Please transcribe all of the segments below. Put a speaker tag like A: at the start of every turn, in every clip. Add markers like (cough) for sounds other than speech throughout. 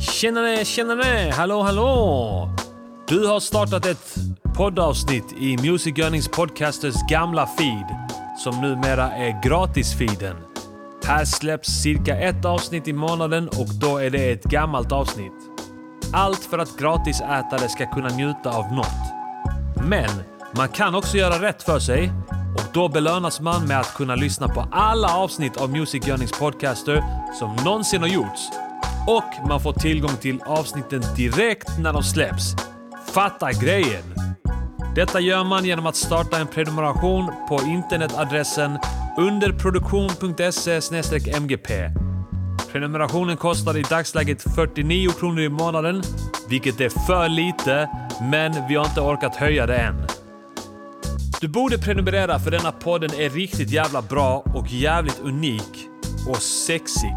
A: Tjenare, tjenare! Hallå, hallå! Du har startat ett poddavsnitt i Music Earnings Podcasters gamla feed som numera är gratisfeeden. Här släpps cirka ett avsnitt i månaden och då är det ett gammalt avsnitt. Allt för att gratisätare ska kunna njuta av något. Men man kan också göra rätt för sig och då belönas man med att kunna lyssna på alla avsnitt av Music Yearnings Podcaster som någonsin har gjorts. Och man får tillgång till avsnitten direkt när de släpps. Fatta grejen! Detta gör man genom att starta en prenumeration på internetadressen underproduktion.se mgp. Prenumerationen kostar i dagsläget 49 kronor i månaden, vilket är för lite, men vi har inte orkat höja det än. Du borde prenumerera för denna podden är riktigt jävla bra och jävligt unik och sexig.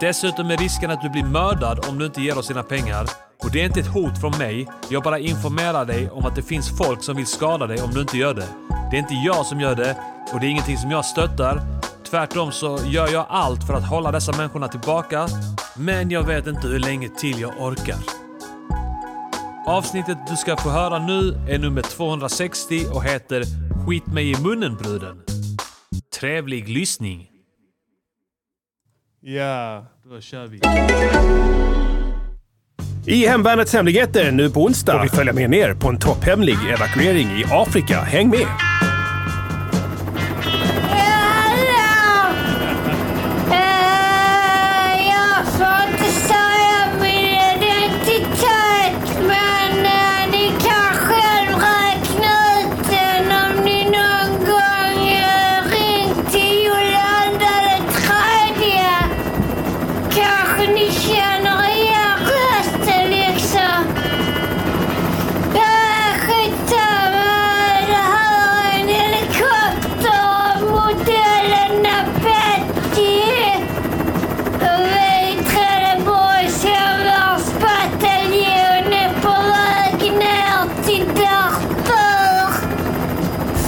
A: Dessutom är risken att du blir mördad om du inte ger oss dina pengar. Och det är inte ett hot från mig. Jag bara informerar dig om att det finns folk som vill skada dig om du inte gör det. Det är inte jag som gör det och det är ingenting som jag stöttar. Tvärtom så gör jag allt för att hålla dessa människorna tillbaka. Men jag vet inte hur länge till jag orkar. Avsnittet du ska få höra nu är nummer 260 och heter “Skit mig i munnen bruden”. Trevlig lyssning.
B: Ja.
A: Då kör vi.
B: I Hemvärnets hemligheter nu på onsdag. Och vi följer med ner på en topphemlig evakuering i Afrika. Häng med!
C: Jag får inte säga min identitet, men eh, ni kan själv räkna ut den om ni någon gång eh, ringt till Jolanda den tredje. Kanske ni känner igen rösten liksom. Eh, skitsamma, det här är en helikopter av modellen Betty. Vi Trelleborgs hemvärnsbataljon är på väg ner till Darfur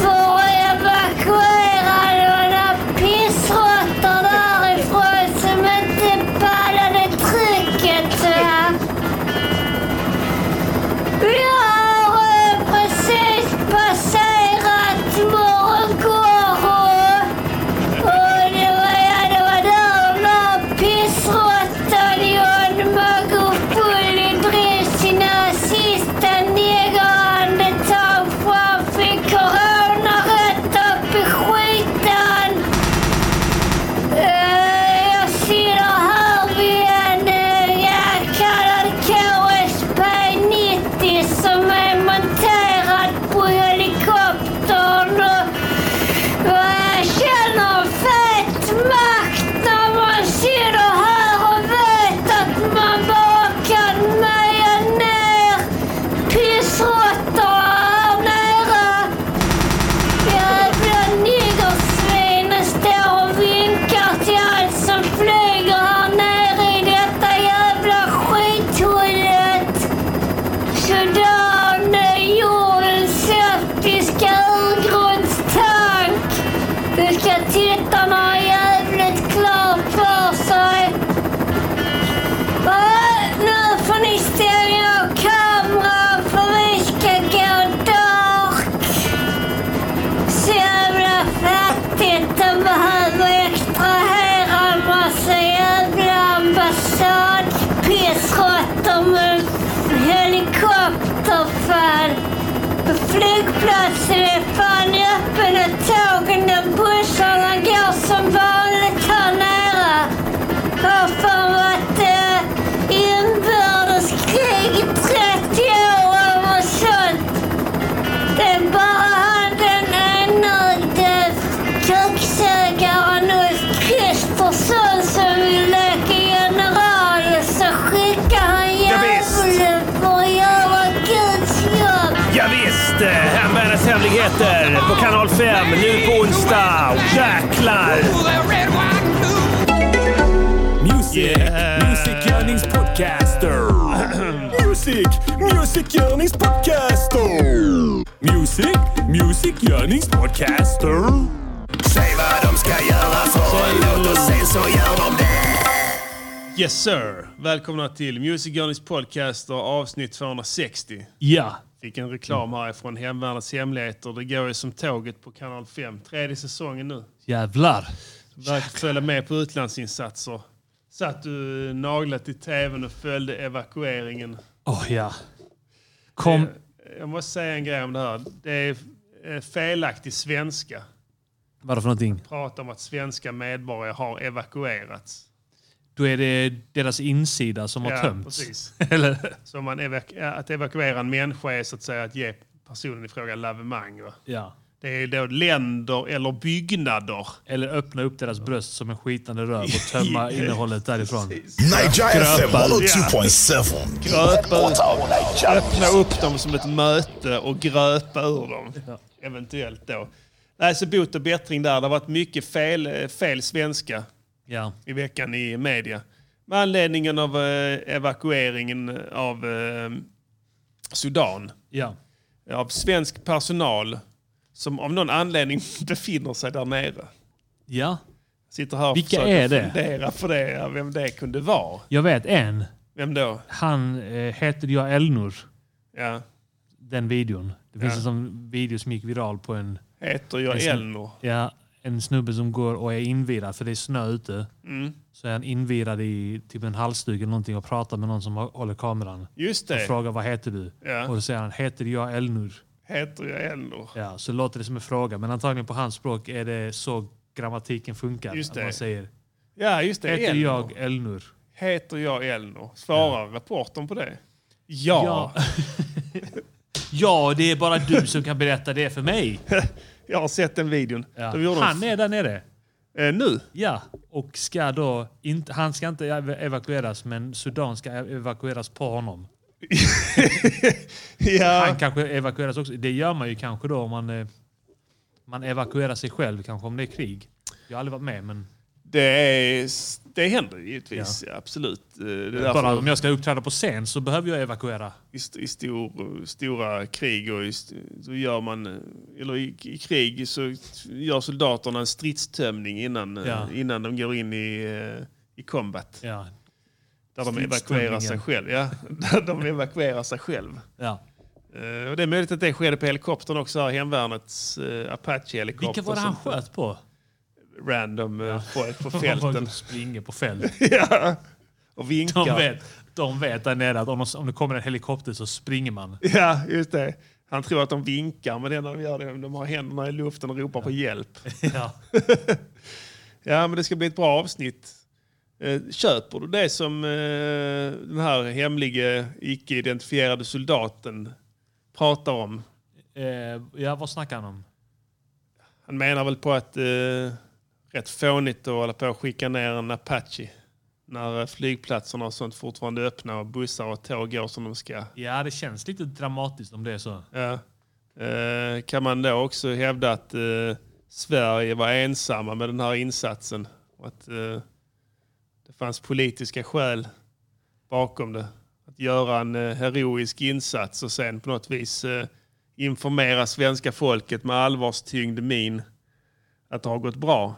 C: för att evakuera några pissråttor därifrån som inte pallade trycket. va? Vi har eh, precis passerat Morgongård och det var jag, det var där de la pissråttan John Magofull drev sina sista negerandetag för han fick corona rätt upp i skiten. Eh, Jag sitter här vid en eh, jag kallar KSP 90 som är monterad på helikoptern. och jag känner fett makt när man sitter här och vet att man bara kan meja ner pissråttor här nere. Jävla niggersvinen står och vinkar till allt som flyger här nere i detta jävla skithålet. Sudan är jordens septiska urgrundstank. Det ska tittarna ha jävligt klart för sig. Äh, Nu får ni stänga av kameran för vi ska gå dark. Så jävla fattigt. De behöver extrahera en massa jävla ambassadpissråttor med helikopter fan. Flygplatsen är fan öppen och tågen och bussarna går som vanligt här nere. Har fan varit eh, inbördeskrig i 30 år eller sånt. Det är bara han den enögde kuksugaren Ulf Kristersson som vill leka general och så skickar han
B: Javisst.
C: djävulen för att göra Guds jobb.
B: Ja, visst! eh, Hemvärnets hemligheter på kanal 5 nu på onsdag. Jäklar! Music, Music Yearnings Podcaster. (clears throat) Music, Music Yearnings Podcaster. Music, Music Yearnings Podcaster.
D: Säg vad de ska göra för en låt och sen så gör de det. Yes sir! Välkomna till Music Journeys podcast och avsnitt 260.
A: Ja.
D: Fick en reklam härifrån Hemvärnets Hemligheter. Det går ju som tåget på kanal 5. Tredje säsongen nu.
A: Jävlar.
D: Verkar följa med på utlandsinsatser. Satt du naglat i tvn och följde evakueringen.
A: Åh ja. Kom.
D: Jag måste säga en grej om det här. Det är eh, felaktig svenska.
A: Vad är det för någonting?
D: Prata om att svenska medborgare har evakuerats.
A: Då är det deras insida som har tömts.
D: precis.
A: (laughs) Eller?
D: Så man evaku- att evakuera en människa är så att säga att ge personen i fråga lavemang. Va?
A: Ja.
D: Det är då länder eller byggnader.
A: Eller öppna upp deras bröst som en skitande röv
D: (laughs)
A: och tömma innehållet därifrån.
E: Niger FM
A: Grappa.
E: 102.7.
D: Gröpa ut,
E: Åtal Niger.
D: öppna upp dem som ett möte och gröpa ur dem. Eventuellt då. Nej, så bot och bättring där. Det har varit mycket fel, eh, fel svenska
A: Ja.
D: i veckan i media. Med anledningen av eh, evakueringen av eh, Sudan.
A: Ja.
D: av svensk personal som av någon anledning (laughs) befinner sig där nere.
A: Ja.
D: Sitter här och
A: Vilka
D: försöker
A: är det?
D: fundera på det, vem det kunde vara.
A: Jag vet en.
D: Vem då?
A: Han eh, heter jag Elnor.
D: Ja.
A: Den videon. Det finns
D: Ja.
A: en sån video som gick viral på en,
D: Heter jag
A: Det är så-
D: Elnor?
A: ja, en snubbe som går och är invirad för det är snö ute.
D: Mm.
A: Så är han invirad i typ en halsduk eller någonting och pratar med någon som har- håller kameran.
D: Just
A: Och
D: det.
A: frågar vad heter du?
D: Ja.
A: Och då säger han heter jag Elnur.
D: Heter jag Elnor?
A: Ja, så låter det som en fråga. Men antagligen på hans språk är det så grammatiken funkar.
D: Just
A: Att man
D: det.
A: säger
D: Ja, just det.
A: heter
D: Elnor.
A: jag Elnur.
D: Heter jag Elnor? Svarar reportern på det? Ja.
A: Ja. (laughs) ja, det är bara du som kan berätta det för
D: (laughs)
A: mig.
D: (laughs) Jag har sett den videon.
A: Ja.
D: De gjorde
A: Han är där nere.
D: en... eh, nu?
A: Ja, och ska då inte, han ska inte ev- evakueras, men Sudan ska ev- evakueras på honom. Han
D: Ja.
A: kanske evakueras också. Det gör man ju kanske då om man, eh, man evakuerar sig själv, kanske om det är krig. Jag har aldrig varit med, men
D: Det, är, det händer givetvis. Absolut. Eh, Det är därför-
A: bara om jag ska uppträda på scen så behöver jag evakuera.
D: i, st- i stor, stora krig och i, st- så gör man, eh, eller i, i krig så gör soldaterna en stridstömning innan, eh,
A: Ja.
D: innan de går in i, eh, i combat.
A: Ja.
D: Där de evakuerar sig själv. Ja, (laughs) där de evakuerar sig själv.
A: Ja.
D: Eh, Och det är möjligt att det skedde på helikoptern också, här, hemvärnets eh, Apache-helikopter.
A: Vilka var det han
D: som-
A: sköt på?
D: Random eh,
A: (laughs)
D: folk på
A: De
D: fälten.
A: springer på fält. (laughs)
D: (laughs) ja. Och
A: De
D: vinkar.
A: vet, de vet där nere att om, de- om det kommer en helikopter så springer man.
D: Ja, just det. Han tror att de vinkar, men det enda de gör är att de har händerna i luften och ropar på hjälp.
A: (laughs) Ja.
D: Ja, men det ska bli ett bra avsnitt. Eh, köper du det som eh, den här hemlige, icke-identifierade soldaten pratar om?
A: Eh, ja, vad snackar han om?
D: Han menar väl på att eh, rätt fånigt att hålla på och skicka ner en Apache när eh, flygplatserna och sånt fortfarande är öppna och bussar och tåg går som de ska.
A: Ja, det känns lite dramatiskt om det är så.
D: Ja. Eh, kan man då också hävda att eh, Sverige var ensamma med den här insatsen? Och att eh, det fanns politiska skäl bakom det? Att göra en eh, heroisk insats och sen på något vis eh, informera svenska folket med allvarstyngd min att det har gått bra.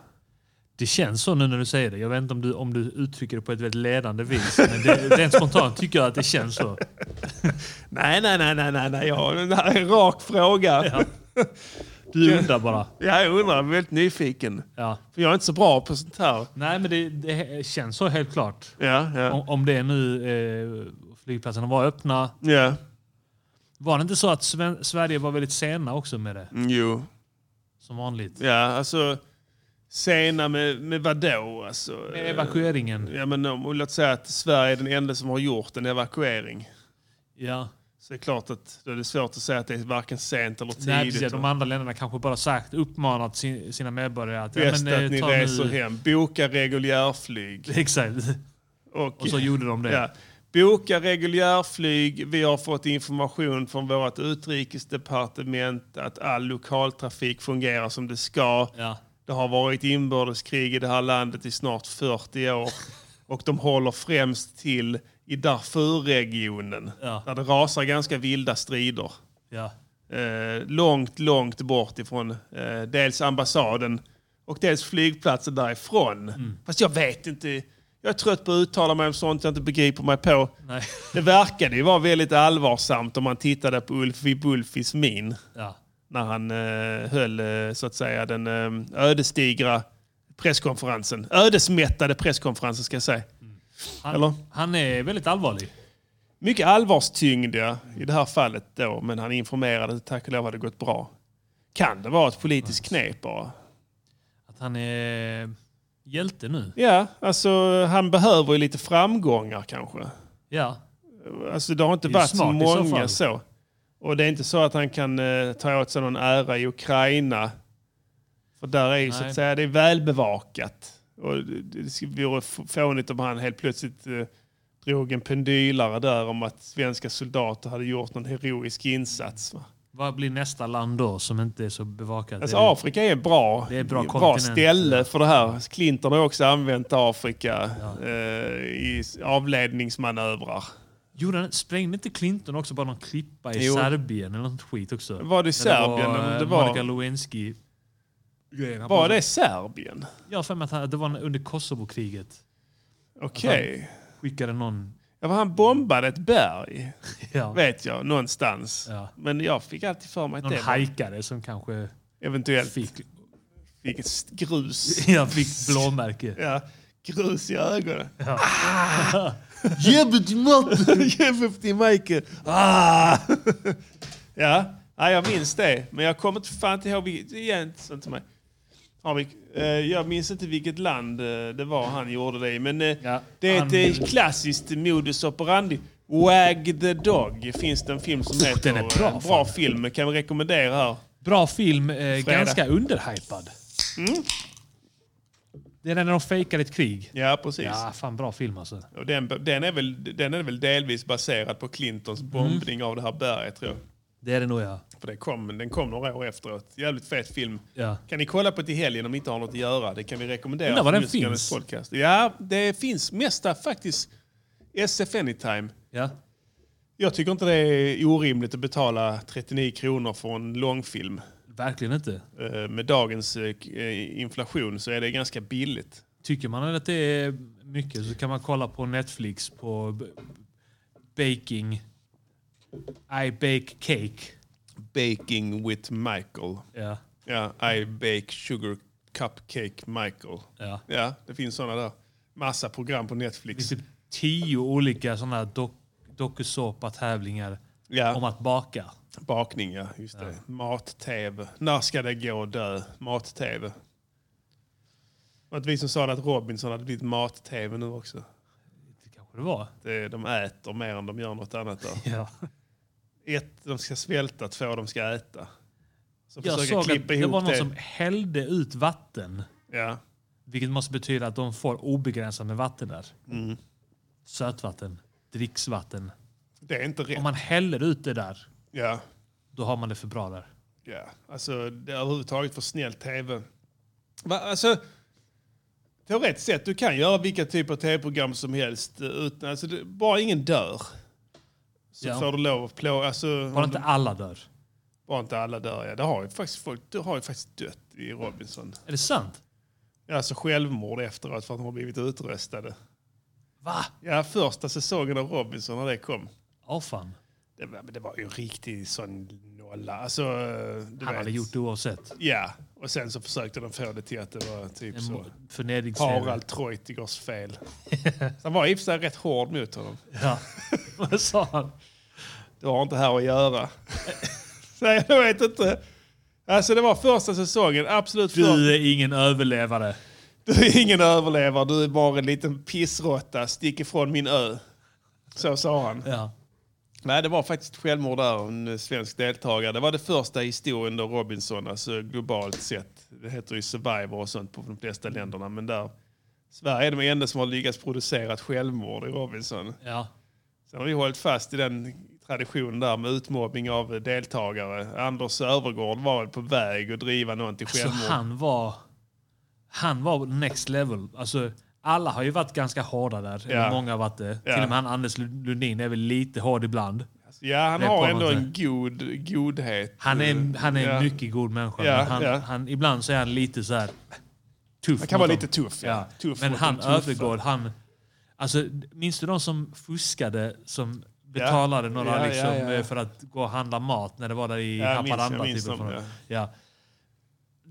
A: Det känns så nu när du säger det. Jag vet inte om du, om du uttrycker det på ett väldigt ledande vis. Men det, (laughs) rent spontant tycker jag att det känns så.
D: Nej, nej, nej, nej, nej, nej. Ja, det här är en rak fråga. Ja.
A: Du undrar bara.
D: jag undrar, jag är väldigt nyfiken.
A: Ja.
D: För jag är inte så bra på sånt här.
A: Nej, men det, det känns så helt klart.
D: Ja, ja.
A: Om, om det nu eh, flygplatserna var öppna.
D: ja.
A: Var det inte så att Sven, Sverige var väldigt sena också med det?
D: Mm, Jo.
A: Som vanligt.
D: Ja, alltså sena med, med vadå? Alltså,
A: Med
D: eh,
A: evakueringen.
D: ja, men om, låt säga att Sverige är den enda som har gjort en evakuering.
A: Ja.
D: Så det är klart att då är det svårt att säga att det är varken sent eller tidigt.
A: Nej, precis, de andra länderna kanske bara sagt, uppmanat sin, sina medborgare att... ja,
D: Bäst
A: men, eh,
D: att ni
A: ta
D: reser
A: nu-
D: hem. Boka reguljärflyg.
A: (laughs) Exakt.
D: Och,
A: Och så gjorde de det.
D: ja, boka reguljärflyg. Vi har fått information från vårt utrikesdepartement att all lokaltrafik fungerar som det ska.
A: Ja.
D: Det har varit inbördeskrig i det här landet i snart 40 år. Och de håller främst till i Darfurregionen.
A: Ja.
D: Där det rasar ganska vilda strider.
A: Ja.
D: Eh, långt, långt bort ifrån eh,
A: Mm.
D: dels ambassaden och dels flygplatsen därifrån. Fast jag vet inte. Jag är trött på att uttala mig om sånt jag inte begriper mig på.
A: Nej. (laughs)
D: Det verkade ju vara väldigt allvarsamt om man tittade på Ulf i Bulfis min.
A: Ja.
D: När han eh, höll eh, så att säga den eh, ödesdigra presskonferensen. Ödesmättade presskonferensen ska jag säga.
A: Han,
D: Eller?
A: han är väldigt allvarlig.
D: Mycket allvarstyngd ja, i det här fallet då. Men han informerade tack och lov hade gått bra. Kan det vara ett politiskt knep bara?
A: Att han är hjälte nu.
D: Ja, alltså han behöver ju lite framgångar kanske.
A: Ja.
D: Alltså det har inte
A: Det är ju
D: varit så
A: smart i så
D: många
A: fall.
D: så. Och det är inte så att han kan eh, ta åt sig någon ära i Ukraina. För där är ju så
A: Nej.
D: att säga, det är välbevakat. Och det- det vore f- fånigt om han helt plötsligt eh, drog en pendylare där om att svenska soldater hade gjort någon heroisk insats. Va?
A: Vad blir nästa land då som inte är så bevakat?
D: Alltså
A: Det är-
D: Afrika är en bra,
A: Det är bra
D: bra
A: kontinent.
D: ställe för det här. Clinton har också använt Afrika eh, i s- avledningsmanövrar.
A: Gjorde han, sprängde inte Clinton också bara någon klippa i
D: Jo.
A: Serbien eller något skit också?
D: Var det i Serbien?
A: Det var,
D: Det
A: det
D: var-
A: Monica Lewinsky. grejen. Han
D: Var
A: bara-
D: det Serbien?
A: Jag har för mig att han- det var under Kosovo-kriget.
D: Okej.
A: Alltså, Skickade någon...
D: Ja, men han bombade ett berg,
A: Ja,
D: vet jag, någonstans.
A: Ja.
D: Men jag fick alltid för mig att
A: någon
D: det var
A: hajkare som kanske
D: eventuellt fick,
A: fick, (laughs)
D: ett st- grus.
A: ja, fick blåmärke.
D: Ja, grus i ögonen. (laughs)
A: Ge mig din mat!
D: Ge upp till Michael. Ah! (laughs) ja. ja, jag minns det. Men jag kommer inte fan inte ihåg vilket... Det är inte sånt till mig. Har vi, eh, jag minns inte vilket land eh, det var han gjorde det i. Men eh,
A: Ja,
D: det är
A: han-
D: ett eh, klassiskt modus operandi. Wag the Dog finns det en film som heter.
A: den är bra,
D: Eh, bra film. Kan vi rekommendera här.
A: Bra film, eh, ganska underhypad.
D: Mm.
A: Det är när de fejkar ett krig.
D: Ja, precis.
A: Ja, fan bra film alltså.
D: Och den, den, är väl, den är väl delvis baserad på Clintons
A: Mm.
D: bombning av det här berget tror jag.
A: Det är det nog ja.
D: För det kom, den kom några år efteråt. Jävligt fet film.
A: Ja.
D: Kan ni kolla på till helgen om ni inte har något att göra? Det kan vi rekommendera.
A: Undrar var
D: för
A: den
D: Musikernas
A: finns.
D: Podcast. Ja, det finns mesta faktiskt. SF Anytime.
A: ja.
D: Jag tycker inte det är orimligt att betala 39 kronor för en långfilm.
A: Verkligen inte.
D: Eh, Med dagens eh, k- eh, inflation så är det ganska billigt.
A: Tycker man att det är mycket så kan man kolla på Netflix på b- baking. I bake cake.
D: Baking with Michael.
A: Ja.
D: Ja, I bake sugar cupcake Michael.
A: ja.
D: Ja, det finns sådana där. Massa program på
A: Det
D: Netflix.
A: är typ tio olika sådana här dok- dokusåpa-tävlingar
D: Ja.
A: om att baka.
D: Bakning, ja. Just det. Mat-tv. När ska det gå att dö? Mat-tv. Och att vi som sa att Robinson hade blivit mat-tv nu också.
A: Det kanske det var.
D: Det är, de äter mer än de gör något annat. Där.
A: Ja.
D: Ett, de ska svälta. Två, de ska äta. Så
A: Jag
D: försöka
A: såg att
D: klippa
A: det
D: ihop
A: var någon
D: det.
A: som hällde ut vatten.
D: Ja.
A: Vilket måste betyda att de får obegränsat med vatten där.
D: Mm.
A: Sötvatten, dricksvatten.
D: Det är inte rätt.
A: Om man häller ut det där,
D: Ja.
A: då har man det för bra där.
D: Ja, alltså det är överhuvudtaget för snäll tv. Va, alltså, teoretiskt sett, du kan göra vilka typer av tv-program som helst. eh, Utan, alltså, det, bara ingen dör. Så
A: Ja.
D: får du lov att plåga. Alltså,
A: Bara inte alla dör.
D: bara inte alla dör. Ja. Det har ju faktiskt folk det har ju faktiskt dött i Robinson.
A: Är det sant?
D: Alltså självmord efteråt för att de har blivit utröstade.
A: Va?
D: Ja, första säsongen av Robinson när det kom.
A: Åh fan.
D: Det var, men det var ju en riktig sån nolla. Alltså, eh, du
A: Han hade
D: vet.
A: gjort det oavsett.
D: Ja, och sen så försökte de få det till att det var typ
A: En
D: så.
A: mo- förnedringsserie.
D: Harald Treutiggers fel. Så han var i och för sig rätt hård mot honom.
A: (laughs) Ja. Vad sa han?
D: Du har inte här att göra. (laughs) Så jag vet inte. Alltså det var första säsongen, absolut första.
A: Du är ingen överlevare.
D: Du är ingen överlevare, du är bara en liten pissråtta. Stick ifrån min ö. Så sa han.
A: Ja.
D: Nej, det var faktiskt självmord där, av en svensk deltagare. Det var det första i historien då Robinson, alltså globalt sett. Det heter ju Survivor och sånt på de flesta länderna, men där Sverige är de enda som har lyckats producera ett självmord i Robinson.
A: ja.
D: Sen har vi hållit fast i den traditionen där med utmobbning av deltagare. Anders Övergård var väl på väg att driva någon till
A: Så
D: självmord.
A: Alltså, han var... Han var next level. Alltså, alla har ju varit ganska hårda där.
D: Ja.
A: Eller många har varit det. Till och med han Anders Lundin är väl lite hård ibland.
D: ja, han
A: Det
D: har
A: kommer
D: ändå
A: inte.
D: en god godhet.
A: Han är, en- han är en
D: Ja.
A: mycket god människa.
D: Ja,
A: men han,
D: ja.
A: han, ibland så är han lite så här... Tuff.
D: Han kan
A: mot
D: vara
A: dem.
D: lite tuff. Ja.
A: Ja.
D: tuff
A: men
D: mot
A: han
D: de tuffa.
A: övergår. Han, Alltså, minns du de som fuskade som betalade några
D: Ja,
A: liksom,
D: ja, ja.
A: eh, för att gå och handla mat när det var där i
D: Ja, jag minns- jag
A: Haparanda?
D: minns
A: typ,
D: dem,
A: ja. Ja.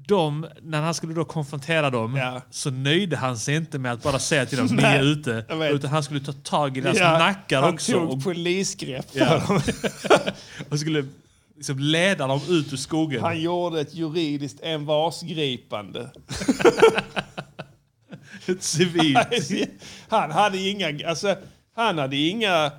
A: De, när han skulle då konfrontera dem
D: Ja.
A: så nöjde han sig inte med att bara säga till dem ni är
D: Nej,
A: ute.
D: jag vet.
A: Utan han skulle ta tag i deras
D: Ja,
A: nackar
D: han
A: också. Och,
D: tog polisgrepp.
A: ja. (laughs) och skulle liksom leda dem ut ur skogen.
D: Han gjorde ett juridiskt envarsgripande.
A: Ett civilt.
D: (laughs) Han hade inga... Alltså, han hade inga...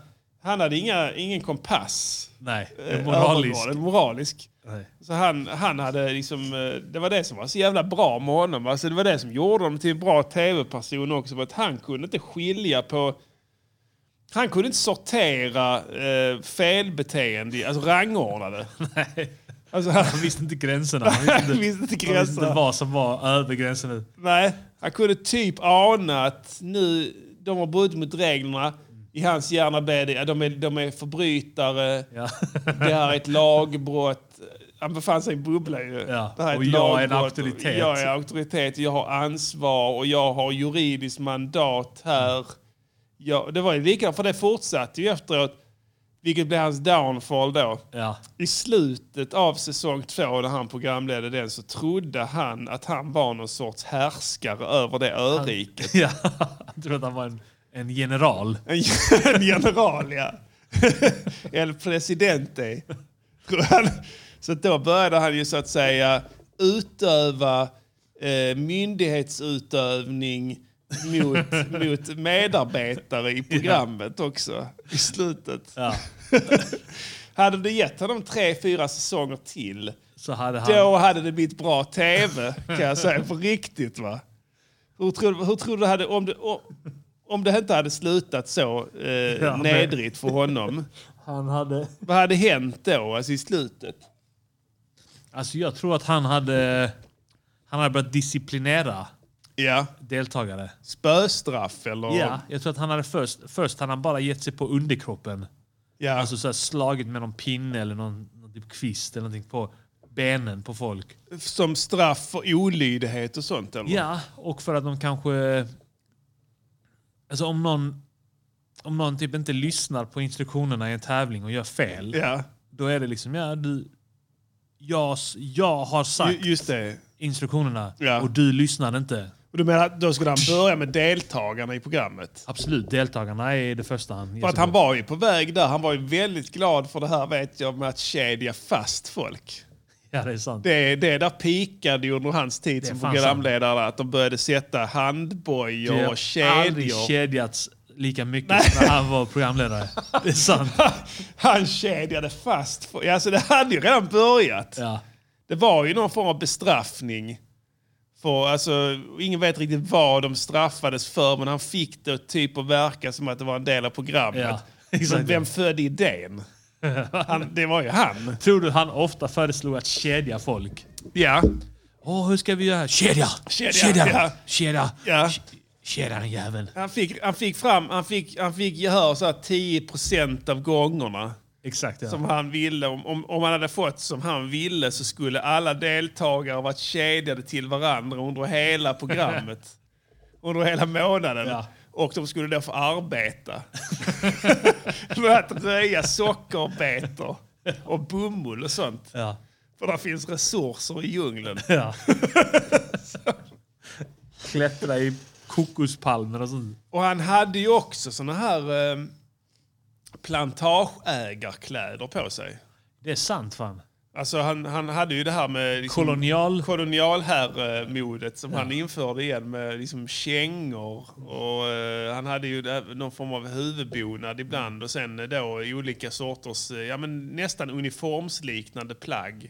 D: Han hade inga, ingen kompass.
A: Nej,
D: eh,
A: en moralisk.
D: övergård, en moralisk.
A: Nej. (laughs)
D: Så han, han hade liksom, eh, det var det som var så jävla bra med honom. Alltså det var det som gjorde honom till en bra tv-person också. För att han kunde inte skilja på... Han kunde inte sortera eh, felbeteende, alltså rangordna det. Alltså han,
A: Han visste inte gränserna. (laughs) Han visste
D: (laughs) han
A: inte,
D: visste inte
A: han visste
D: gränserna.
A: inte vad som var över gränserna.
D: Nej, han kunde typ ana att nu, de har brutit mot reglerna. I hans hjärna blev det, ja, de är, de är förbrytare.
A: Ja. (laughs)
D: Det här är ett lagbrott. Han befann sig i en bubbla ju.
A: Ja,
D: Det här är
A: och
D: ett
A: jag är en
D: lagbrott.
A: auktoritet.
D: Jag är auktoritet, jag har ansvar och jag har juridiskt mandat här. Ja, det var ju likadant, för det fortsatte ju efteråt. Vilket blev hans downfall då.
A: Ja.
D: I slutet av säsong två när han programledde den så trodde han att han var någon sorts härskare över det öriket.
A: Ja. Jag trodde att han var en, en general.
D: En, (laughs) en general, ja. (laughs) El presidente. Han- Så att då började han ju så att säga utöva eh, myndighetsutövning mot, mot medarbetare i programmet också i slutet.
A: Ja.
D: Hade du gett honom tre, fyra säsonger till
A: Så hade han...
D: Då hade det blivit bra tv, kan jag säga. På riktigt va. Hur tror, hur tror du hade, om det, om, om det inte hade slutat så eh,
A: men-
D: nedrigt för honom.
A: Han hade...
D: Vad hade hänt då, alltså i slutet?
A: Alltså jag tror att han hade... Han hade börjat disciplinera
D: Ja,
A: deltagare.
D: spöstraff eller?
A: Ja, jag tror att han hade först, först hade han bara gett sig på underkroppen.
D: ja.
A: Alltså så här slagit med någon pinne eller någon, någon typ kvist eller någonting på benen på folk.
D: som straff för olydighet och sånt eller?
A: Ja, och för att de kanske... Alltså om någon, om någon typ inte lyssnar på instruktionerna i en tävling och gör fel.
D: ja.
A: Då är det liksom, ja du... Jag, s- jag har
D: Ju-
A: sagt
D: Just det.
A: instruktionerna
D: Ja.
A: och du lyssnade inte.
D: Och du menar att då skulle han börja med deltagarna i programmet?
A: Absolut, deltagarna är det första han...
D: För att han var ju på väg där. Han var ju väldigt glad för det här vet jag med att kedja fast folk.
A: Ja, det är sant.
D: Det, det där pikade ju under hans tid som
A: fanns
D: programledare att de började sätta handbojor
A: Det har
D: och kedjor.
A: aldrig kedjats lika mycket som när han var programledare. Det är sant.
D: (laughs) Han kedjade fast. För, alltså det hade ju redan börjat.
A: Ja.
D: Det var ju någon form av bestraffning. För, alltså, ingen vet riktigt vad de straffades för men han fick det typ att verka som att det var en del av programmet.
A: Ja, (laughs)
D: men
A: exakt.
D: vem födde idén?
A: (laughs)
D: Han, det var ju han.
A: Tror du han ofta föreslog att kedja folk?
D: Ja.
A: Åh, hur ska vi göra? Kedja!
D: Kedja,
A: Kedja!
D: ja.
A: Kedja!
D: Ja.
A: Ke- Kedja den jäveln.
D: Han fick, han fick fram, han fick, han fick gehör så här 10% av gångerna.
A: Exakt ja.
D: som han ville. Om, om, om han hade fått som han ville så skulle alla deltagare varit kedjade till varandra under hela programmet. under hela månaden.
A: Ja.
D: Och de skulle då få arbeta. (laughs) Med att röja sockerbetor och bomull och sånt.
A: ja.
D: För där finns resurser i djungeln.
A: ja. (laughs) Klättra i kokospalmer och sånt.
D: Och han hade ju också såna här eh, plantageägarkläder på sig.
A: Det är sant fan.
D: Alltså han, han hade ju det här med... liksom-
A: Kolonial...
D: kolonialherremodet som han införde igen med liksom kängor. Och, eh, han hade ju där- någon form av huvudbonad ibland och sen eh, då i olika sorters eh, ja, men nästan uniformsliknande plagg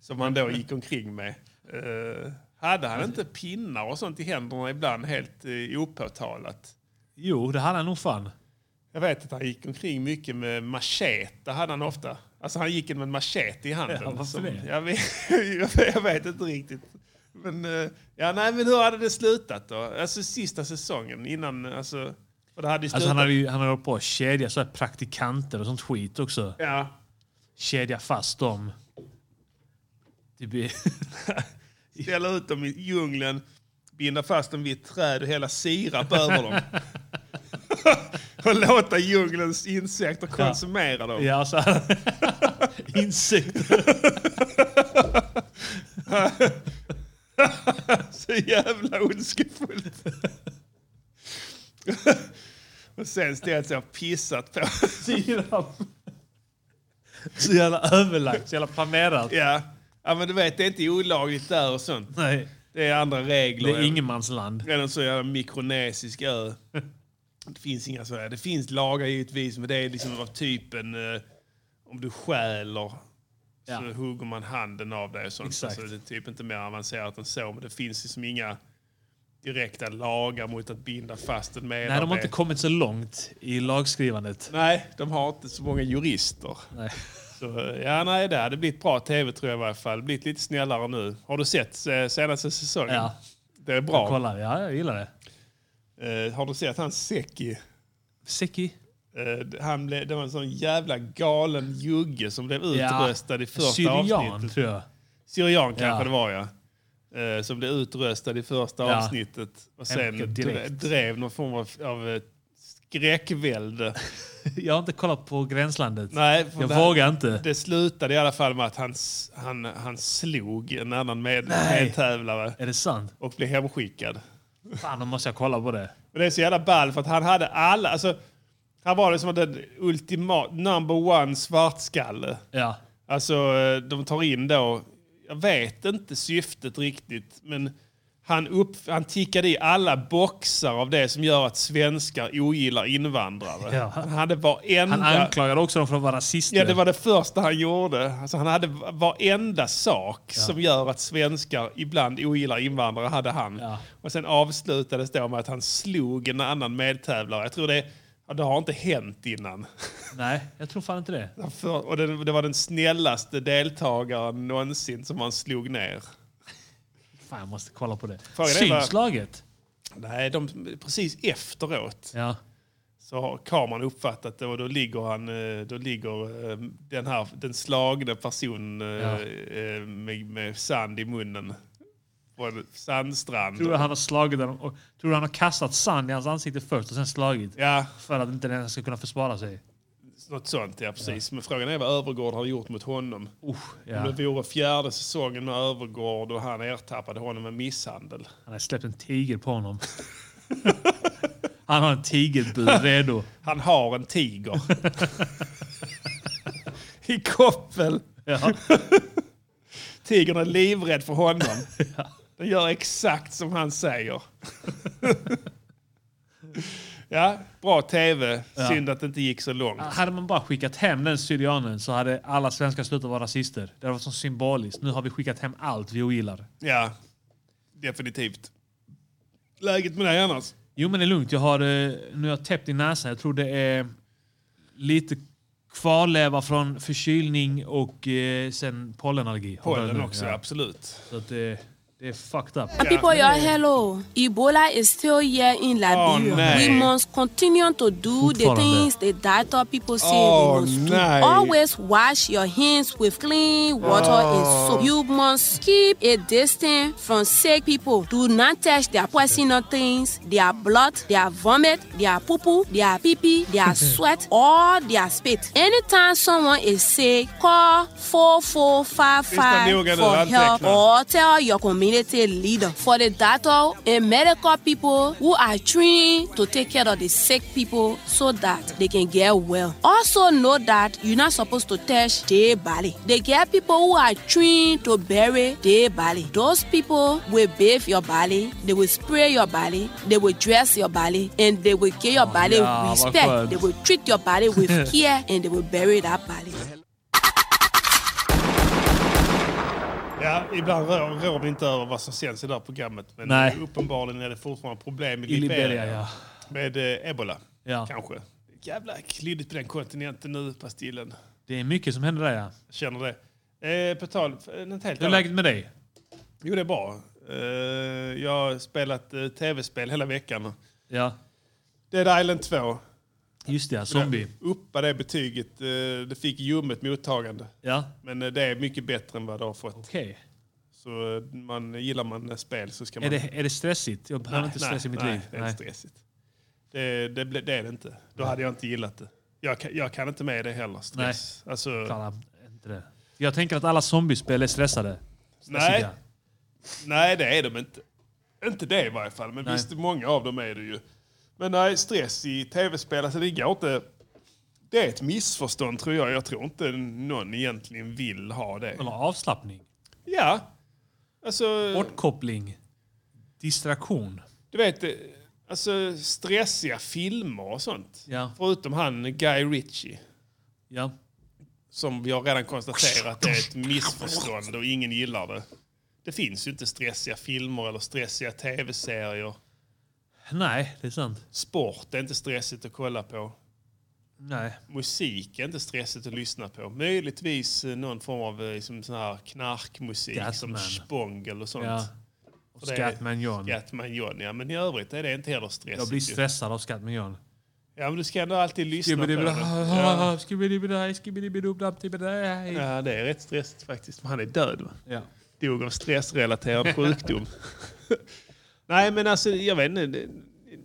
D: som han då gick omkring med. Eh, hade han inte pinnar och sånt i händerna ibland helt eh, opåtalat?
A: Jo, det hade han nog fan.
D: Jag vet att han gick omkring mycket med machete. hade han ofta. Alltså han gick in med en machete i handen.
A: Ja, varför det?
D: jag, vet, jag vet (laughs) inte riktigt. Men, eh, ja, nej, men hur hade det slutat då? Alltså sista säsongen innan... Alltså, för det hade ju slutat.
A: Alltså, han hade ju han hade hållit på att kedja så här praktikanter och sånt skit också.
D: ja.
A: Kedja fast dem. Typ i-
D: Ställa
A: (laughs)
D: ut dem (laughs) i djungeln, binda fast dem vid ett träd och hela sirap över dem. och låta djungelns insekter konsumera
A: (laughs)
D: dem.
A: Ja, så här. (laughs) Insekter.
D: (laughs) Så jävla ondskefullt. (laughs) och sen ställt sig och pissat på. (laughs)
A: Sirap. Så jävla överlagt, så jävla planerat.
D: ja. ja, men du vet det är inte olagligt där och sånt.
A: Nej,
D: Det är andra regler.
A: det är ingenmansland.
D: Eller så är det en mikronesisk ö. Det finns inga sådana. Det finns lagar givetvis, men det är liksom av typen eh, om du stjäler
A: Ja.
D: så hugger man handen av dig. och Sånt.
A: Exakt.
D: Så det är typ inte mer avancerat än så, men det finns liksom inga direkta lagar mot att binda fast en medarbetare.
A: Nej, de har inte kommit så långt i lagskrivandet.
D: Nej, de har inte så många jurister.
A: Nej.
D: Så, eh, ja, nej, det hade blivit bra tv tror jag i varje fall. Blivit lite snällare nu. Har du sett eh, senaste säsongen?
A: Ja,
D: Det är bra.
A: kolla. Ja, jag gillar det.
D: Eh, har du sett han Seki?
A: Seki.
D: Eh, han blev, det var en sån jävla galen jugge som blev utröstad i första
A: Syrian,
D: avsnittet.
A: tror jag.
D: Syrian kanske
A: Ja.
D: det var ja. Eh, som blev utröstad i första
A: Ja.
D: avsnittet. Och sen
A: Hämtad
D: dre-
A: direkt.
D: drev någon form av, av eh,
A: (laughs)
D: skräckvälde.
A: Jag har inte kollat på Gränslandet.
D: Nej, för
A: jag
D: det-
A: vågar inte.
D: Det slutade i alla fall med att han, s- han, han slog en annan med,
A: Nej.
D: medtävlare
A: Är det sant?
D: och blev hemskickad.
A: Fan, då måste jag kolla på det.
D: Men det är så jävla ball för att han hade alla... Alltså, han var liksom den ultimata, number one svartskalle.
A: Ja.
D: Alltså eh, de tar in då, jag vet inte syftet riktigt, men han, upp, han tickade i alla boxar av det som gör att svenskar ogillar invandrare.
A: Ja.
D: Han hade varenda...
A: Han anklagade också dem för att vara rasister.
D: Ja, det var det första han gjorde. Alltså, han hade va- varenda sak som gör att svenskar ibland ogillar invandrare, hade han.
A: Ja.
D: Och sen avslutades det med att han slog en annan medtävlare. Jag tror det, ja, det har inte hänt innan. (laughs)
A: Nej, jag tror fan inte det.
D: Han För, och det, det var den snällaste deltagaren någonsin som han slog ner.
A: Fan, jag måste kolla på det.
D: Frågan är vad-
A: Syns laget?
D: Nej, de, precis efteråt
A: Ja.
D: så har kameran uppfattat det och då ligger, han, eh, då ligger eh, den, här, den slagne personen eh,
A: Ja.
D: eh, med, med sand i munnen på en sandstrand.
A: Tror du han har slagit dem och, Tror du han har kastat sand i hans ansikte först och sen slagit?
D: Ja,
A: För att inte den ska kunna försvara sig?
D: något sånt. Ja, precis. Men frågan är vad Övergård har gjort mot honom.
A: Usch,
D: Om
A: ja.
D: det vore fjärde säsongen med Övergård och han ertappade honom med misshandel.
A: Han har släppt en tiger på honom. (laughs) han har en tigerbur redo.
D: Han har en tiger. (laughs) I koppel.
A: Ja.
D: (laughs) Tigern är livrädd för honom. Den gör exakt som han säger. (laughs) ja, bra tv. Synd att det inte gick så långt.
A: Hade man bara skickat hem den syrianen så hade alla svenskar slutat vara rasister. Det var så symboliskt. Nu har vi skickat hem allt vi ogillar.
D: Ja, definitivt. Läget med dig annars?
A: Jo men det är lugnt. Jag har, eh, nu har jag täppt i näsan. Jag tror det är lite kvarleva från förkylning och eh, sen pollenallergi. Har jag
D: Pollen
A: nu,
D: också,
A: ja.
D: absolut.
A: Så att det, det är fucked up.
F: People, your hello. Ebola is still here in Liberia.
D: nay.
F: we must continue to do the
A: Follow them.
F: things the doctor people say we
D: Oh,
F: must
D: nay.
F: do. Always wash your hands with clean water and soap. You must keep a distance from sick people. Do not touch their poisonous things, their blood, their vomit, their poo poo, their pee pee, their sweat, or their spit. Anytime someone is sick, call 4455
D: noga nu,
F: for help
D: anteckna.
F: or or tell your community leader for the doctor and medical people who are trained to take care of the sick people so that they can get well. Also know that you're not supposed to touch their body. They get people who are trained to bury their body. Those people will bathe your body, they will spray your body, they will dress your body, and they will give your body
A: Oh, yeah, my friend.
F: respect. They will treat your body
A: (laughs)
F: with care and they will bury that body.
D: Ja, ibland rår, rår vi inte över vad som sänds i det här programmet. Men
A: Nej.
D: uppenbarligen är det fortfarande problem i
A: I
D: Liberia.
A: Liberia ja.
D: Med eh, ebola,
A: ja.
D: kanske. Jävla klyddigt på den kontinenten nu, Pastillen.
A: Det är mycket som händer där ja.
D: Jag känner det. Eh, på tal... eh, Något helt
A: Hur är
D: annat.
A: läget med dig?
D: Jo, det är bra. Eh, jag har spelat eh, tv-spel hela veckan.
A: Ja.
D: Dead Island 2.
A: Just det, ja, zombie.
D: Uppa det betyget. Eh, det fick ljummet mottagande.
A: Ja,
D: Men eh, det är mycket bättre än vad det har fått.
A: okej.
D: Så eh, man, gillar man eh, spel så ska man...
A: Är, det, är det stressigt? Jag behöver inte stress i mitt
D: nej,
A: liv.
D: Det är inte stressigt. Det, det, ble- det är det inte. Då hade jag inte gillat det. Jag kan, jag kan inte med det heller. Stress. Nej. Alltså,
A: Klara, inte det. Jag tänker att alla zombiespel är stressade.
D: nej,
A: Stressiga.
D: nej, det är de inte. Inte det i varje fall, men visst, många av dem är det ju. Men nej, stress i tv-spel, alltså det går inte. Det är ett missförstånd tror jag. Jag tror inte någon egentligen vill ha det.
A: Eller avslappning.
D: Ja. Alltså,
A: Bortkoppling. Distraktion.
D: du vet, eh, alltså stressiga filmer och sånt.
A: Ja.
D: Förutom han Guy Ritchie.
A: Ja.
D: som vi har redan konstaterat är ett missförstånd och ingen gillar det. Det finns ju inte stressiga filmer eller stressiga tv-serier.
A: Nej, det är sant.
D: Sport är inte stressigt att kolla på.
A: Nej.
D: Musik är inte stressigt att lyssna på. Möjligtvis eh, någon form av eh, liksom, sån här knarkmusik som
A: Gatman.
D: Spongel och sånt.
A: Ja. Och
D: det är-
A: Scatman John.
D: Gatman John, ja. Men i övrigt är det inte heller stressigt.
A: Jag blir
D: ju.
A: stressad av Scatman John.
D: Ja, men du ska ändå alltid lyssna på det. Ja.
A: Ja.
D: ja, det är rätt stressigt faktiskt. Men han är död, va? dog
A: (laughs)
D: av stressrelaterad sjukdom. Nej, men alltså jag vet inte. det-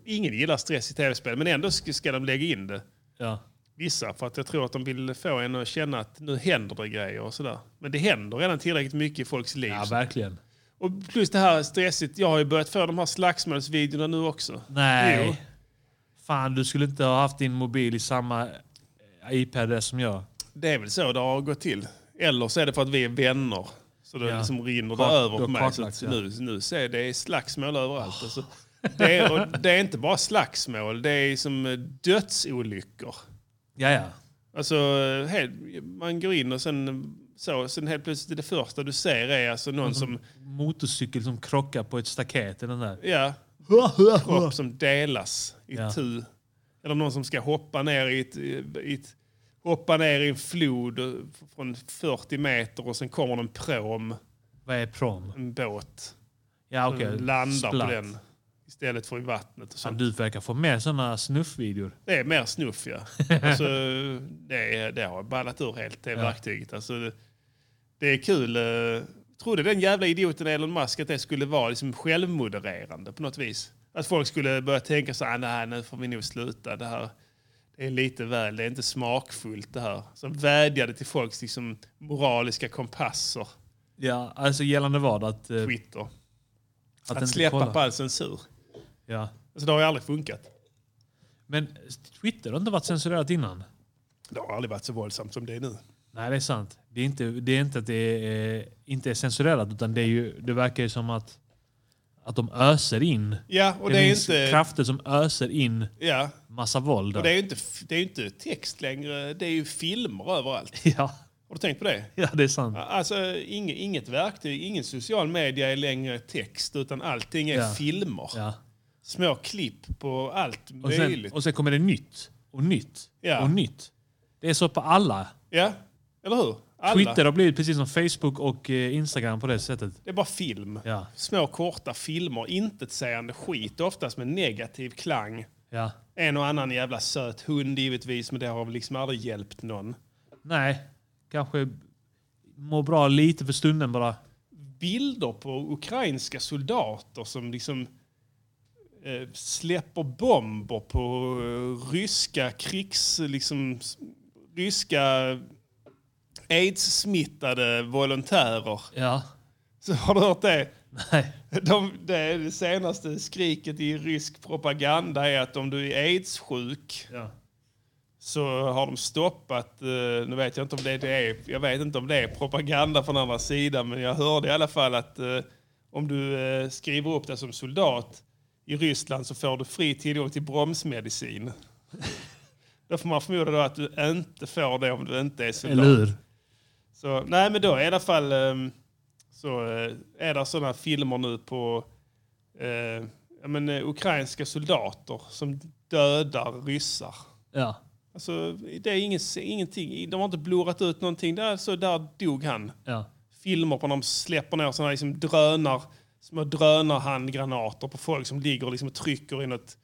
D: Ingen gillar stress i tv-spel, men ändå ska ska de lägga in det.
A: Ja.
D: Vissa, för att jag tror att de vill få en att känna att nu händer det grejer och sådär. Men det händer redan tillräckligt mycket i folks liv.
A: ja, verkligen.
D: och plus det här stressigt, jag har ju börjat få de här slagsmålsvideorna nu också.
A: Nej.
D: Jo.
A: Fan, du skulle inte ha haft din mobil i samma eh, IP-adress som jag.
D: Det är väl så det har gått till. Eller så är det för att vi är vänner. Så det
A: Ja.
D: liksom rinner
A: Kart-
D: det över
A: du har
D: på mig. Så
A: kartlagt,
D: att
A: ja.
D: nu, nu ser jag det är slagsmål överallt. Alltså,
A: (laughs)
D: det, är, och det är inte bara slagsmål, det är som eh, dödsolyckor.
A: Ja, ja.
D: Alltså, eh, helt, man går in och sen, så, sen helt plötsligt det första du ser är alltså
A: Mm.
D: någon som,
A: Motorcykel som krockar på ett staket. eller Den där.
D: ja, kropp som delas i
A: Ja.
D: tu. Eller någon som ska hoppa ner i ett, i ett, hoppa ner i en flod eh, från 40 meter och sen kommer det en pråm.
A: Vad är prom?
D: en båt.
A: Ja, okej.
D: Den landar
A: Splatt.
D: på den istället för i vattnet. Och
A: Fan,
D: sånt.
A: du verkar få mer såna snuffvideor.
D: Det är mer snuff
A: (laughs)
D: ja. alltså, det, är, det har ballat ur helt det verktyget. Alltså, det, det är kul. eh, Trodde den jävla idioten Elon Musk att det skulle vara liksom självmodererande på något vis. Att folk skulle börja tänka så här, nej nu får vi nog sluta det här. Det är lite väl, det är inte smakfullt det här. Som vädjade till folks liksom, moraliska kompasser,
A: Ja, alltså gällande vad? Att, eh,
D: Twitter.
A: att,
D: Att,
A: inte
D: släppa
A: kolla.
D: på all censur.
A: Ja.
D: Alltså, det har ju aldrig funkat.
A: Men Twitter har inte varit censurerat innan.
D: Det har aldrig varit så våldsamt som det är nu.
A: Nej, det är sant. Det är inte, det är inte att det är, inte är censurerat, utan det, är ju, det verkar ju som att, att de öser in.
D: Ja, och det, är
A: finns
D: inte...
A: krafter som öser in
D: Ja,
A: massa våld. där.
D: och det är ju inte, f- det är ju inte text längre. Det är ju filmer överallt.
A: (laughs) Ja,
D: Har du tänkt på det?
A: ja, det är sant.
D: Alltså, inget, inget verktyg, ingen social media är längre text, utan allting är
A: Ja.
D: filmer.
A: Ja.
D: Små klipp på allt
A: Och, sen,
D: möjligt.
A: och sen kommer det nytt och nytt
D: Ja.
A: och nytt. Det är så på alla.
D: Ja, eller hur? Alla.
A: Twitter har blivit precis som Facebook och eh, Instagram på det sättet.
D: Det är bara film.
A: Ja.
D: Små korta filmer, intetsägande skit, oftast med negativ klang.
A: Ja.
D: En och annan jävla söt hund givetvis, men det har liksom aldrig hjälpt någon.
A: Nej, kanske mår bra lite för stunden bara.
D: bilder på ukrainska soldater som liksom eh, släpper bomber på eh, ryska krigs... Liksom, s- ryska aids-smittade volontärer.
A: Ja. (laughs)
D: Så har du hört det?
A: Nej.
D: (laughs) De, det, det senaste skriket i rysk propaganda är att om du är aids-sjuk
A: Ja.
D: så har de stoppat, eh, nu vet jag inte om det, det är, jag vet inte om det är propaganda från andra sidan, men jag hörde i alla fall att eh, om du eh, skriver upp dig som soldat i Ryssland så får du fri tillgång till bromsmedicin. då får man förmoda då att du inte får det om du inte är soldat.
A: Eller hur?
D: Så, nej, men då i alla fall ehm, så eh, är det sådana filmer nu på eh, ja, men, eh, ukrainska soldater som dödar ryssar.
A: Ja.
D: Alltså, det är ingen, ingenting. De har inte blurrat ut någonting. Där, så där dog han.
A: Ja.
D: Filmer på när de släpper ner sådana liksom drönar, små drönarhandgranater på folk som ligger och liksom trycker i, något,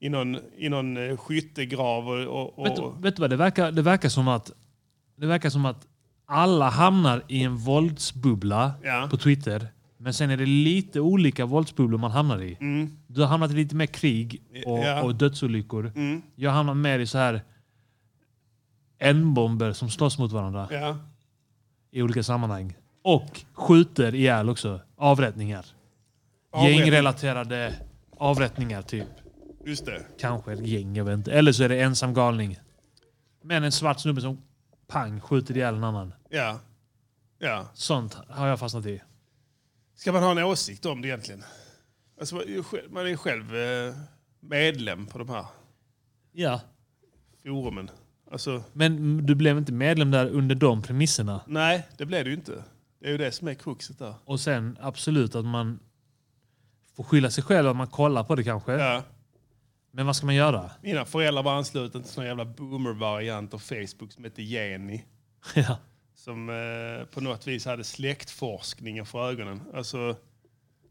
D: i, någon, i någon eh, skyttegrav. Och, och,
A: Vet,
D: och,
A: du- vet du vad, det verkar, det verkar som att det verkar som att alla hamnar i en våldsbubbla
D: Ja.
A: på Twitter. Men sen är det lite olika våldsbubblor man hamnar i. Du har hamnat i lite mer krig och,
D: Mm. Ja. Mm.
A: och dödsolyckor. Jag hamnar mer i så här N-bomber som slåss mot varandra
D: Ja.
A: i olika sammanhang. Och skjuter ihjäl också. Avrättningar.
D: Avrättning.
A: Gängrelaterade avrättningar typ.
D: Just det.
A: Kanske ett gäng, jag vet inte. Eller så är det ensam galning. Men en svart snubbe som pang skjuter ihjäl en annan.
D: Ja. ja.
A: Sånt har jag fastnat i.
D: Ska man ha en åsikt om det egentligen? Alltså, man är ju själv- man är ju själv eh, medlem på de här
A: Ja.
D: forumen. Alltså,
A: Men du blev inte medlem där under de premisserna.
D: nej, det blev det ju inte. Det är ju det som är kruxet där.
A: Och sen absolut att man får skylla sig själv att man kollar på det kanske.
D: Ja.
A: Men vad ska man göra?
D: Mina föräldrar var anslutna till sån jävla boomer-variant av Facebook som hette Jenny.
A: (laughs) ja.
D: som eh, på något vis hade släktforskningen för ögonen. Alltså,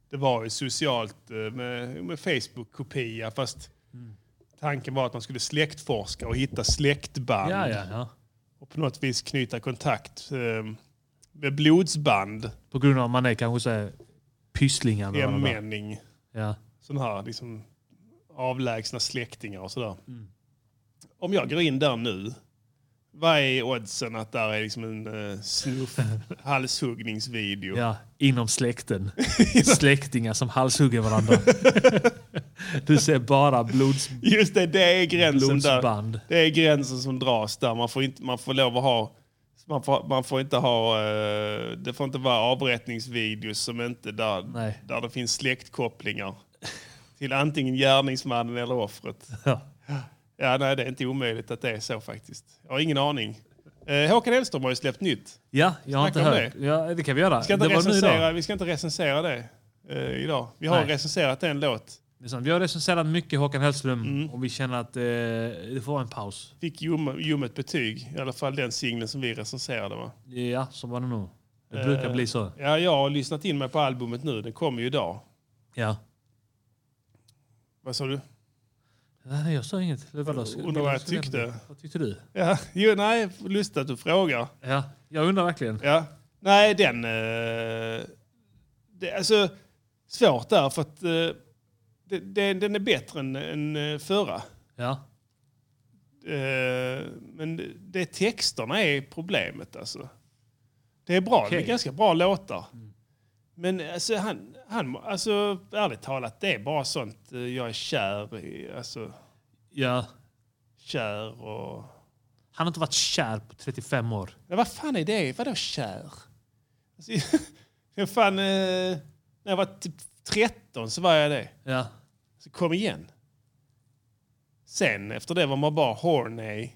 D: det var ju socialt eh, med, med Facebook-kopia fast
A: Mm.
D: tanken var att man skulle släktforska och hitta släktband
A: Ja, ja, ja.
D: och på något vis knyta kontakt eh, med blodsband,
A: På grund av att man är kanske så här pysslingar med varandra.
D: hemänning,
A: Ja.
D: sådana här liksom, avlägsna släktingar och sådär. Om jag går in där nu, vad är oddsen att där är liksom en eh, snuff halshuggningsvideo?
A: ja, inom (laughs) släkten. Släktingar som halshugger (laughs) varandra. du ser bara blods,
D: Just det, det är gränsen där.
A: blodsband.
D: Det är gränsen som dras där. Man får, inte, man får lov att ha... Man får, man får inte ha... eh, det får inte vara avrättningsvideos som inte där,
A: Nej.
D: där det finns släktkopplingar. Till antingen gärningsmannen eller offret.
A: Ja.
D: Ja, nej, det är inte omöjligt att det är så faktiskt. Jag har ingen aning. Eh, Håkan Hellström har ju släppt nytt.
A: Ja, jag har inte
D: Snacka om
A: hört. Ja, det kan vi göra.
D: Vi ska inte,
A: det var nu idag.
D: recensera, vi ska inte recensera det eh, idag. Vi har
A: Nej.
D: recenserat en låt.
A: Det är sant. Liksom, Vi har recenserat mycket Håkan Hellström
D: Mm.
A: och vi känner att eh, det får vara en paus.
D: Fick ljum, ljummet betyg. I alla fall den singeln som vi recenserade. Va?
A: Ja, så var det nog. Det
D: Eh.
A: brukar bli så.
D: Ja, jag har lyssnat in mig på albumet nu. Det kommer ju idag.
A: Ja.
D: Vad sa du?
A: Nej, jag sa inget. Eller vadå?
D: Undrar vad jag tyckte.
A: Vad tyckte du?
D: Ja, jo, nej, lustigt att du frågar.
A: Ja, jag undrar verkligen.
D: Ja. Nej, den... Eh, det, alltså, svårt där för att eh, det, det, den är bättre än, än eh, förra.
A: Ja.
D: Eh, men det, det texterna är problemet alltså. Det är bra, det är ganska bra låtar. Men alltså, han, han, alltså, ärligt talat, det är bara sånt eh, jag är kär i. Alltså,
A: ja.
D: kär och...
A: Han har inte varit kär på 35 år.
D: Men vad fan är det? Vadå kär? Alltså, (laughs) jag fan, eh, när jag var typ 13 så var jag det.
A: Ja.
D: Så kom igen. Sen efter det var man bara horny.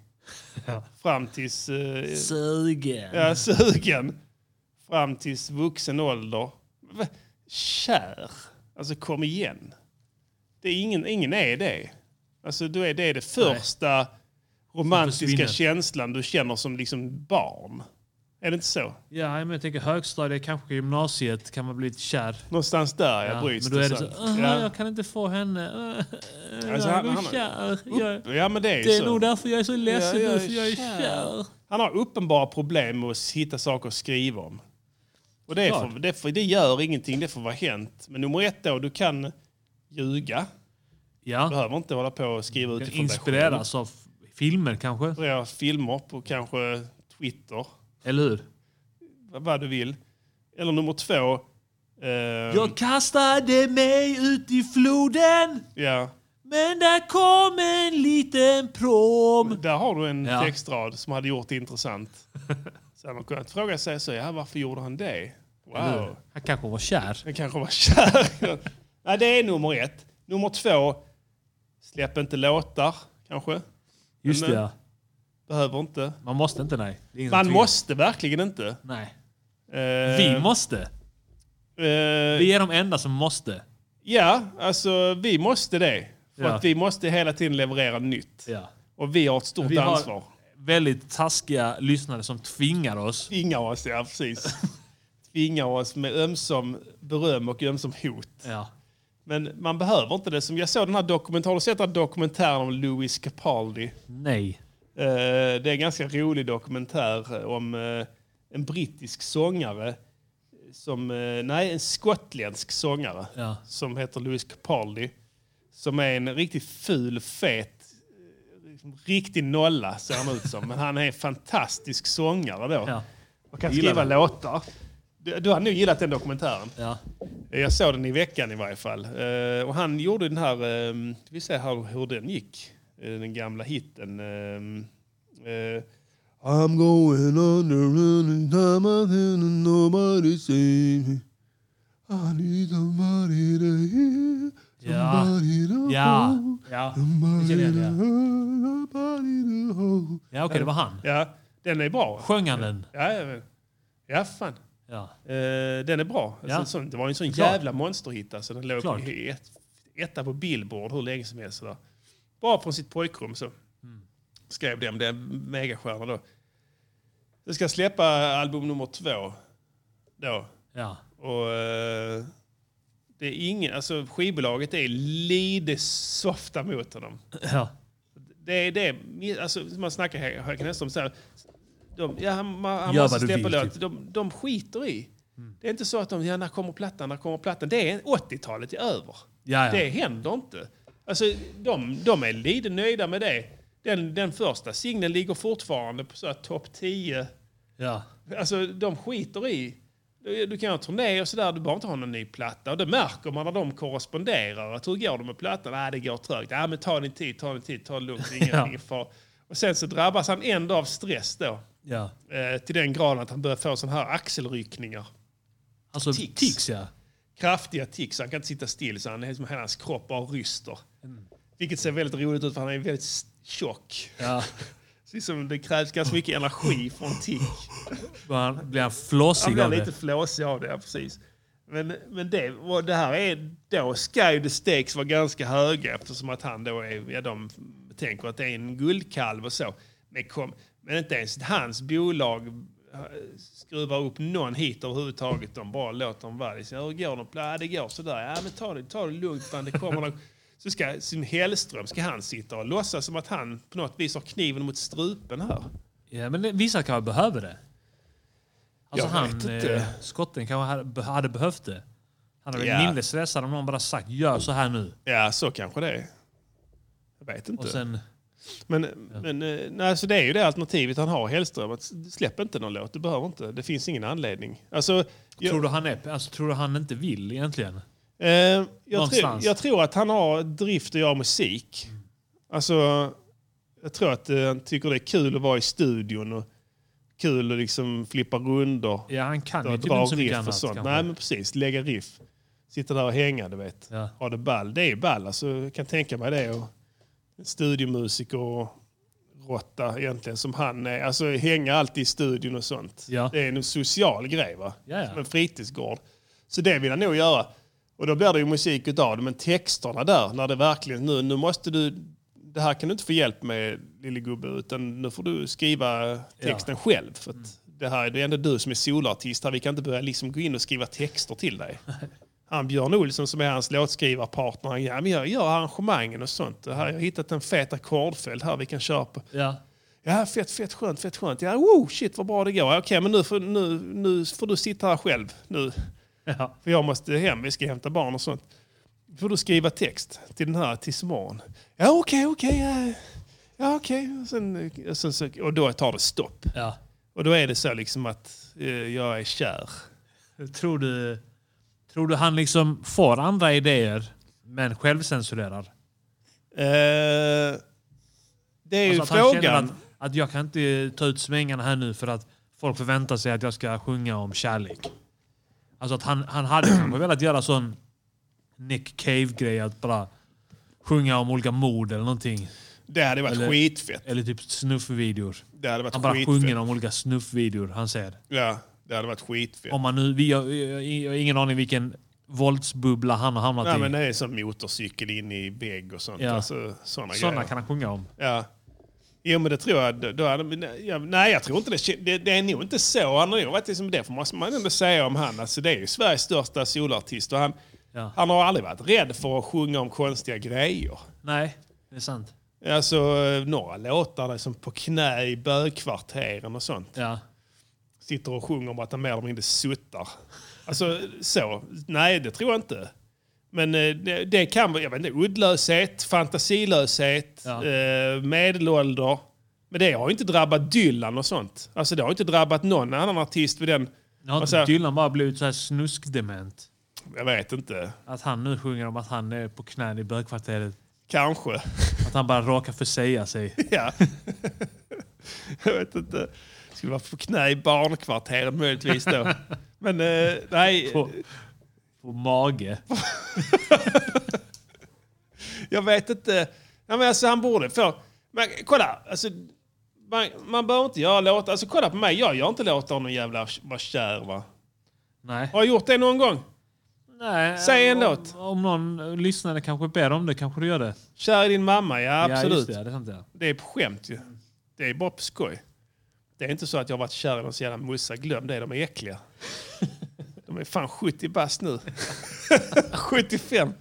D: Fram tills... Eh,
A: Sugen.
D: ja, sugen. Fram tills vuxen ålder. Va? Kär? Alltså kom igen. Det är ingen, ingen är det. Alltså du är, det är det första romantiska
A: försvinner.
D: känslan du känner som liksom barn. Är det inte så?
A: Ja, men jag tänker högstadiet, kanske gymnasiet kan man bli lite kär.
D: Någonstans där jag
A: Ja,
D: bryts
A: men då är det
D: det
A: så,
D: sen.
A: "Aha,
D: ja.
A: jag kan inte få henne. (laughs) Äh, äh,
D: Alltså,
A: jag
D: han-
A: blir
D: han-
A: kär. Jag,
D: ja men det är,
A: det är
D: så.
A: nog därför jag är så ledsen
D: Ja, jag
A: nu,
D: är
A: för jag är
D: kär.
A: kär.
D: Han har uppenbara problem med att hitta saker att skriva om. Och det, är
A: Klart.
D: för, det, är för, det gör ingenting, det får vara hänt. Men nummer ett då, du kan ljuga. Du
A: Ja,
D: behöver inte hålla på och skriva
A: jag
D: utifrån dig
A: inspireras av f- filmer kanske.
D: själv. Göra filmer på kanske Twitter,
A: Eller hur?
D: vad vad du vill. Eller nummer två, ehm,
A: Jag kastade mig ut i floden,
D: ja,
A: men där kom en liten prom.
D: där har du en
A: Ja.
D: textrad som hade gjort
A: (laughs)
D: det intressant. Så hade man kunnat fråga sig, så, ja, varför gjorde han det? Wow.
A: Han kanske var kär.
D: Jag kanske var (laughs) kär. Nej, det är nummer ett. Nummer två, släpp inte låtar kanske.
A: Just
D: Men-
A: det, ja.
D: Behöver inte.
A: Man måste inte, nej. Det är ingen som
D: Man
A: tvingar.
D: måste verkligen inte.
A: Nej.
D: Eh,
A: Vi måste.
D: eh,
A: Vi är de enda som måste.
D: Ja, alltså vi måste det. För
A: Ja.
D: att vi måste hela tiden leverera nytt.
A: Ja.
D: Och vi har ett stort
A: Vi har-
D: ansvar.
A: Väldigt taskiga lyssnare som tvingar oss.
D: Tvingar oss, ja
A: (laughs)
D: precis. Tvingar oss med ömsom beröm och ömsom hot.
A: Ja.
D: Men man behöver inte det. Som jag såg den här dokumentären, har du sett den här dokumentären om Louis Capaldi?
A: Nej.
D: Eh, Det är en ganska rolig dokumentär om eh, en brittisk sångare som, eh, nej, en skottländsk sångare
A: Ja.
D: som heter Louis Capaldi. Som är en riktigt ful, fet, eh, liksom riktig nolla ser han ut som. Men han är en fantastisk sångare då.
A: Ja.
D: Och kan
A: Gillar
D: skriva låtar. Du, du har nog gillat den dokumentären.
A: Ja.
D: Jag såg den i veckan i varje fall. Eh, och han gjorde den här, eh, vi ser här hur den gick, eh, den gamla hitten. eh, eh, I'm going under, and nobody save me. I need somebody to hear,
A: Ja.
D: somebody to
A: Ja.
D: hold,
A: Ja.
D: somebody
A: känner igen
D: to
A: det, ja.
D: hurt, somebody to hold.
A: Ja, okej, det var han.
D: Ja, den är bra.
A: Sjöng han den?
D: Ja, ja, ja fan.
A: Ja.
D: Eh, den är bra.
A: Ja.
D: Alltså, en sån- det var ju en sån
A: Klart.
D: jävla monsterhit. Alltså. Den låg
A: Klart.
D: i ett, etta på Billboard hur länge som helst. Sådär. Bara från sitt pojkrum så
A: Mm.
D: skrev den. Det är en megastjärna då. Jag ska släppa album nummer två då.
A: Ja.
D: Och, eh, det är ingen, alltså, skivbolaget är lite softa mot honom.
A: Ja.
D: Det är det, alltså, man snackar här, här kan nästan så här, de, ja, han, man, han
A: Gör
D: måste
A: vad du
D: släppa
A: vill,
D: låt,
A: typ. Mm.
D: de, de skiter i. Det är inte så att de, ja, när kommer plattan, när kommer plattan. Det är 80-talet är över.
A: Ja, ja.
D: Det händer inte. Alltså, de, de är lite nöjda med det. Den, den första singeln ligger fortfarande på så här topp 10.
A: Ja.
D: Alltså, de skiter i. Du, du kan ha en turné och sådär, du behöver inte ha någon ny platta. Och det märker man när de korresponderar. Att hur går det med plattan? Nej, det går trögt. Nej, men ta din tid, ta din tid, ta det lugnt. Ingen,
A: (laughs) Ja.
D: ingen far. Och sen så drabbas han ändå av stress då.
A: ja.
D: Eh, till den graden att han börjar få sådana här axelryckningar.
A: Alltså,
D: Tics.
A: tics, ja.
D: Kraftiga tics, han kan inte sitta still. Så han, liksom, hela hans kropp bara ryster.
A: Mm.
D: Vilket ser väldigt roligt ut för han är väldigt s- tjock.
A: ja.
D: Så Liksom, det krävs ganska mycket energi från tick.
A: Blir han- Blir han flåsig
D: Han
A: av
D: blir lite
A: det?
D: flåsig av det, ja, precis. Men, men det, och det här är, då ska ju the stakes vara ganska höga eftersom att han då är, ja, de tänker att det är en guldkalv och så. Men, kom, men inte ens hans bolag eh, skruvar upp någon hit överhuvudtaget. De bara låter dem vara. Liksom, Hur går de? Ja, det går sådär. Ja, men ta det, ta det lugnt. Fan, det kommer någon. Så ska som Hellström ska han sitta och låtsas som att han på något vis har kniven mot strupen här.
A: Ja, men det- vissa kanske behöver det. Alltså
D: Jag
A: han,
D: vet inte.
A: eh, skotten kanske hade, be- hade behövt det. Han hade
D: Ja.
A: blivit mindre stressad om någon bara sagt gör så här nu.
D: Ja, så kanske det är. Jag vet inte.
A: Och sen,
D: Men, men eh, nej, så det är ju det alternativet han har, Hellström. Att släpp inte någon låt, du behöver inte. Det finns ingen anledning. Alltså, jag,
A: tror, du han är, alltså, tror du han inte vill egentligen?
D: eh, jag, tror,
A: Någonstans. Mm.
D: jag tror att han har drift att göra musik. Alltså, jag tror att eh, han tycker det är kul att vara i studion och kul att liksom flippa rundor.
A: Ja, han kan ju
D: och
A: typ inte
D: dra
A: så mycket
D: riff och
A: annat.
D: sånt.
A: kanske.
D: Nej, men precis. Lägga riff. Sitta där och hänga, du vet.
A: Ja.
D: Ha det ball. Det är ju ball. Alltså, jag kan tänka mig det. Och en studiomusiker och råtta egentligen som han är. Alltså hänga alltid i studion och sånt.
A: Ja.
D: Det är en social grej va?
A: Ja, ja.
D: Som en fritidsgård. Så det vill han nog göra. Och då blir det ju musik utav det. Men texterna där, när det verkligen nu, nu måste du, det här kan du inte få hjälp med lille gubbe utan nu får du skriva texten själv. För att det här är- det är ändå du som är soloartist här. Vi kan inte börja liksom gå in och skriva texter till dig. Han Björn Olsson som är hans låtskrivarpartner, han ja, men jag gör arrangemangen och sånt. Det här, jag har hittat en fet ackordföljd här vi kan köra på.
A: Ja.
D: (laughs) Ja, fett, fett skönt, fett skönt. Ja, wow, shit vad bra det går. Ja, Okej, men nu får, nu, nu får du sitta här själv nu.
A: Ja.
D: För jag måste hem, vi ska hämta barn och sånt. Får du skriva text till den här tills imorgon? Ja, okej, okej. ja. ja, okej. Och, sen, och sen, så- och då tar det stopp.
A: Ja.
D: Och då är det så liksom att eh, jag är kär.
A: Tror du, tror du han liksom får andra idéer men självcensurerar?
D: Eh, det är ju
A: Alltså att han känner
D: frågan.
A: att, att jag kan inte ta ut svängarna här nu för att folk förväntar sig att jag ska sjunga om kärlek. Alltså att han, han hade kanske
D: (clears throat)
A: velat göra sån Nick Cave-grej att bara sjunga om olika mord eller någonting.
D: Det hade varit
A: Eller-
D: skitfett.
A: Eller typ snuffvideor.
D: Det hade varit
A: Han bara
D: skitfett.
A: sjunger om olika snuffvideor han ser.
D: Ja, det hade varit skitfett.
A: Om man nu, vi har, jag har ingen aning vilken våldsbubbla han har hamnat
D: Nej,
A: i.
D: men det är som motorcykel in i vägg och sånt.
A: Ja.
D: Alltså, såna
A: Sådana
D: grejer.
A: kan han sjunga om.
D: Ja. Jo, men det tror jag. Då, då hade, men, ja, nej, jag tror inte det. Det, det är nog inte så. Han har nog varit liksom, det får måste man ändå säga om han. Alltså, det är ju Sveriges största soloartist. Och han,
A: Ja.
D: han har aldrig varit rädd för att sjunga om konstiga grejer.
A: Nej, det är sant.
D: Alltså, liksom eh, några låtar där som på knä i bögkvarteren och sånt.
A: Ja.
D: sitter och sjunger om att han mer eller mindre suttar. Alltså så. Nej, det tror jag inte. Men eh, det, det kan vara jag vet inte, uddlöshet, fantasilöshet,
A: Ja.
D: eh, medelålder. Men det har ju inte drabbat Dylan och sånt. Alltså det har ju inte drabbat någon annan artist vid den...
A: Nu har inte
D: Alltså-
A: Dylan bara blivit så här snuskdement?
D: Jag vet inte.
A: Att han nu sjunger om att han är på knän i bögkvarteret.
D: Kanske. (laughs)
A: Att han bara råkar försäga sig.
D: Ja. jag vet inte. Skulle vara på knä i barnkvarteret
A: (laughs)
D: möjligtvis då. Men eh, nej,
A: På, på mage.
D: jag vet inte. Ja, men alltså, han borde få... Men kolla, alltså, man, man behöver inte göra låtar. Alltså kolla på mig, jag gör inte låtar om någon jävla vara kär va.
A: Nej.
D: Har jag gjort det någon gång?
A: Nej.
D: Säg en
A: om,
D: låt.
A: Om någon lyssnare kanske ber om det kanske du gör det.
D: Kär i din mamma, ja
A: Ja,
D: absolut.
A: just det, ja, det är sant, ja.
D: Det är på skämt ju. Det är bara på skoj. Det är inte så att jag har varit kär i någon jävla morsa. Glöm det, de
A: (laughs)
D: är äckliga. De är fan 70 bast nu. (laughs) 75.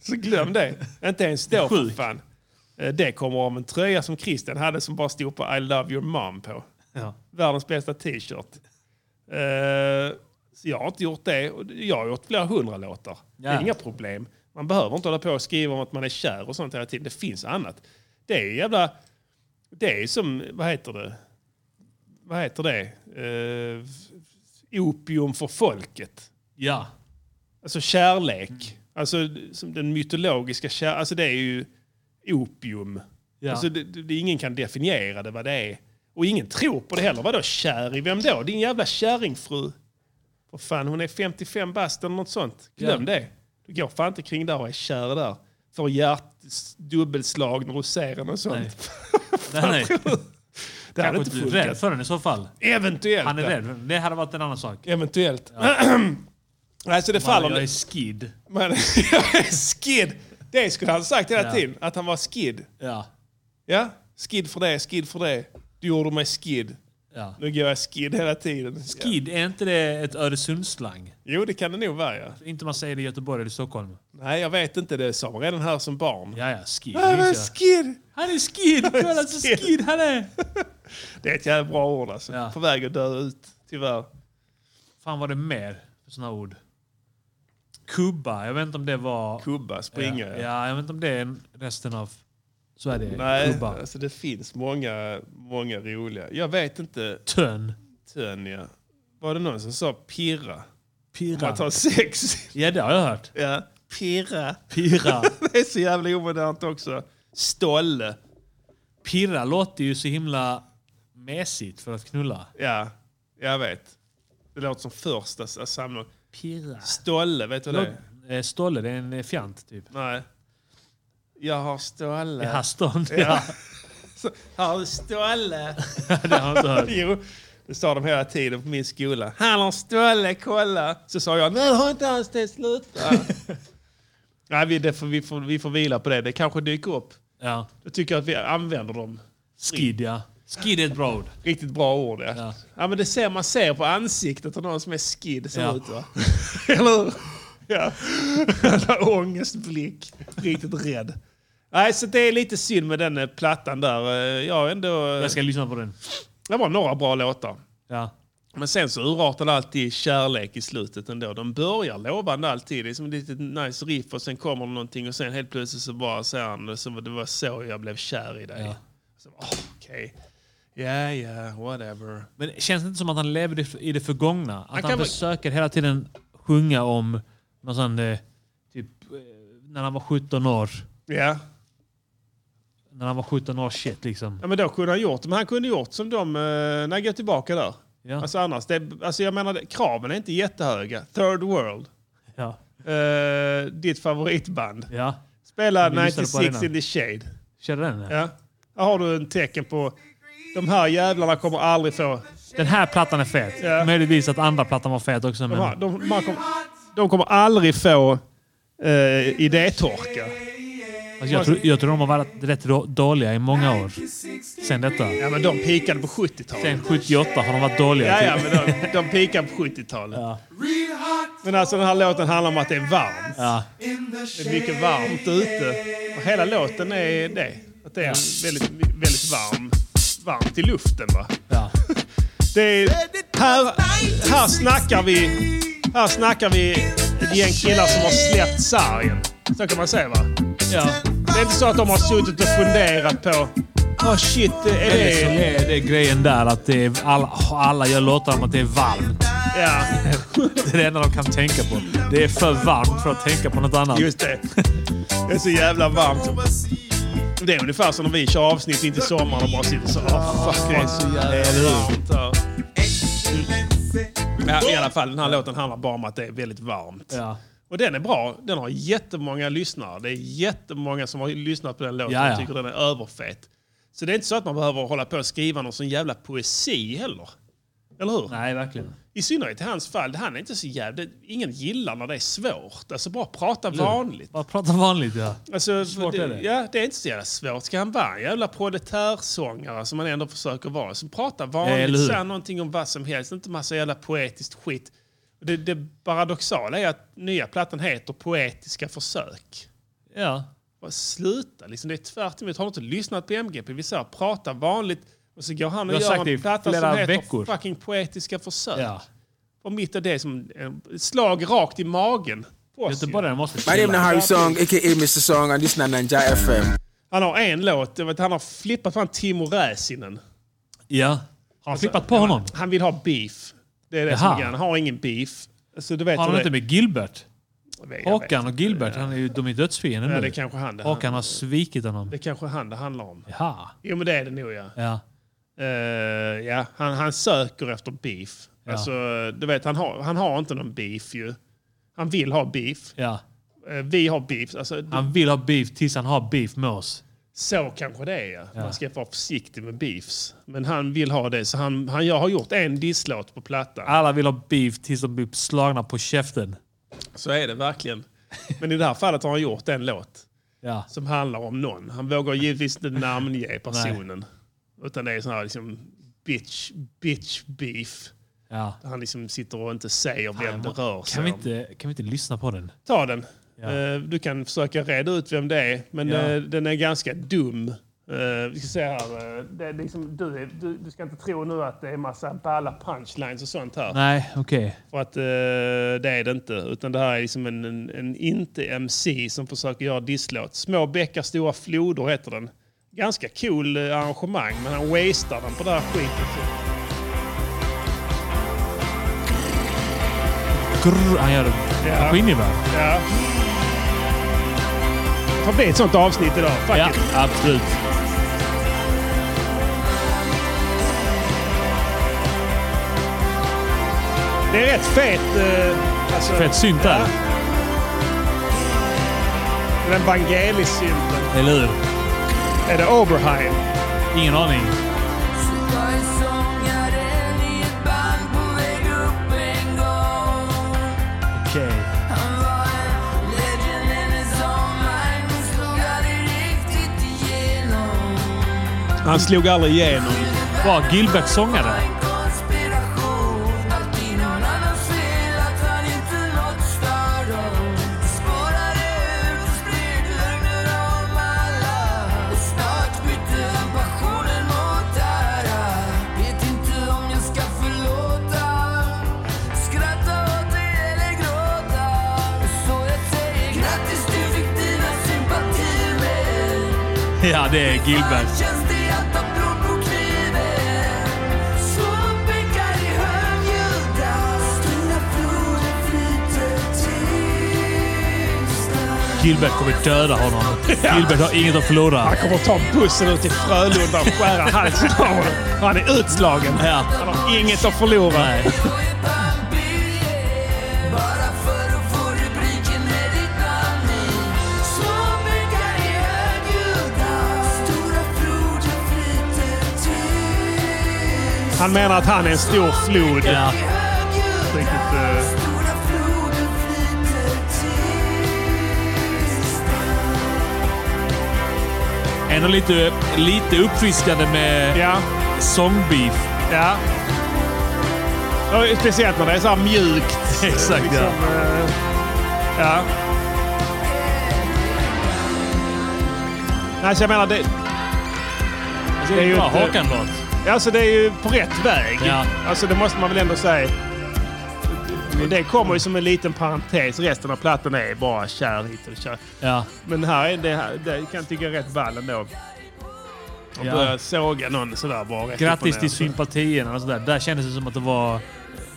D: Så glöm det. Inte ens då för fan. Eh, Det kommer om en tröja som Christian hade som bara stod på I love your mom på.
A: ja.
D: Världens bästa t-shirt. Eh, så jag har inte gjort det. Och Jag har gjort flera hundra låtar. Det
A: Ja.
D: är inga problem. Man behöver inte hålla på och skriva om att man är kär och sånt hela tiden. Det finns annat. Det är jävla... Det är som, vad heter det? Vad heter det? Eh, opium för folket.
A: Ja.
D: Alltså kärlek. Alltså som den mytologiska kärleken. Alltså det är ju opium.
A: Ja.
D: Alltså, det, det, ingen kan definiera det vad det är. Och ingen tror på det heller. Vadå kär i vem då? Din jävla kärringfru. Vad fan, hon är 55 bast eller något sånt. Glöm det. Du går fan inte kring där och är kär där. Får hjärt, dubbelslag, rosén och sånt.
A: Nej.
D: (laughs)
A: Nej, nej.
D: Det hade inte
A: Kanske du är rädd
D: funkat.
A: för den i så fall.
D: Eventuellt.
A: Han är rädd. Det hade varit en annan sak.
D: Eventuellt. (clears throat) Nej, så det faller.
A: Jag är skid.
D: Men (laughs) jag är skid. Det skulle han sagt hela
A: Ja.
D: tiden. Att han var skid.
A: Ja.
D: Ja, skid för det, skid för det. Du gjorde mig skid.
A: ja.
D: Nu går jag skid hela tiden. Ja.
A: Skid, är inte det ett Öresundsslang?
D: Jo, det kan det nog vara. Ja.
A: Inte man säger det i Göteborg eller Stockholm.
D: Nej, jag vet inte. Det sa man redan här som barn.
A: Ja, ja, skid.
D: Nej, men
A: minns jag.
D: skid!
A: Han är skid! Kolla så
D: skid.
A: skid han är!
D: Det är ett jävla bra ord alltså.
A: Ja.
D: På väg att dö ut, tyvärr.
A: Fan vad det är mer för såna ord. Kubba, jag vet inte om det var...
D: Kubba, springa.
A: Ja, ja, jag vet inte om det är resten av Sverige.
D: Nej,
A: Kubba.
D: alltså det finns många, många roliga. Jag vet inte.
A: Tön.
D: Tönja. Var det någon som sa pirra? Man
A: Pirra.
D: tar sex.
A: Ja, det har jag hört.
D: Ja. Pirra.
A: Pirra.
D: (laughs) Det är så jävla omodernt också. Stolle.
A: Pirra låter ju så himla mesigt för att knulla.
D: Ja, jag vet. Det låter som första s- samlag.
A: Pirra.
D: Stolle, vet du vad det är?
A: Eh, Stolle, det är en eh, fjant typ.
D: Nej. Jag har Stolle.
A: Ja, stånd. (laughs) Ja.
D: (laughs) Så, Har du Stolle?
A: det har jag inte
D: (laughs)
A: hört.
D: jo, det sa de hela tiden på min skola. Han har Stolle, kolla! Så sa jag, nej har inte hans det, sluta! (laughs) nej, vi, det får, vi, får, vi får vila på det. Det kanske dyker upp.
A: Ja.
D: Jag tycker att vi använder dem.
A: Skid, ja. Skid är ett bra ord.
D: Riktigt bra ord, ja.
A: Ja.
D: ja. men det ser man ser på ansiktet av någon som är skid ser
A: Ja.
D: ut, va? (laughs) Eller hur? Ja. Jävla Ångestblick. Riktigt rädd. Nej, så det är lite synd med den eh, plattan där. Eh, Jag har ändå...
A: Jag ska lyssna på den.
D: Det var några bra låtar.
A: Ja.
D: Men sen så urartar det alltid i kärlek i slutet ändå. De börjar lovande alltid. Det är som ett litet nice riff och sen kommer det någonting och sen helt plötsligt så bara säger han som det var så jag blev kär i dig.
A: Ja.
D: Så, oh, Okej. Ja, ja, whatever.
A: Men känns det inte som att han levde i det förgångna? Att han,
D: kan väl-
A: försöker hela tiden sjunga om någon sån, eh, typ eh, när han var 17 år.
D: Ja.
A: När han var 17 år shit liksom.
D: ja, men då kunde han gjort Men han kunde gjort som de... eh, Nej, gå tillbaka där.
A: Ja.
D: Alltså annars, det, alltså jag menar, det- kraven är inte jättehöga. Third World.
A: Ja.
D: Eh, ditt favoritband.
A: ja.
D: Spela
A: Vi lyssnade på
D: 96
A: det
D: in the shade.
A: Kör den? Ja.
D: Ja. Där har du en tecken på... De här jävlarna kommer aldrig få...
A: Den här plattan är fet.
D: Ja.
A: Möjligtvis att andra plattan var fet också.
D: De,
A: Men...
D: här, de, de, här kommer, de kommer aldrig få eh, idétorka.
A: Alltså jag, tror, jag tror de har varit rätt då- dåliga i många år. Sen detta.
D: Ja, men de pikade på
A: Sen
D: 70-talet.
A: 78 har de varit dåliga.
D: Ja,
A: typ.
D: ja, men de, de pikade på 70-talet.
A: Ja.
D: Men alltså den här låten handlar om att det är varmt.
A: Ja.
D: Det är mycket varmt ute. Och hela låten är det. Att det är väldigt, väldigt varm, varmt i luften. Va?
A: Ja.
D: Det är, Här, här snackar vi... Här snackar vi ett gäng killar som har släppt sargen. Så kan man säga va?
A: Ja.
D: Det är inte så att de har suttit och funderat på... Åh shit, är
A: Eller så
D: det...
A: är liksom- det grejen där att det är alla, alla gör låtar om att det är varmt.
D: Ja,
A: Det är det enda de kan tänka på. Det är för varmt för att tänka på något annat.
D: just det. Det är så jävla varmt. Det är ungefär som när vi kör avsnitt in till sommaren och bara sitter så... Åh fuck, det är så jävla varmt här. Ja, I alla fall, den här låten handlar bara om att det är väldigt varmt.
A: Ja.
D: Och den är bra. Den har jättemånga lyssnare. Det är jättemånga som har lyssnat på den låten
A: Ja, ja.
D: och tycker den är överfet. Så det är inte så att man behöver hålla på och skriva någon sån jävla poesi heller. Eller hur?
A: Nej, verkligen.
D: I synnerhet i hans fall. Han är inte så jävla... Ingen gillar när det är svårt. Alltså bara prata vanligt.
A: Bara prata vanligt ja.
D: Alltså,
A: svårt
D: det,
A: är det?
D: Ja, det är inte så jävla svårt. Ska han vara en jävla proletärsångare som han ändå försöker vara? Så prata
A: Ja, eller
D: vanligt,
A: hur?
D: säg någonting om vad som helst. Inte massa jävla poetiskt skit. Det, det paradoxala är att nya plattan heter Poetiska försök.
A: Ja.
D: Bara sluta, liksom, det är tvärt emot. Har du inte lyssnat på MGP? Vi säger prata vanligt och så går han
A: Jag
D: och
A: har sagt
D: gör
A: det i
D: en platta
A: flera
D: som heter
A: veckor.
D: fucking Poetiska försök.
A: ja.
D: Och mitt i det som en slag rakt i magen. på oss ju.
A: Göteborgaren måste
G: My name is
A: chilla.
G: Harry Song, aka Mr. Song, and this is Nanja FM.
D: Han har en låt, jag vet, han har flippat fram Timo Räsänen.
A: Ja. Har han flippat på honom?
D: Han vill ha beef. Det är det
A: Jaha.
D: som är grejen. Han har ingen beef. Alltså, du vet
A: Har
D: hur
A: han
D: det-
A: inte med Gilbert?
D: Jag vet
A: Håkan och
D: inte.
A: Gilbert, han är ju, de är ju dödsfiender
D: Ja,
A: nu.
D: det är kanske han det.
A: Håkan har svikit honom.
D: Det är kanske han det handlar om.
A: Jaha.
D: Jo men det är det nog ja.
A: Ja.
D: Eh, ja, han, han söker efter beef.
A: Ja.
D: Alltså, du vet, han har, han har inte någon beef ju. Han vill ha beef.
A: ja.
D: Eh, vi har beef. Alltså, d-
A: Han vill ha beef tills han har beef med oss.
D: Så kanske det är ja. Man ska vara försiktig med beefs. Men han vill ha det. Så han, han jag har gjort en disslåt på platta.
A: Alla vill ha beef tills de blir slagna på käften.
D: Så är det verkligen. Men i det här fallet har han gjort en låt.
A: Ja.
D: som handlar om någon. Han vågar givetvis
A: (laughs)
D: inte namnge personen. Utan det är sån här liksom bitch, bitch beef.
A: ja.
D: Han liksom sitter och inte säger vem det rör sig
A: Kan, vi
D: om.
A: inte, kan vi inte lyssna på den?
D: Ta den. Eh, Du kan försöka reda ut vem det är. Men
A: Ja.
D: eh, den är ganska dum. Eh, vi ska se här. eh, Det är liksom, du, är- du, du ska inte tro nu att det är massa balla punchlines och sånt här.
A: Nej, okej.
D: För att eh, det är det inte. Utan det här är liksom en, en, en inte-MC som försöker göra disslåt. Små bäckar, stora floder heter den. Ganska cool eh, arrangemang, men han wastear den på det här skiten.
A: Grr, Han gör det.
D: Ja.
A: maskingevär.
D: Ja. Det får bli ett sånt avsnitt idag. Fuck
A: Ja,
D: it.
A: absolut.
D: Det är rätt fet... eh, alltså,
A: Fett synt där.
D: Den Vangelis-synten.
A: Eller hur?
D: Är det Oberheim?
A: Ingen aning. Okej.
D: Han slog aldrig igenom.
A: Var Gilbert sångare? Ja, det är Gilbert.
H: Känns det att ta blod på kniven? Slå upp bäckar i högljudda Stilla floden flyter till
A: Gilbert kommer döda honom. Gilbert har inget att förlora.
D: Han kommer att ta bussen ut till Frölunda och skära halsen av honom. Han är utslagen.
A: Ja.
D: Han har inget att förlora.
A: Nej.
H: Jag är Bambi, bara för att få rubriken med ditt namn i. Små bäckar i högljudda, stora floden flyter till.
D: Han menar att han är en stor flod.
A: Ja.
H: I högljudda,
D: Riktigt, eh,
H: stora floden flyter till.
A: Ändå lite, lite uppfriskande med
D: ja.
A: sångbeef.
D: ja. Och Speciellt när det är så här mjukt.
A: (laughs) Exakt ja.
D: eh, ja. Nej, så jag menar det...
A: Det är ju
D: ju
A: en bra
D: inte-
A: Håkan-låt.
D: Alltså det är ju på rätt väg.
A: Ja. Mm.
D: Alltså det måste man väl ändå säga. Och det kommer ju som en liten parentes. Resten av plattan är bara kär hit och kär.
A: Ja.
D: Men här är det, här, det kan jag tycka är rätt ball ändå. Och
A: Ja.
D: börja såga någon sådär bara. rätt upp och
A: Grattis
D: ner.
A: till sympatierna och sådär. Där kändes det som att det var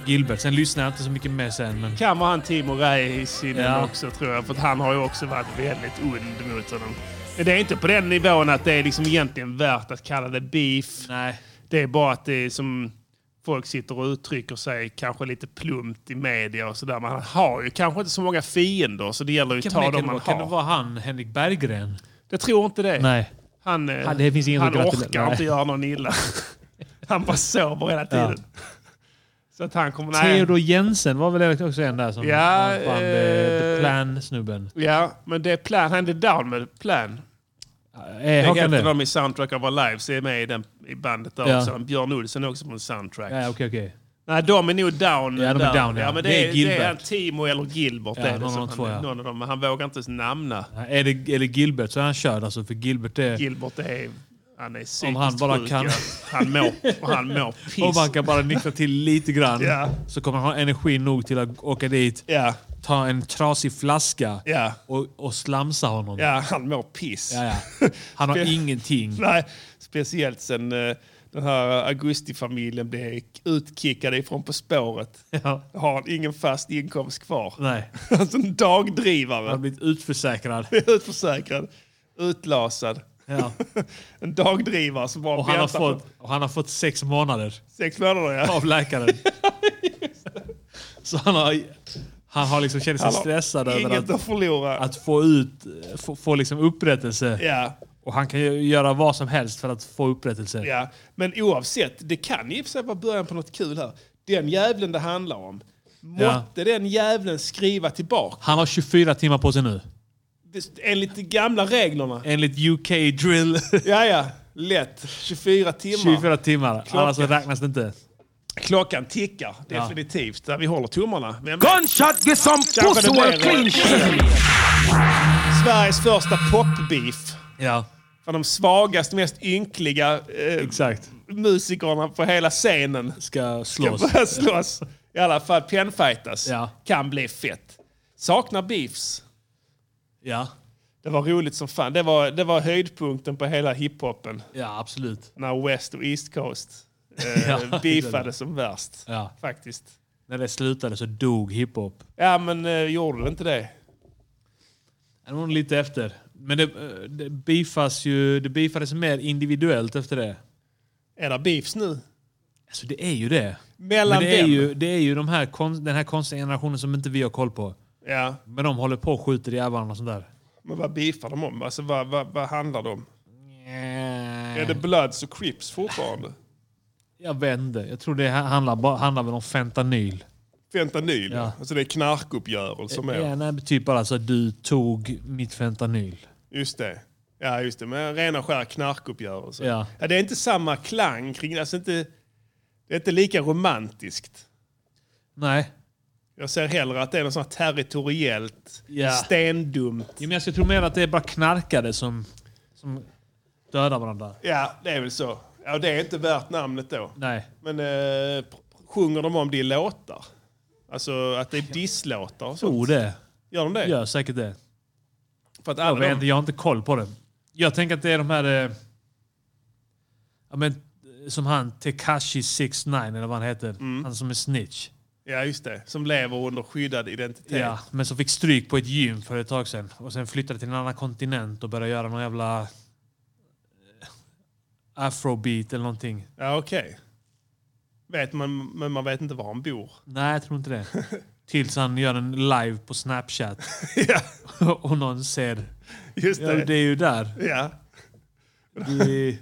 A: Gilbert. Sen lyssnade jag inte så mycket mer sen. Men
D: Kan man han Timo Räisänen
A: Ja.
D: också tror jag. För att han har ju också varit väldigt ond mot honom. Men det är inte på den nivån att det är liksom egentligen värt att kalla det beef.
A: nej.
D: Det är bara att det är som folk sitter och uttrycker sig kanske lite plumpt i media och sådär. Man har ju kanske inte så många fiender så det gäller ju att
A: Kan,
D: ta
A: men,
D: dem
A: kan,
D: man
A: det, kan det
D: har.
A: vara han, Henrik Berggren?
D: Jag tror inte det.
A: Nej.
D: Han, eh,
A: Han- det finns ingen
D: han
A: som gratulerar.
D: orkar
A: Nej.
D: inte göra
A: (laughs)
D: någon illa. han bara sover hela tiden. Så att han kommer... Nej.
A: Theodor Jensen var väl också en där som
D: Ja,
A: var fan, eh,
D: eh,
A: The Plan-snubben.
D: Ja, men det är plan. Han är down med plan.
A: Eh,
D: Jag
A: har
D: kan
A: han
D: inte
A: det?
D: dem i Soundtrack of Our Lives. är med i, den, i bandet där
A: Ja.
D: också. Björn Olsen är också på en soundtrack.
A: Ja, okej, okej.
D: Nej, de är nog down.
A: Ja, de är
D: där.
A: down, ja.
D: men det,
A: Det är
D: är,
A: Gilbert.
D: det är Timo eller Gilbert.
A: Ja,
D: är det
A: någon av
D: som
A: de två,
D: han,
A: ja.
D: någon av dem, men han vågar inte ens namna.
A: Nej, Är det, är det Gilbert så är han körd alltså. För Gilbert är...
D: Gilbert är... Han är psykiskt
A: Om han bara
D: sjuk,
A: kan-
D: ja. Han mår, och han mår
A: (laughs)
D: piss.
A: Om han kan bara nyktra till lite grann
D: Ja.
A: så kommer han ha energi nog till att åka dit,
D: Ja,
A: ta en trasig flaska
D: ja,
A: och, och slamsa honom.
D: ja, han mår piss.
A: Ja, ja. Han har
D: (laughs)
A: ingenting.
D: Nej, speciellt sen eh, den här augustifamiljen blev utkickade ifrån På spåret.
A: Ja.
D: Har han ingen fast inkomst kvar.
A: Nej.
D: (laughs) Alltså en
A: Han har
D: dagdrivare.
A: blivit utförsäkrad.
D: (laughs) Utförsäkrad. Utlasad.
A: Ja.
D: (laughs) En dagdrivare som bara
A: Och, han har
D: väntar på
A: fått, och han har fått sex månader
D: sex månader. (laughs) Ja.
A: av läkaren. Så han har, han har liksom känt sig
D: Han har
A: stressad över att,
D: Inget att förlora.
A: att få ut få, få liksom upprättelse.
D: Ja,
A: Och han kan ju göra vad som helst för att få upprättelse.
D: ja. Men oavsett, det kan ju i och för sig vara början på något kul här. Den jävlen det handlar om. Måtte den jävlen skriva tillbaka.
A: Han har 24 timmar på sig nu.
D: Det- Enligt de gamla reglerna.
A: Enligt UK drill. (laughs)
D: Ja, ja. Lätt. 24 timmar.
A: 24 timmar. Annars så räknas det inte.
D: Klockan tickar definitivt. Där vi håller tummarna. Men
G: Gunshot, get some
D: kanske
G: pussy
D: det
G: well
D: blir
G: clean shit.
D: Sveriges första popbeef.
A: Ja,
D: Från de svagaste, mest ynkliga eh,
A: exakt.
D: musikerna på hela scenen.
A: Ska
D: Ska
A: slås.
D: börja slåss. I alla fall penfightas.
A: Ja.
D: Kan bli fett. Saknar beefs.
A: Ja,
D: Det var roligt som fan. Det var, det var höjdpunkten på hela hiphopen.
A: ja absolut.
D: När West och
A: (laughs)
D: East Coast eh,
A: Ja,
D: beefade som värst.
A: Ja.
D: Faktiskt.
A: När det slutade så dog hiphop.
D: Ja, men eh, gjorde det inte det?
A: Det var nog lite efter. Men det, eh, det, beefas ju, det beefades mer individuellt efter det.
D: Är det beefs nu?
A: Alltså det är ju det.
D: Mellan
A: Men det är
D: vem?
A: ju, det är ju de här, kon- den här konstiga generationen som inte vi har koll på.
D: Ja.
A: Men de håller på och skjuter ihjäl varandra och sånt där.
D: Men vad beefar de om? Alltså, vad, vad, vad handlar det om? Är det Bloods och Crips fortfarande?
A: Jag vet inte. Jag tror det handlar, bara- handlar väl om fentanyl.
D: Fentanyl?
A: Ja.
D: Alltså det är knarkuppgörelser som är...
A: Ja, nej, men typ bara alltså, du tog mitt fentanyl.
D: Just det. Ja, just det. Men rena och skära knarkuppgörelser.
A: Ja.
D: Ja, det är inte samma klang kring alltså inte, det. är inte lika romantiskt.
A: Nej.
D: Jag ser hellre att det är något sånt här territoriellt,
A: Ja.
D: stendumt.
A: Jo, men jag tror mer att det är bara knarkade som, som dödar varandra.
D: Ja, det är väl så. Ja, det är inte värt namnet då.
A: Nej.
D: Men eh, pr- sjunger de om det i låtar? Alltså att det är disslåtar och sånt?
A: Tror Oh, det.
D: Gör de det?
A: Gör säkert det.
D: För att
A: Jag
D: alla
A: vet
D: de,
A: inte, jag har inte koll på det. Jag tänker att det är de här... Eh, ja, men, eh, som han Tekashi 69 eller vad han heter. Han som är snitch.
D: ja, just det. Som lever under skyddad identitet.
A: Ja, men som fick stryk på ett gym för ett tag sedan. Och sen flyttade till en annan kontinent och började göra någon jävla eh, afrobeat eller någonting.
D: Ja, okej. Vet man, men man vet inte var han bor. (laughs)
A: Nej, jag tror inte (laughs) det. Tills han gör en live på Snapchat (laughs)
D: ja,
A: och någon ser.
D: just
A: Ja,
D: det.
A: det är ju där.
D: Ja.
A: (laughs) Du är,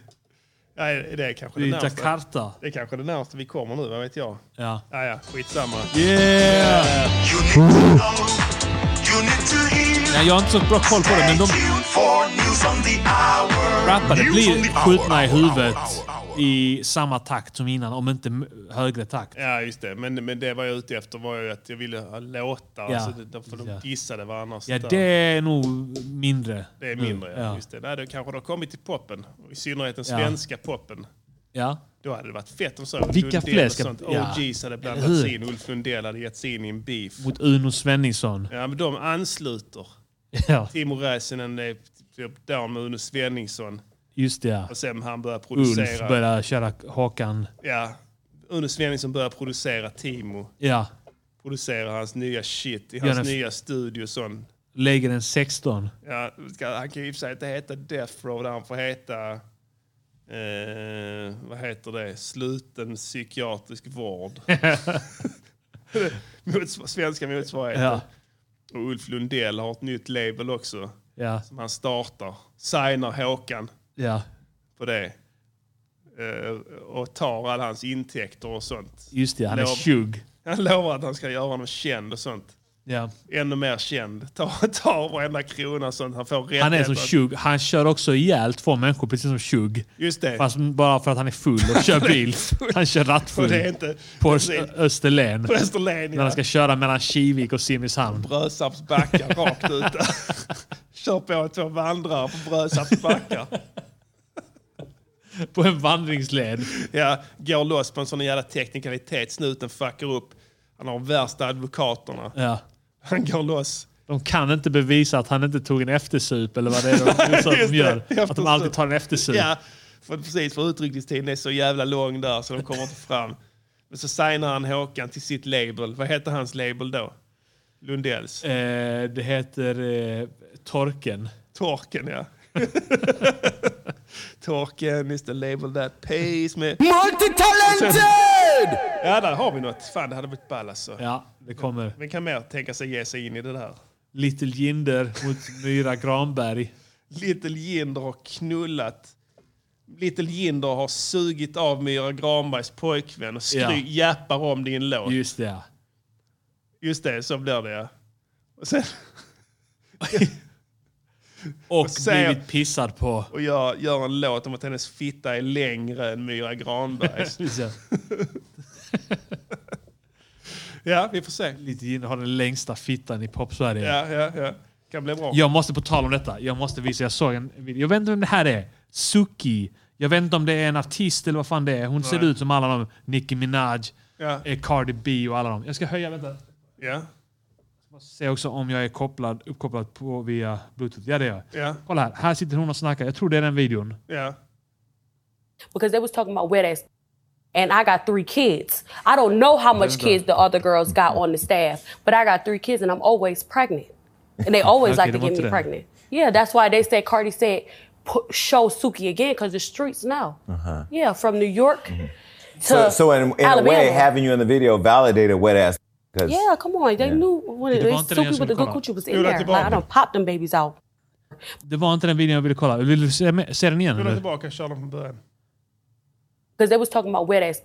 D: Nej, det är kanske
A: du
D: det
A: är i
D: närmaste.
A: Jakarta.
D: Det är kanske det närmaste vi kommer nu, vad vet jag.
A: Ja.
D: Ja, ja, skitsamma.
A: Yeah!
I: You need to know, you need to hear.
A: Nej, jag har inte så bra koll på det, men de
I: Stay tuned for news on the hour.
A: rappade
I: News on the
A: blir
I: hour,
A: skjutna i
I: hour,
A: huvudet
I: hour, hour, hour.
A: i samma takt som innan, om inte m- högre takt.
D: Ja, just det. Men, men det var jag ute efter var ju att jag ville ha låtar.
A: Ja.
D: Alltså, det- därför de
A: Ja.
D: dissade varandra. och
A: Ja,
D: sånt
A: det
D: där.
A: är nog mindre.
D: det är
A: nu.
D: mindre, ja.
A: Ja.
D: Just det. Nej, det kanske det har kommit till poppen. I synnerhet den
A: Ja.
D: svenska poppen.
A: ja.
D: Då hade det varit fett om så Ulf
A: Vilka
D: Lundell
A: fler
D: och
A: ska-
D: sånt.
A: ja.
D: OGs hade
A: Eller
D: blandats
A: hur?
D: in. Ulf Lundell hade gett sig in i en beef.
A: Mot Uno Svenningsson.
D: Ja, men de ansluter.
A: (laughs) Ja,
D: Timo Räisänen är typ där med Uno Svenningsson.
A: just det. ja.
D: Och sen han börjar producera.
A: Ulf började köra Håkan.
D: Ja. Uno Svenningsson börjar producera Timo.
A: Ja.
D: Producera hans nya shit i
A: Gör
D: hans
A: en f-
D: nya studio. och Sån.
A: Lägger en 16.
D: Ja, ska- han kan ju i och för sig inte heta Death Row. där Han får heta... Eh, vad heter det? Sluten psykiatrisk vård.
A: (laughs)
D: Motsva- Svenska motsvarigheten.
A: Ja.
D: Och Ulf Lundell har ett nytt label också.
A: Ja.
D: Som han startar. Signar Håkan
A: Ja.
D: på det. Eh, och tar alla hans intäkter och sånt.
A: Just det, han är
D: Lov.
A: tjugg.
D: Han lovar att han ska göra honom känd och sånt.
A: Ja.
D: Ännu mer känd. Tar, tar varenda krona och sånt. Han får rätt.
A: Han är som tjugg. Han kör också ihjäl två människor precis som tjugg.
D: Just det.
A: Fast bara för att han är full och kör bil. Han kör
D: För det är
A: rattfull.
D: inte...
A: På
D: det
A: Ö-
D: är-
A: Österlen.
D: På Österlen,
A: När
D: ja.
A: han ska köra mellan Kivik och
D: (laughs)
A: Simrishamn.
D: Brösarps backar rakt ut där.
A: (laughs)
D: Kör på två vandrare på Brösarps backar.
A: På en vandringsled.
D: Ja, går loss på en sån jävla teknikalitet. Snuten fuckar upp. Han har värsta advokaterna.
A: Ja.
D: Han går loss.
A: De kan inte bevisa att han inte tog en eftersup eller vad det
D: (laughs)
A: är de, så
D: just
A: de
D: det.
A: gör. Att de
D: Eftersup.
A: alltid tar en (laughs) eftersup.
D: Ja, (laughs) för precis för utryckningstiden är så jävla lång där så de kommer inte fram. Men så signar han Håkan till sitt label. Vad heter hans label då? Lundells?
A: Eh, det heter eh, Torken.
D: Torken, ja. (laughs) Torken is the label that pays me.
G: Multitalented!
D: Ja, där har vi något. Fan, det hade varit ball alltså.
A: Ja, det kommer.
D: Vem kan mer tänka sig ge sig in i det där?
A: Little Jinder mot Myra Granberg.
D: Little Jinder har knullat. Little Jinder har sugit av Myra Granbergs pojkvän och skry-
A: Ja.
D: jappar om det i en låt.
A: Just det. ja.
D: Just det, så blir det ja. Och, sen,
A: Och
D: säger-
A: blivit pissad
D: (laughs)
A: på.
D: och jag gör en låt om att hennes fitta är längre än Myra Granbergs. (laughs) ja, vi får se.
A: Little Jinder har den längsta fittan i pop-Sverige.
D: Ja, ja, ja. Kan bli bra.
A: Jag måste på tal om detta. Jag måste visa. Jag såg en video. Jag vet inte vem det här är. Suki. Jag vet inte om det är en artist eller vad fan det är. Hon ser ut som alla de. Nicki Minaj,
D: Ja.
A: eh, Cardi B och alla dem. Jag ska höja, vänta.
D: Ja.
A: Se också om jag är kopplad, uppkopplad på via bluetooth. Ja det är jag.
D: Ja.
A: Kolla här. Här sitter hon och snackar. Jag tror det är den videon.
D: ja.
J: because they was talking about wet ass. And I got three kids. I don't know how much kids the other girls got on the staff, but I got three kids and I'm always pregnant. And
A: (laughs)
J: they always
A: Okay,
J: like to
A: they want
J: get
A: to
J: me
A: that.
J: pregnant. Yeah, that's why they said Cardi said "Pu- show Suki again because the streets know.
A: Uh-huh.
J: Yeah, from New York
A: Mm-hmm.
J: to
K: So, so in, in a
J: Alabama.
K: way, having you in the video validated wet ass. 'cause-
J: yeah, come on, they knew when it,
A: Did
J: they
A: Devontae
J: Suki
A: answer
J: with the
A: the
J: good
A: call?
J: coochie was
D: Who
J: in
D: let
J: there.
D: Devontae?
J: Like, I don't pop them babies out.
A: Det var inte den videon jag ville kolla. Vill du se, med- se den igen?
D: Rulla
A: Eller?
D: tillbaka och kör dem från början.
J: because they was talking about wet ass.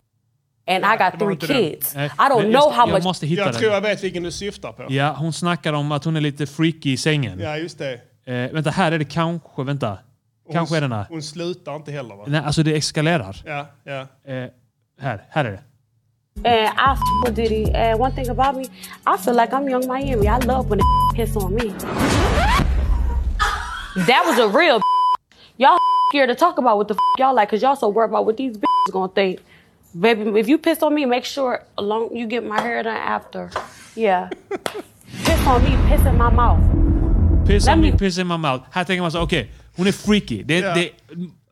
J: And I got
D: come
J: three
D: on to them.
J: kids.
A: Nej,
J: I don't
A: men
J: know
A: jag,
J: how
A: jag
J: much
A: måste hitta
D: Jag
A: den.
D: tror jag vet vilken du syftar på.
A: Ja, hon snackar om att hon är lite freaky i sängen.
D: Ja, just det.
A: Eh, vänta, här är det kanske... Vänta. Kanske är den här.
D: Hon slutar inte heller va?
A: Nej, alltså det eskalerar.
D: Ja, ja.
A: Eh, här, här är det.
J: And I f- with Diddy. And one thing about me, I feel like I'm young Miami. I love when a (laughs) hits on me. That was a real (laughs) Y'all scared to talk about what the (laughs) y'all like, cause y'all so worried about what these (laughs) bitches gonna think. Baby, if you piss on me, make sure along you get my hair done after. Yeah. piss on me, piss in my mouth.
A: Piss in
J: Nej,
A: me,
J: men-
A: piss in my mouth. Här tänker man så okej, hon är freaky. Det,
D: Ja.
A: det,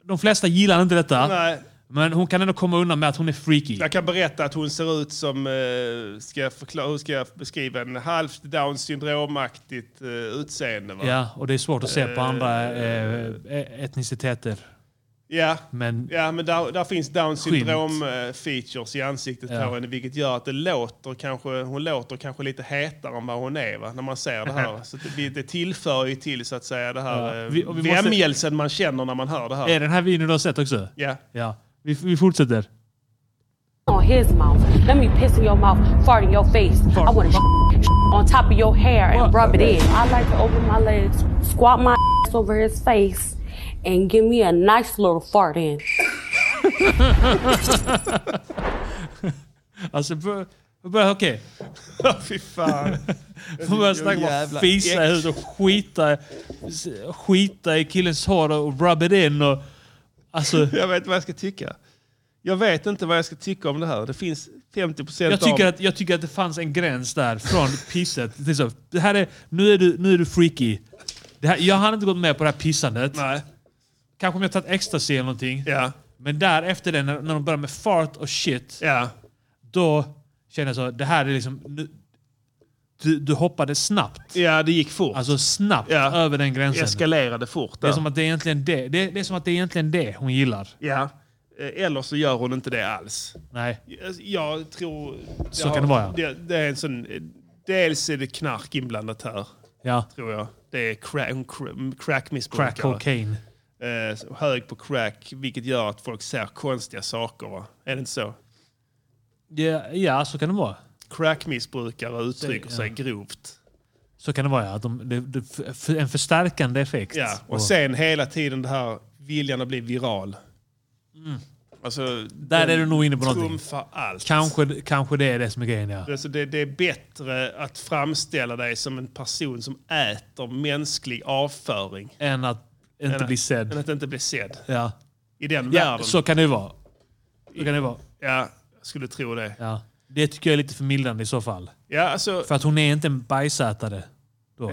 A: de flesta gillar inte detta.
D: Nej.
A: Men hon kan ändå komma undan med att hon är freaky.
D: Jag kan berätta att hon ser ut som, eh, ska jag förklara, hur ska jag beskriva en halvt down syndromaktigt eh, utseende va?
A: Ja, och det är svårt att se på andra eh, etniciteter.
D: Ja.
A: Men
D: Ja, men där, där finns down
A: Skymt.
D: syndrom eh, features i ansiktet
A: Ja.
D: på henne vilket gör att det låter kanske, hon låter kanske lite hetare än vad hon är va? när man ser det här. Så att det, det tillför ju till så att säga det här
A: Ja.
D: ja.
A: Vi- och vi måste-
D: vämjelsen man känner när man hör det här.
A: är det den här videon du har sett också?
D: Ja. (laughs)
A: Ja. Vi, vi fortsätter.
J: on his mouth. Let me piss in your mouth, fart in your face. I want to on top of your hair and rub it in. I like to open my legs, squat my ass over his face, and give me a nice little fart in.
A: Alltså, bör- bör- okej.
D: Fy fan.
A: Hon börjar snacka om
D: Jävla
A: att fisa i
D: äck.
A: huvudet och skita, skita i killens hår och rub it in. Och, alltså,
D: Jag vet inte vad jag ska tycka. Jag vet inte vad jag ska tycka om det här. Det finns 50 procent
A: Jag tycker,
D: av...
A: att, jag tycker att det fanns en gräns där från pisset. Det är så, det här är, nu, är du, nu är du freaky. Det här, jag hade inte gått med på det här pissandet. Kanske om jag tagit ecstasy eller någonting. Men där efter det, när, när de börjar med fart och shit. Då känner jag så, det här är liksom... Nu, du, du hoppade snabbt.
D: Ja, det gick fort.
A: Alltså snabbt över den gränsen.
D: Eskalerade fort.
A: Det är
D: där.
A: som att det är egentligen det, det, det, är som att det, är egentligen det hon gillar.
D: Ja. Eh, Eller så gör hon inte det alls.
A: Nej.
D: Jag- Alltså, Jag tror...
A: Så kan det vara, ja.
D: Det, det är en sån, dels är det knark inblandat här.
A: Ja.
D: Tror jag. Det är crack, crackmissbrukare.
A: Crack cocaine.
D: Eh, så hög på crack, vilket gör att folk ser konstiga saker. Va? Är det inte så?
A: Ja, ja, så kan det vara.
D: Crackmissbrukare uttrycker
A: Det-
D: sig
A: ja.
D: grovt.
A: Så kan det vara, ja. Att de, det, det, f- en förstärkande effekt.
D: Ja,
A: Och-
D: och sen hela tiden det här viljan att bli viral.
A: Mm.
D: Alltså,
A: Där är du nog inne på någonting.
D: trumfar allt.
A: Kanske, kanske det är det som är grejen, ja.
D: Alltså det, det är bättre att framställa dig som en person som äter mänsklig avföring.
A: Än att inte
D: än,
A: bli sedd.
D: Än att inte bli sedd.
A: ja.
D: I den
A: ja
D: världen.
A: så kan det ju vara. Så kan det vara.
D: Ja, jag skulle tro det.
A: Ja. Det tycker jag är lite förmildrande i så fall.
D: Ja, alltså,
A: För att hon är inte en bajsätare. Då.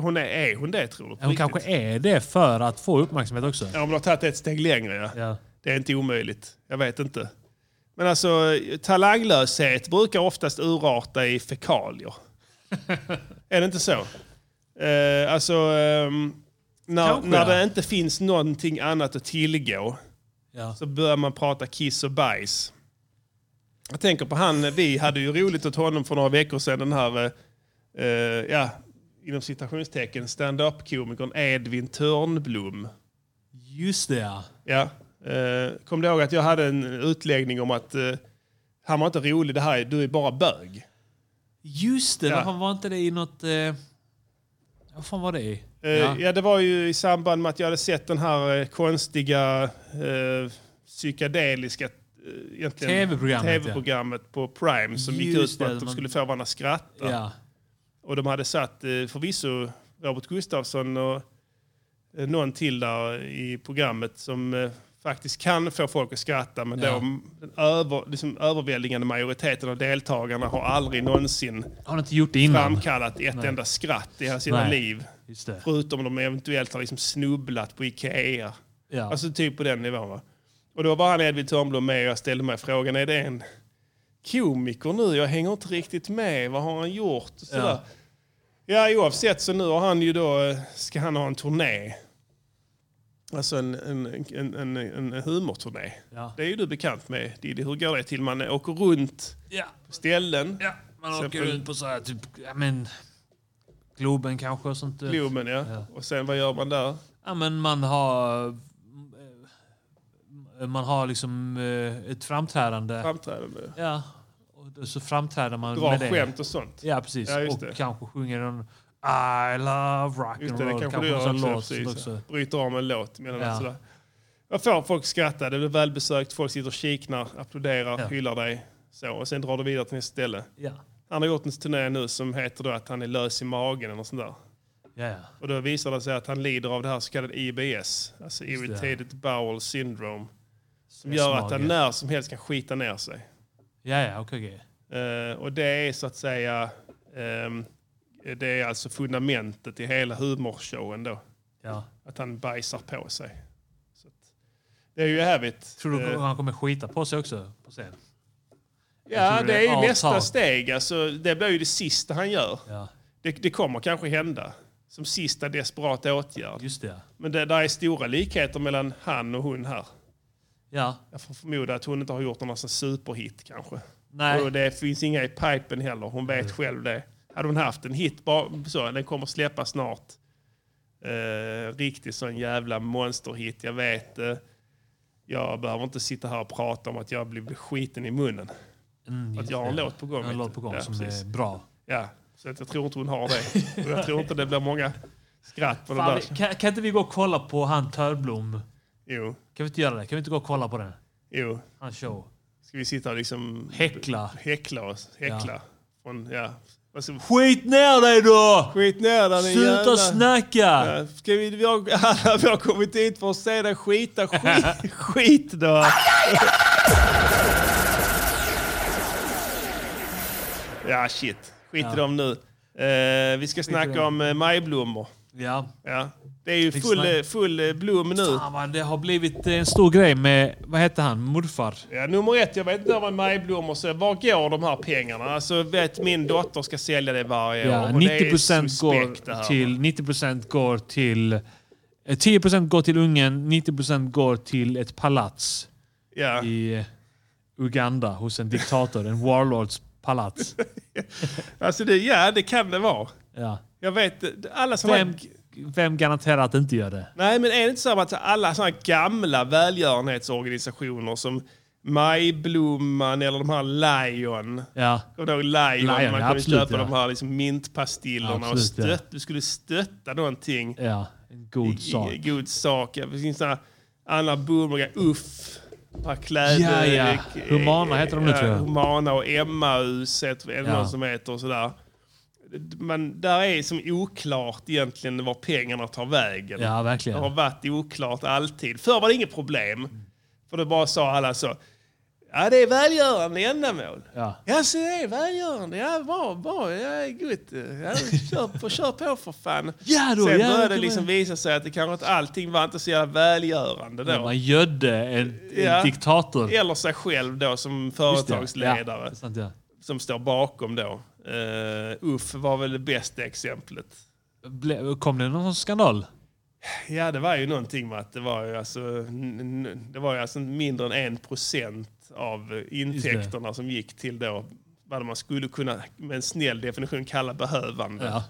D: hon är, är hon det tror du? på
A: Hon
D: riktigt?
A: kanske är det för att få uppmärksamhet också.
D: Ja, om du har tagit ett steg längre. Ja. Det är inte omöjligt. Jag vet inte. Men alltså, talanglöshet brukar oftast urarta
A: (laughs)
D: i fekalier. är det inte så? Eh, alltså, ehm, när,
A: Kanske,
D: när
A: ja.
D: det inte finns någonting annat att tillgå
A: Ja.
D: så börjar man prata kiss och bajs. Jag tänker på han, vi hade ju roligt åt honom för några veckor sedan, den här, eh, eh, ja, inom citationstecken, stand-up-komikern Edvin Törnblom.
A: Just det ja.
D: Ja. Eh, kom du ihåg att jag hade en utläggning om att eh, han var inte rolig, det här, är- du är bara bög.
A: Just det,
D: Ja.
A: varför var inte det i något... Eh, vad fan var det i?
D: Eh,
A: ja.
D: ja. det var ju i samband med att jag hade sett den här eh, konstiga eh, psykedeliska eh, egentligen-
A: TV-programmet, ja.
D: TV-programmet på Prime som gick
A: Just
D: ut på
A: det,
D: att de
A: man-
D: skulle få varandra att skratta.
A: Ja.
D: Och de hade satt eh, förvisso Robert Gustafsson och eh, någon till där i programmet som eh, faktiskt kan få folk att skratta men
A: Ja.
D: då den över, liksom, överväldigande majoriteten av deltagarna har aldrig någonsin
A: Har inte gjort det innan?
D: framkallat ett
A: Nej.
D: enda skratt i hela sina
A: Nej.
D: liv.
A: Just det.
D: Förutom de eventuellt har liksom snubblat på Ikea.
A: Ja.
D: Alltså typ på den nivån. Va? Och då var han Edvin Törnblom med och jag ställde mig frågan, är det en komiker nu? Jag hänger inte riktigt med. Vad har han gjort? Och sådär.
A: Ja.
D: Ja, oavsett så nu har han ju då, eh, ska han ha en turné. Alltså en, en, en, en, en humorturné.
A: Ja.
D: Det är ju du bekant med Diddy. Hur går det till? Man åker runt
A: Ja.
D: på ställen.
A: Ja, man
D: Sen
A: åker
D: på-
A: runt på så här typ... Ja, men, Globen kanske och sånt. eh.
D: Globen ja. Och sen vad gör man där?
A: Ja, men man har... eh, Man har liksom eh, ett framträdande.
D: Framträdande.
A: Ja. Och då så framträder man
D: Dra
A: med det.
D: skämt och sånt.
A: Ja, precis.
D: Ja, just
A: och
D: det.
A: kanske sjunger en I love rock
D: Just
A: and
D: det, det
A: roll.
D: kanske du
A: en
D: gör
A: sån
D: också,
A: låt
D: precis.
A: också.
D: Bryter av med en låt. Medan
A: Ja.
D: sådär. Jag får folk skratta, det blir välbesökt, folk sitter och kiknar, applåderar,
A: Ja.
D: hyllar dig. Så, och sen drar du vidare till nästa ställe.
A: Ja.
D: Han har gjort en turné nu som heter då att han är lös i magen eller något sånt där.
A: Ja, ja.
D: Och då visar det sig att han lider av det här så kallade IBS, alltså
A: Just det.
D: Irritated Bowel Syndrome. Som
A: Stressmage.
D: gör att han när som helst kan skita ner sig.
A: Ja, ja, okej. okej.
D: Eh, och det är så att säga, ehm, det är alltså fundamentet i hela humorshowen då.
A: Ja.
D: Att han bajsar på sig. Så att, det är ju hävigt.
A: Tror du
D: Eh,
A: han kommer skita på sig också på scen? Jag
D: Ja,
A: tror
D: det är ju
A: avtal.
D: nästa steg. Alltså, det blir ju det sista han gör.
A: Ja.
D: Det, det kommer kanske hända. Som sista desperata åtgärd.
A: Just det.
D: Men det, där är stora likheter mellan han och hon här.
A: Ja.
D: Jag får förmoda att hon inte har gjort någon sån superhit kanske.
A: Nej.
D: Och det finns inga i pipen heller. Hon vet själv det. Hade hon haft en hit, bara så, den kommer släppa snart. Eh, riktigt sån jävla monsterhit, jag vet det. Jag behöver inte sitta här och prata om att jag blir skiten i munnen.
A: Mm,
D: att
A: just
D: jag har en
A: det.
D: låt på gång.
A: En
D: vet
A: låt
D: du.
A: på gång som
D: precis.
A: är bra.
D: Ja, så att jag tror inte hon har det. Och jag tror inte det blir många skratt på den
A: Fan,
D: där.
A: vi, kan, kan inte vi gå och kolla på han Törnblom?
D: Jo.
A: Kan vi inte göra det? Kan vi inte gå och kolla på den?
D: Jo.
A: Hans show.
D: Ska vi sitta och liksom...
A: Häckla.
D: Häckla oss. Häckla. Från, ja. Vad ska-
A: Skit ner dig då!
D: Skit ner dig din
A: Sluta
D: jävla-
A: snacka!
D: Ja, Ska vi,
A: (laughs)
D: vi, (laughs) har, alla, vi har kommit hit för att se dig skita skit, skit då. Ja, shit. Skit
A: Ja.
D: i dem nu. Eh, vi ska
A: Skit i
D: snacka
A: dem.
D: om eh, majblommor.
A: Ja.
D: ja. Det är ju
A: Vi
D: full,
A: snack-
D: eh, full eh, blom nu.
A: Fan, vad det har blivit eh, en stor grej med, vad heter han, morfar?
D: Ja, nummer ett, jag vet inte om det är majblommor, så var går de här pengarna? Alltså, vet, min dotter ska sälja det varje
A: Ja,
D: år. och det är
A: 90%
D: suspekt, det
A: går
D: här.
A: till... 90% går till... eh, 10% går till Ungern, 90% går till ett palats
D: Ja.
A: i eh, Uganda hos en diktator. en warlords palats.
D: Alltså, det, ja, det kan det vara.
A: Ja.
D: Jag vet, eh, alla såna här
A: Vem, vem garanterar att det inte gör det?
D: Nej, men är det inte så att alla såna här gamla välgörenhetsorganisationer som Majblomman eller de här Lion.
A: Ja.
D: Kommer du ihåg Lion?
A: Lion,
D: man
A: ja,
D: kunde
A: absolut,
D: köpa
A: ja.
D: de här liksom mintpastillerna
A: Ja,
D: och
A: absolut,
D: stött,
A: ja.
D: du skulle stötta någonting.
A: Ja, en god
D: I- i-
A: sak.
D: God sak. Ja, Det finns såna här Anna Bullmogren, Uff, ett par kläder.
A: Ja, ja.
D: eh,
A: Humana heter de nu,
D: ja,
A: tror jag.
D: Humana och Emmaus heter är det
A: Ja.
D: någon som heter och sådär. Men där är som oklart egentligen var pengarna tar vägen.
A: Ja, verkligen.
D: Det har varit oklart alltid. Förr var det inget problem. För då bara sa alla så. Ja, det är välgörande ändamål.
A: Ja.
D: Ja, så det är välgörande. Ja, bra, bra. Ja, gott. Ja, kör, på, kör på för fan.
A: Ja då,
D: Sen
A: ja,
D: började
A: det
D: det
A: kan
D: liksom
A: man-
D: visa sig att det kanske inte allting var inte så jävla välgörande då.
A: När man gödde en, en
D: Ja.
A: diktator.
D: Eller sig själv då som företagsledare.
A: Ja, sant, ja.
D: Som står bakom då. Uh, Uff var väl det bästa exemplet.
A: Ble, kom det någon skandal?
D: Ja, det var ju någonting med att det var ju alltså, n- n- det var ju alltså mindre än en procent av eh, intäkterna som gick till då vad man skulle kunna med en snäll definition kalla behövande.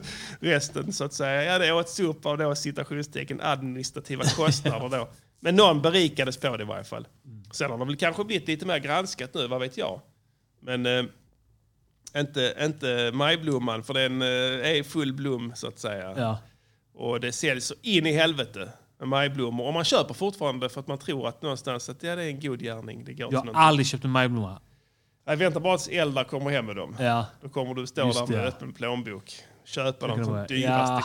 D: (laughs) Resten så att säga, ja det åts upp av då citationstecken administrativa kostnader då. Men någon berikades på det i varje fall. Sen har det väl kanske blivit lite mer granskat nu, vad vet jag. Men eh, inte, inte majblomman, för den eh, är i full blom så att säga.
A: Ja.
D: Och det säljs så in i helvete med majblommor. Och man köper fortfarande för att man tror att någonstans att ja, det är en god gärning. Det går till
A: Jag har
D: någonting.
A: aldrig köpt en majblomma.
D: Jag väntar bara tills Eldar kommer hem med dem.
A: Ja.
D: Då kommer du stå
A: Just
D: där
A: det,
D: med
A: ja.
D: öppen plånbok. Köpa
A: Det kan
D: de som
A: vara-
D: dyraste
A: ja,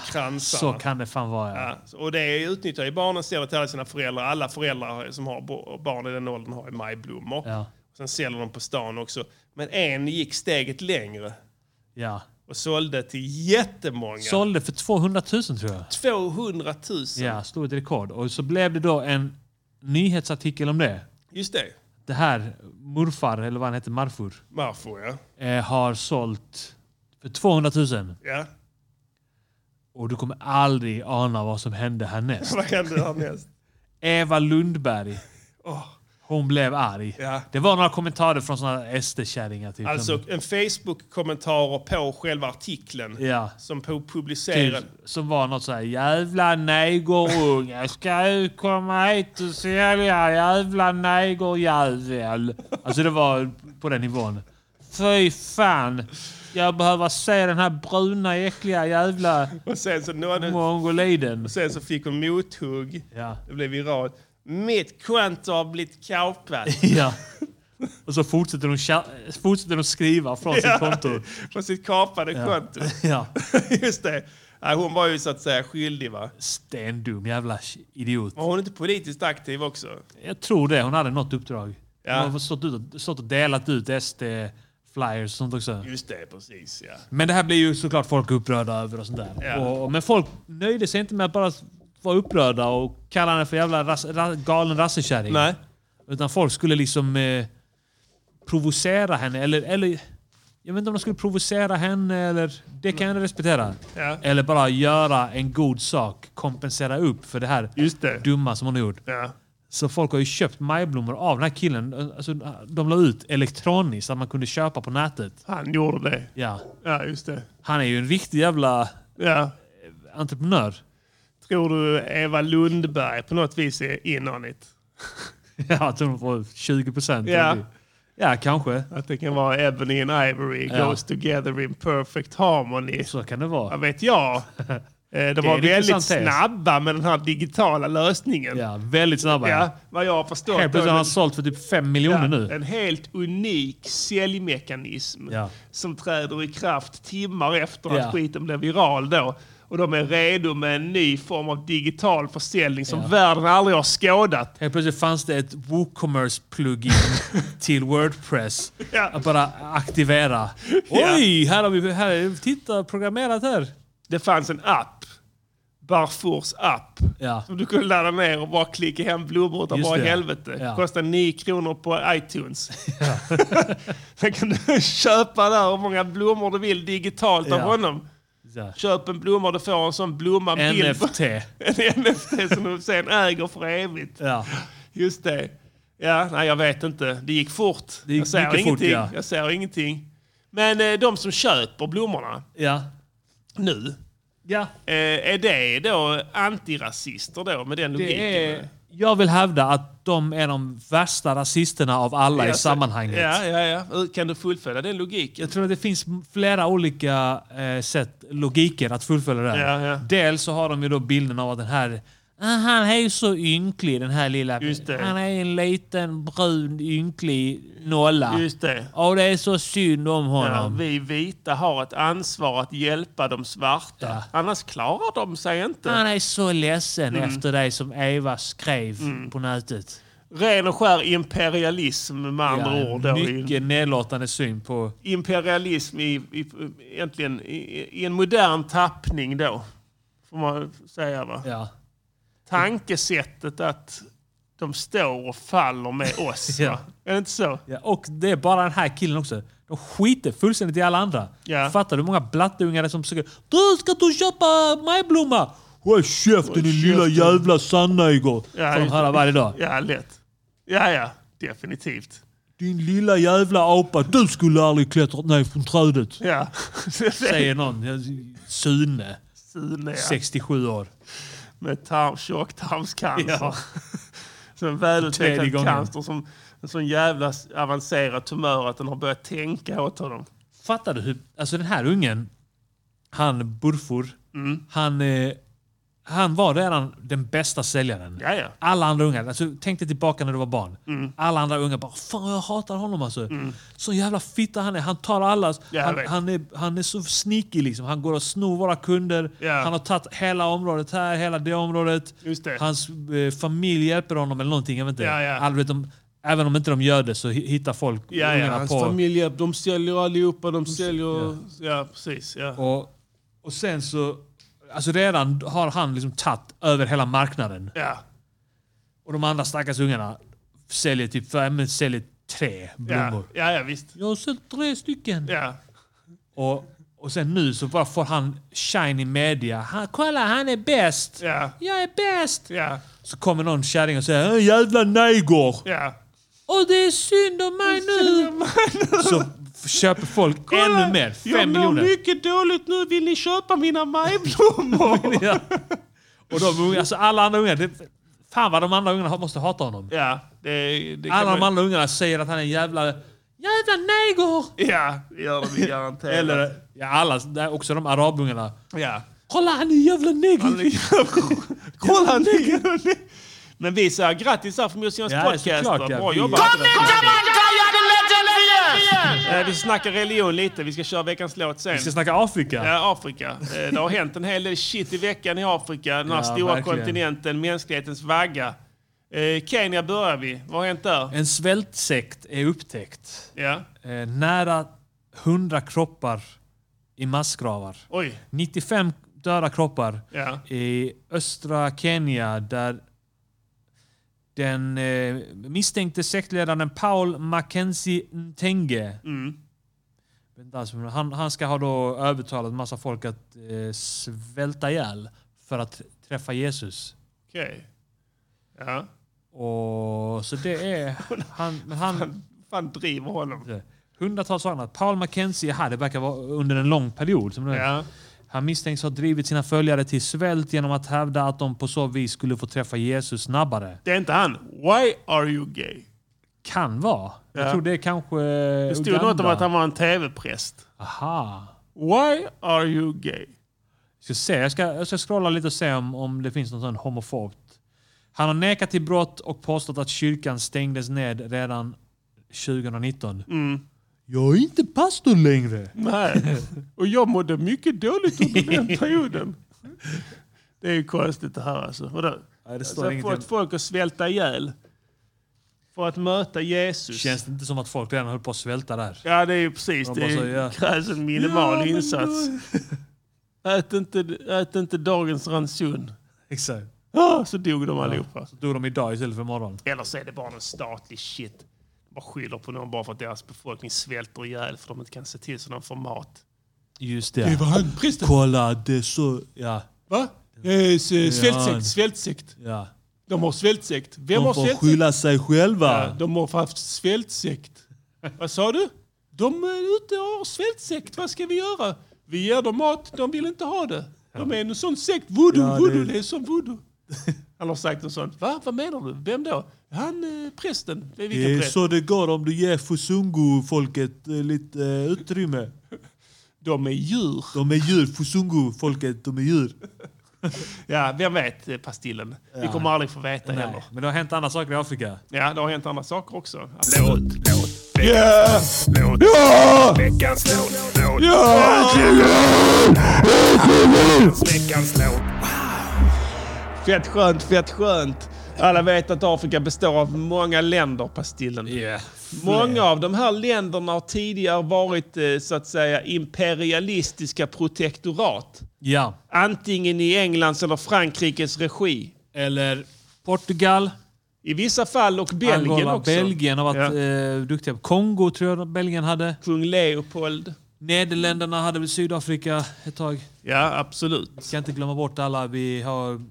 A: Så
D: kransarna.
A: kan det fan vara. Ja.
D: Ja, så- och det utnyttjar ju barnen säljer till alla sina föräldrar. Alla föräldrar som har bo- barn i den åldern har ju majblommor.
A: Ja.
D: Sen säljer de på stan också. Men en gick steget längre
A: Ja.
D: och sålde till jättemånga.
A: Sålde för 200 000 tror jag.
D: 200 000.
A: Ja, slog ett rekord. Och så blev det då en nyhetsartikel om det.
D: Just det.
A: Det här, morfar, eller vad han heter, Marfur,
D: Marfor, ja.
A: eh, har sålt för 200 000.
D: ja. (laughs)
A: Och du kommer aldrig ana vad som hände härnäst.
D: Vad hände härnäst?
A: Eva Lundberg.
D: (laughs) Åh.
A: Hon blev arg.
D: Ja.
A: Det var några kommentarer från såna SD-kärringar. Typ.
D: Alltså en Facebook-kommentar på själva artikeln
A: Ja.
D: som pu- publicerade.
A: Typ, som var något såhär jävla negerunge ska du komma hit och sälja jävla negerjävel. Alltså det var på den nivån. Fy fan. Jag behöver se den här bruna äckliga jävla
D: Och sen så, nådde,
A: mongoliden.
D: och sen så fick hon mothugg.
A: Ja.
D: Det blev viralt. Mitt konto har blivit kapat.
A: ja. Och så fortsätter de, tja- fortsätter de skriva från sitt konto.
D: Från sitt kapade konto. (laughs)
A: Ja.
D: Just det. Ja, hon var ju så att säga skyldig va?
A: Stendum jävla idiot.
D: Var hon inte politiskt aktiv också?
A: Jag tror det. Hon hade något uppdrag.
D: Ja.
A: Hon har stått, ut, stått och delat ut SD-flyers och sånt också.
D: Just det, precis ja.
A: Men det här blir ju såklart folk upprörda över och sånt där.
D: Ja.
A: Och, men folk nöjde sig inte med att bara vara upprörda och kalla henne för jävla ras, ra, galen rassekärring.
D: Nej.
A: Utan folk skulle liksom eh, provocera henne. Eller, eller jag vet inte om de skulle provocera henne eller... Det kan jag respektera.
D: Ja.
A: Eller bara göra en god sak. Kompensera upp för det här
D: Just det.
A: dumma som hon har gjort.
D: Ja.
A: Så folk har ju köpt majblommor av den här killen. Alltså, de la ut elektroniskt att man kunde köpa på nätet.
D: Han gjorde det.
A: Ja.
D: Ja, just det.
A: Han är ju en riktig jävla
D: Ja. (laughs)
A: entreprenör.
D: Tror du Eva Lundberg på något vis är in on it?
A: Ja, jag tror de får 20 procent.
D: Ja.
A: ja, kanske.
D: Att det kan vara Ebony and Ivory
A: Ja.
D: goes together in perfect harmony.
A: Så kan det
D: Vad
A: vara. (laughs)
D: vet jag? Eh, De var
A: en intressant
D: väldigt
A: tes.
D: snabba med den här digitala lösningen.
A: Ja, väldigt snabba.
D: Ja, vad jag har förstått.
A: Helt plötsligt
D: då,
A: har han sålt för typ 5 miljoner
D: ja,
A: nu.
D: En helt unik säljmekanism
A: Ja.
D: som träder i kraft timmar efter
A: Ja.
D: att skiten blev viral då. Och de är redo med en ny form av digital försäljning som världen aldrig har skådat.
A: Helt plötsligt fanns det ett
D: (laughs)
A: WooCommerce-plugin till Wordpress. Att bara aktivera. Oj, här har vi... Här, titta, programmerat här.
D: Det fanns en app. Barfors app.
A: Ja.
D: Som du kunde ladda ner och bara klicka hem blommor utav
A: Just
D: bara
A: det.
D: helvete.
A: Ja.
D: Kostade 9 kronor på iTunes. (laughs) Sen kan du köpa där hur många blommor du vill digitalt av
A: Ja.
D: honom.
A: Ja.
D: Köp en blomma, du får en sån blomma med bild på-
A: NFT.
D: (laughs) En NFT som du sen äger för evigt.
A: Ja.
D: Just det. Ja, nej jag vet inte. Det gick fort.
A: Det gick
D: jag ser
A: mycket fort,
D: ingenting.
A: ja.
D: Jag ser ingenting. Men eh, de som köper blommorna
A: Ja.
D: nu,
A: ja.
D: Eh, är det då antirasister då med den logiken?
A: Det är, jag vill hävda att de är de värsta rasisterna av alla i
D: Alltså,
A: sammanhanget.
D: Ja, ja, ja. Hur Kan du fullfölja den logiken?
A: Jag tror att det finns flera olika eh, sätt, logiker att fullfölja det här.
D: Ja, ja.
A: Dels så har de ju då bilden av att den här "Ah, han är ju så ynklig den här lilla.
D: Just det.
A: Han är en liten brun ynklig nolla.
D: Just det.
A: Och det är så synd om
D: Ja,
A: honom.
D: vi vita har ett ansvar att hjälpa de svarta. Annars klarar de sig inte.
A: Han är så ledsen
D: Mm.
A: efter dig som Eva skrev på nätet.
D: Ren och skär imperialism med andra
A: Ja,
D: ord. Då.
A: mycket nedlåtande syn på...
D: Imperialism i, i, egentligen i, i en modern tappning då. Får man säga va?
A: Ja.
D: Tankesättet att de står och faller med oss.
A: Ja.
D: va? Är det inte så?
A: Ja, och det är bara den här killen också. De skiter fullständigt i alla andra.
D: Ja.
A: Fattar du hur många blattungar det är som försöker Du ska du köpa majblomma! Håll käften din lilla jävla sanna igår.
D: Ja,
A: Får de
D: just
A: höra
D: det.
A: varje dag.
D: Ja, lätt. Ja, ja. Definitivt.
A: Din lilla jävla apa, du skulle aldrig klättrat ner från
D: (laughs)
A: trädet.
D: Ja. (laughs)
A: Säger någon. Ja, Sune,
D: Sune, ja.
A: 67 år.
D: Med tarm, tjocktarmscancer. (laughs)
A: Ja.
D: Så en
A: Tredje
D: välutvecklad
A: gången.
D: cancer som en sån jävla s- avancerad tumör att den har börjat tänka åt honom.
A: Fattar du hur... Alltså den här ungen, han Burfor,
D: Mm.
A: han, eh, han var redan den bästa säljaren.
D: Ja, Mm. ja.
A: Alla andra unga, alltså, tänk dig tillbaka när du var barn. Alla andra unga bara “Fan jag hatar honom alltså”. Så jävla fitta han är. Han tar allas.
D: Mm. Ja, jag
A: han,
D: vet.
A: han, är, han är så sneaky liksom. Han går och snor våra kunder.
D: Ja.
A: Han har tagit hela området här, hela det området.
D: Just det.
A: Hans eh, familj hjälper honom eller någonting. Jag vet inte.
D: Ja, ja.
A: Alla vet om, även om inte de gör det så hi- hittar folk
D: Ja, ja.
A: ungarna
D: Hans
A: på.
D: familj, de säljer allihopa. De säljer... Ja, precis. Ja.
A: Och, och sen så... Alltså redan har han liksom tagit över hela marknaden.
D: Ja.
A: Och de andra stackars ungarna säljer typ fem, men säljer tre
D: Ja.
A: blommor.
D: ja, ja, visst.
A: Jag har sålt tre stycken.
D: Ja.
A: Och, och sen nu så bara får han shine i media. Han, kolla, han är bäst!
D: Ja.
A: Jag är bäst!
D: Ja.
A: Så kommer någon kärring och säger "Äh, jävla neger!
D: Ja.
A: Och det är synd om mig nu! Så f- köper folk ännu mer.
D: jag
A: Fem miljoner.
D: mycket dåligt nu. Vill ni köpa
A: (laughs)
D: mina majblommor?
A: Ja. Och de unga, alltså alla andra unga, det, fan vad de andra ungarna måste hata honom.
D: ja, det, det kan
A: Alla
D: man-
A: de andra ungarna säger att han är en jävla... Jävla neger!
D: Ja, det gör de garanterat.
A: Eller, ja, alla, det är också de arabungarna.
D: Ja.
A: Kolla han är en jävla neger!
D: Kolla nu! Men vi säger grattis här för Museums
A: Ja,
D: podcast.
A: såklart,
D: va?
A: ja.
D: Bra
A: Vi-
D: jobbat!
A: Kom
D: Eh, Vi snackar religion lite. Vi ska köra veckans låt sen.
A: Vi ska snacka Afrika.
D: Ja, Afrika. Eh, Det har hänt en hel del shit i veckan i Afrika. Den här
A: Ja,
D: stora
A: verkligen.
D: kontinenten, mänsklighetens vagga. Eh, Kenya börjar vi. Vad har hänt där?
A: En svältsekt är upptäckt.
D: Ja.
A: Eh, nära 100 kroppar i massgravar.
D: Oj.
A: 95 döda kroppar
D: Ja.
A: i östra Kenya där den eh, misstänkte sektledaren Paul Mackenzie Ntenge Vet inte alls, men han, han ska ha då övertalat massa folk att eh, svälta ihjäl för att träffa Jesus.
D: Okej. Ja.
A: Och, så det är... Han, men han,
D: fan driver honom?
A: hundratals sådana. Paul Mackenzie, här, det verkar vara under en lång period. Som det är.
D: Ja.
A: Han misstänks ha drivit sina följare till svält genom att hävda att de på så vis skulle få träffa Jesus snabbare.
D: Det är inte han. Why are you gay?
A: Kan vara. Jag
D: Ja.
A: tror det är kanske eh,
D: Det stod något om att han var en tv-präst.
A: Aha.
D: Why are you gay?
A: Ska se. Jag, ska, jag ska scrolla lite och se om, om det finns något sån homofobt. Han har nekat till brott och påstått att kyrkan stängdes ned redan 2019. Jag är inte pastor längre.
D: Nej. Och jag mådde mycket dåligt under den perioden. Det är ju konstigt det här alltså. Vadå?
A: Nej, det står
D: alltså
A: ingenting.
D: fått folk att svälta ihjäl för att möta Jesus.
A: Känns det inte som att folk redan höll på att svälta där?
D: Ja, det är ju precis.
A: De
D: Det
A: bara
D: är,
A: så, ja.
D: krävs en minimal
A: Ja, men
D: insats. Ät inte, ät inte dagens ranson.
A: Exakt.
D: Ah, så dog de allihopa.
A: Så dog de idag istället för imorgon.
D: Eller så är det bara någon statlig shit. De bara skyller på någon bara för att deras befolkning svälter ihjäl för att de inte kan se till så de får mat.
A: Just
D: Det var han,
A: Pristen. Kolla, det är så... Ja.
D: Va? Eh, s-
A: Ja.
D: svältsekt, svältsekt.
A: ja.
D: De har svältsekt. Vem har
A: De får
D: svältsekt?
A: skylla sig själva.
D: Ja, de har haft svältsekt. Vad sa du? De är ute och har svältsekt. Vad ska vi göra? Vi ger dem mat. De vill inte ha det. De är en sån sekt. Voodoo,
A: Ja, det-
D: voodoo. Det är som voodoo. (laughs) Han har sagt något sånt. Va? Vad menar du? Vem då? Han eh, prästen. Det är vilken
A: Det är
D: präst?
A: så det går om du ger Fusungu-folket eh, lite eh, utrymme.
D: De är djur.
A: De är djur. Fusungu-folket, de är djur.
D: Ja, vem vet eh, Pastillen? Vi
A: Ja.
D: kommer aldrig få veta heller.
A: Men det har hänt andra saker i Afrika.
D: Ja, det har hänt andra saker också.
A: Låt,
D: låt,
G: Yeah!
D: låt.
G: Ja!
D: Veckans låt, låt.
G: Ja!
D: Veckans låt. Fett skönt, fett skönt. Alla vet att Afrika består av många länder, Pastillen. Många av de här länderna har tidigare varit eh, så att säga imperialistiska protektorat.
A: Ja.
D: Antingen i Englands eller Frankrikes regi.
A: Eller Portugal.
D: I vissa fall och Belgien
A: Angola,
D: också.
A: Belgien har varit eh, duktiga. Kongo tror jag Belgien hade.
D: Kung Leopold.
A: Nederländerna hade väl Sydafrika ett tag.
D: Ja, absolut.
A: Ska inte glömma bort alla vi har...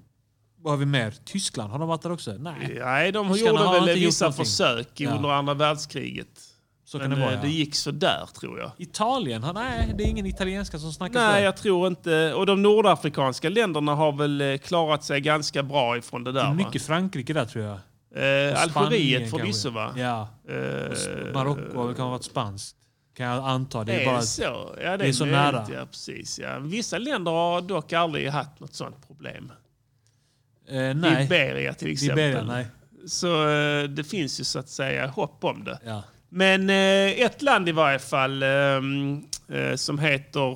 A: Vad har vi mer? Tyskland, har de varit där också? Nej.
D: Nej, de
A: Tyskarna
D: gjorde
A: har
D: väl
A: inte gjort
D: vissa
A: någonting.
D: försök
A: Ja.
D: under andra världskriget.
A: Så
D: Men
A: kan det vara,
D: eh,
A: ja.
D: det gick så där tror jag.
A: Italien? Han, nej, det är ingen italienska som snackas där.
D: Nej, jag tror inte... Och de nordafrikanska länderna har väl eh, klarat sig ganska bra ifrån det
A: det
D: där.
A: är
D: va?
A: mycket Frankrike där tror jag.
D: Eh,
A: Och
D: Algeriet
A: Spanien
D: förvisso va?
A: kanske. Ja.
D: Eh,
A: Och s- Marocko har väl kanske varit spanskt. Kan jag anta. Det
D: är
A: är,
D: det
A: bara
D: så? Ja, det,
A: det är
D: är
A: så
D: möjligt,
A: nära.
D: Ja, precis, ja. Vissa länder har dock aldrig haft något sånt problem.
A: Eh, nej.
D: Liberia till exempel.
A: Liberia, nej.
D: Så eh, det finns ju så att säga hopp om det.
A: Ja.
D: Men eh, ett land i varje fall ehm, eh, som heter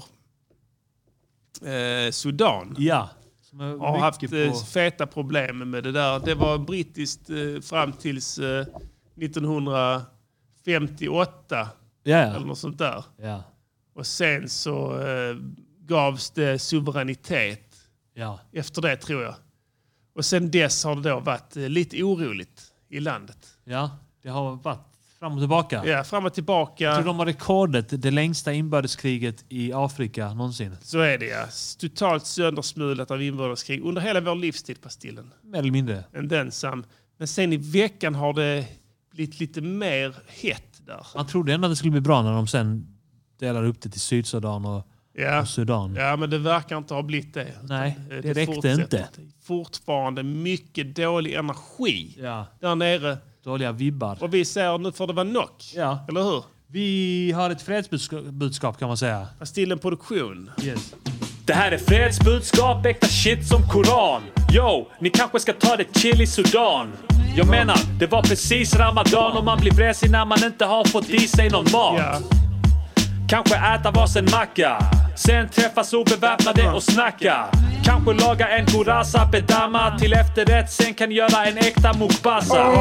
D: eh, Sudan.
A: Ja. Som är
D: har haft
A: mycket
D: eh,
A: på-
D: feta problem med det där. Det var brittiskt eh, fram tills eh, 1958.
A: Ja, ja.
D: Eller något sånt där.
A: Ja.
D: Och sen så eh, gavs det suveränitet.
A: Ja.
D: Efter det tror jag. Och sen dess har det då varit eh, lite oroligt i landet.
A: Ja, det har varit fram och tillbaka.
D: Ja, fram och tillbaka.
A: Jag tror de har rekordet, det längsta inbördeskriget i Afrika någonsin.
D: Så är det ja. Totalt söndersmulat av inbördeskrig under hela vår livstid, Pastillen.
A: Mer eller mindre.
D: Än densam. Men sen i veckan har det blivit lite mer hett där.
A: Man trodde ändå att det skulle bli bra när de sen delar upp det till Sydsudan och,
D: Ja.
A: och Sudan.
D: Ja, men det verkar inte ha blivit det.
A: Nej,
D: Utan, eh,
A: det, räckte
D: fortsätter.
A: inte.
D: Fortfarande mycket dålig energi
A: Ja.
D: där nere.
A: Dåliga vibbar.
D: Och vi säger nu får det vara knock.
A: Ja.
D: Eller hur?
A: Vi har ett fredsbudskap kan man säga.
D: Pastillen Produktion.
A: Yes.
L: Det här är fredsbudskap, äkta shit som Koran. Yo, ni kanske ska ta det chill i Sudan. Jag menar, det var precis Ramadan och man blir vresig när man inte har fått i sig någon mat.
D: Ja.
L: Kanske äta varsin macka. Sen träffas obeväpnade och snacka. Kanske laga en kurasa bedamma till efterrätt. Sen kan göra en äkta mukbassa.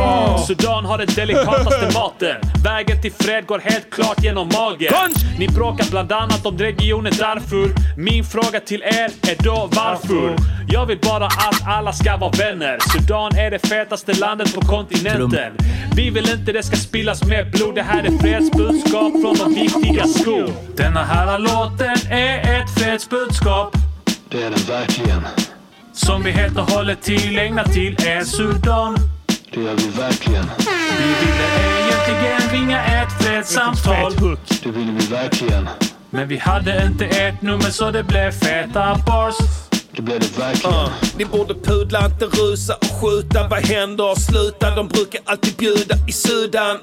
L: Sudan har den delikataste maten. Vägen till fred går helt klart genom magen. Ni bråkar bland annat om regionen Darfur. Min fråga till er är då varför? Jag vill bara att alla ska vara vänner. Sudan är det fetaste landet på kontinenten. Vi vill inte det ska spillas mer blod. Det här är fredsbudskap från de viktiga skor. Denna här låten är ett fredsbudskap.
M: Det är den verkligen.
L: Som vi helt och hållet tillägnar till er Sudan.
M: Det gör vi verkligen.
L: Vi ville egentligen ringa ett fredssamtal.
M: Det vill vi verkligen.
L: Men vi hade inte ert nummer så det blev feta bars.
M: Det blev det verkligen.
N: Ni borde pudla, inte rusa och skjuta. Vad händer? Sluta, de brukar alltid bjuda i Sudan.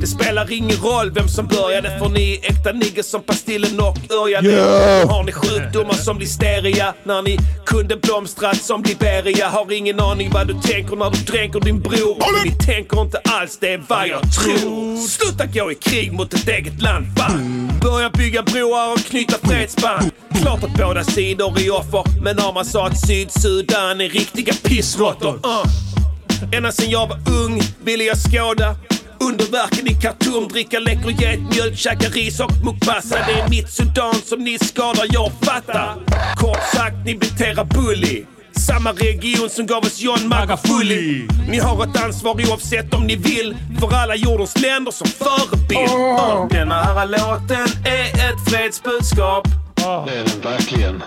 N: Det spelar ingen roll vem som började för ni är äkta niggas som Pastillen och Örjan.
G: Yeah!
N: Har ni sjukdomar som listeria när ni kunde blomstrat som Liberia? Har ingen aning vad du tänker när du dränker din bror. Men ni tänker inte alls, det är vad jag tror. Sluta gå i krig mot ett eget land, fan. Börja bygga broar och knyta fredsband. klart att båda sidor är offer. Men om man sa att Sydsudan är riktiga pissråttor. Uh. Ända sen jag var ung ville jag skåda underverken i Khartoum. Dricka läckerget, mjölk, käka ris och mukbassa. Det är mitt Sudan som ni skadar, jag fattar. Kort sagt, ni beter er bully. Samma region som gav oss John Magafulli. Ni har ett ansvar oavsett om ni vill. För alla jordens länder som förebild. Uh.
H: Den här låten är ett fredsbudskap.
B: Det är den verkligen.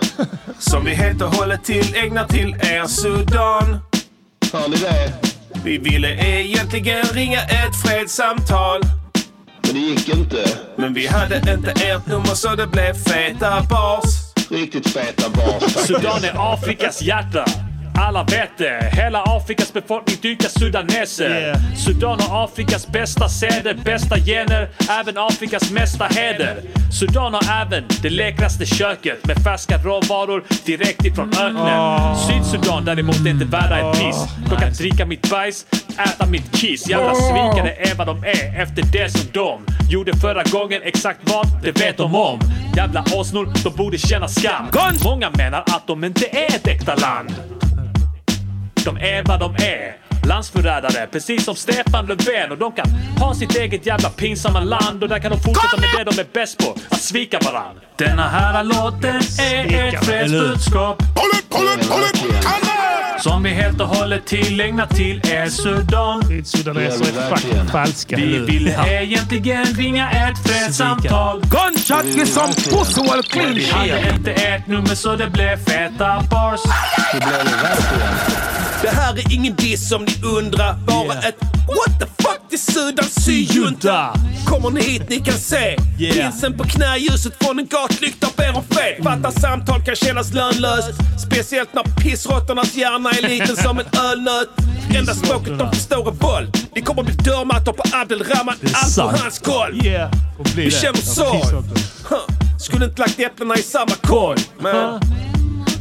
H: Som vi helt och hållet tillägnar till er Sudan.
B: Hör ni det?
H: Vi ville egentligen ringa ett fredssamtal.
B: Men det gick inte.
H: Men vi hade inte ert nummer så det blev feta bars.
B: Riktigt feta bars
A: Sudan är Afrikas hjärta. Alla vet det. Hela Afrikas befolkning dyrkar sudaneser. Sudan har Afrikas bästa seder, bästa gener, även Afrikas mesta heder. Sudan har även det läkraste köket med färska råvaror direkt ifrån öknen. Sydsudan däremot är inte värda ett piss. De kan dricka mitt bajs, äta mitt kiss. Jävla svikare är vad de är efter det som de gjorde förra gången. Exakt vad, det vet de om. Jävla åsnor, de borde känna skam. Många menar att de inte är ett äkta land. De är vad de är. Landsförrädare, precis som Stefan Löfven. Och de kan ha sitt eget jävla pinsamma land. Och där kan de fortsätta med det de är bäst på. Att svika varann. Denna här låten är ett fredsbudskap. Som vi helt och hållet tillägnar till er Sudan.
D: Sudaneser är fucking falska.
A: Vi ville egentligen ringa ett fredssamtal.
N: Gunshot är
H: Mm.
N: som puss och clean
A: Vi hade inte ert nummer så det blev feta bars.
N: Det här är ingen diss om ni undrar. Bara ett what the fuck till Sudan syjunta. Kommer ni hit ni kan se.
H: Yeah.
N: Prinsen på knä, ljuset från en gatlykta ber om fred. Fattar samtal kan kännas lönlöst. Speciellt när pissråttornas hjärna är liten som en ölnöt. Enda språket de förstår är våld. Ni kommer bli dörrmattor på Abdelrahman.
H: Det är
N: Allt på
H: sant.
N: hans koll.
H: Yeah.
N: Vi känner sorg. Huh. Skulle inte lagt äpplena i samma korg. Men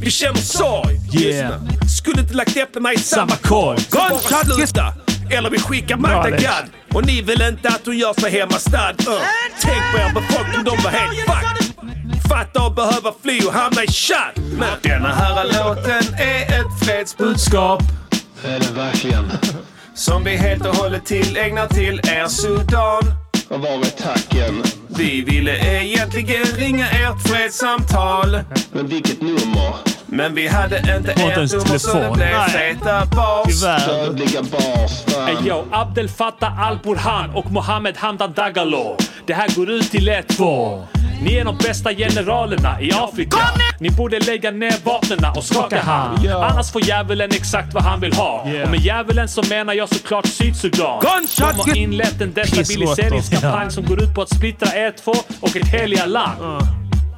N: vi känner sorg.
H: Yeah.
N: Lyssna. Skulle inte lagt äpplena i samma korg. Så bara sluta. Eller vi skickar Magda
H: Alex.
N: Gad. Och ni vill inte att hon gör sig hemmastad. Uh. Tänk på er befolkning, de var helt fucked. Fatta att behöva fly och hamna i chatt. Men denna här låten är ett fredsbudskap.
B: Det är den verkligen.
H: Som vi helt och hållet tillägnar till er Sudan.
B: Och var är tacken?
H: Vi ville egentligen ringa ert fredssamtal.
B: Men vilket nummer?
H: Men vi hade inte
B: Inte
H: ert
B: ens
H: nummer så det
B: telefon.
H: blev
B: Nej.
H: feta bars.
B: Dödliga bars.
A: Ey, yo, Abdel Fattah Al-Burhan och Mohammed Hamdan Dagalo. Det här går ut till er två. Ni är de bästa generalerna i Afrika. Ni borde lägga ner vapnena och skaka hand.
H: Ja.
A: Annars får djävulen exakt vad han vill ha.
H: Yeah.
A: Och med djävulen så menar jag såklart Sydsudan. De
H: Gunshot
A: har
H: get-
A: inlett en destabiliseringskampanj
H: Ja.
A: som går ut på att splittra er två och ett heliga land.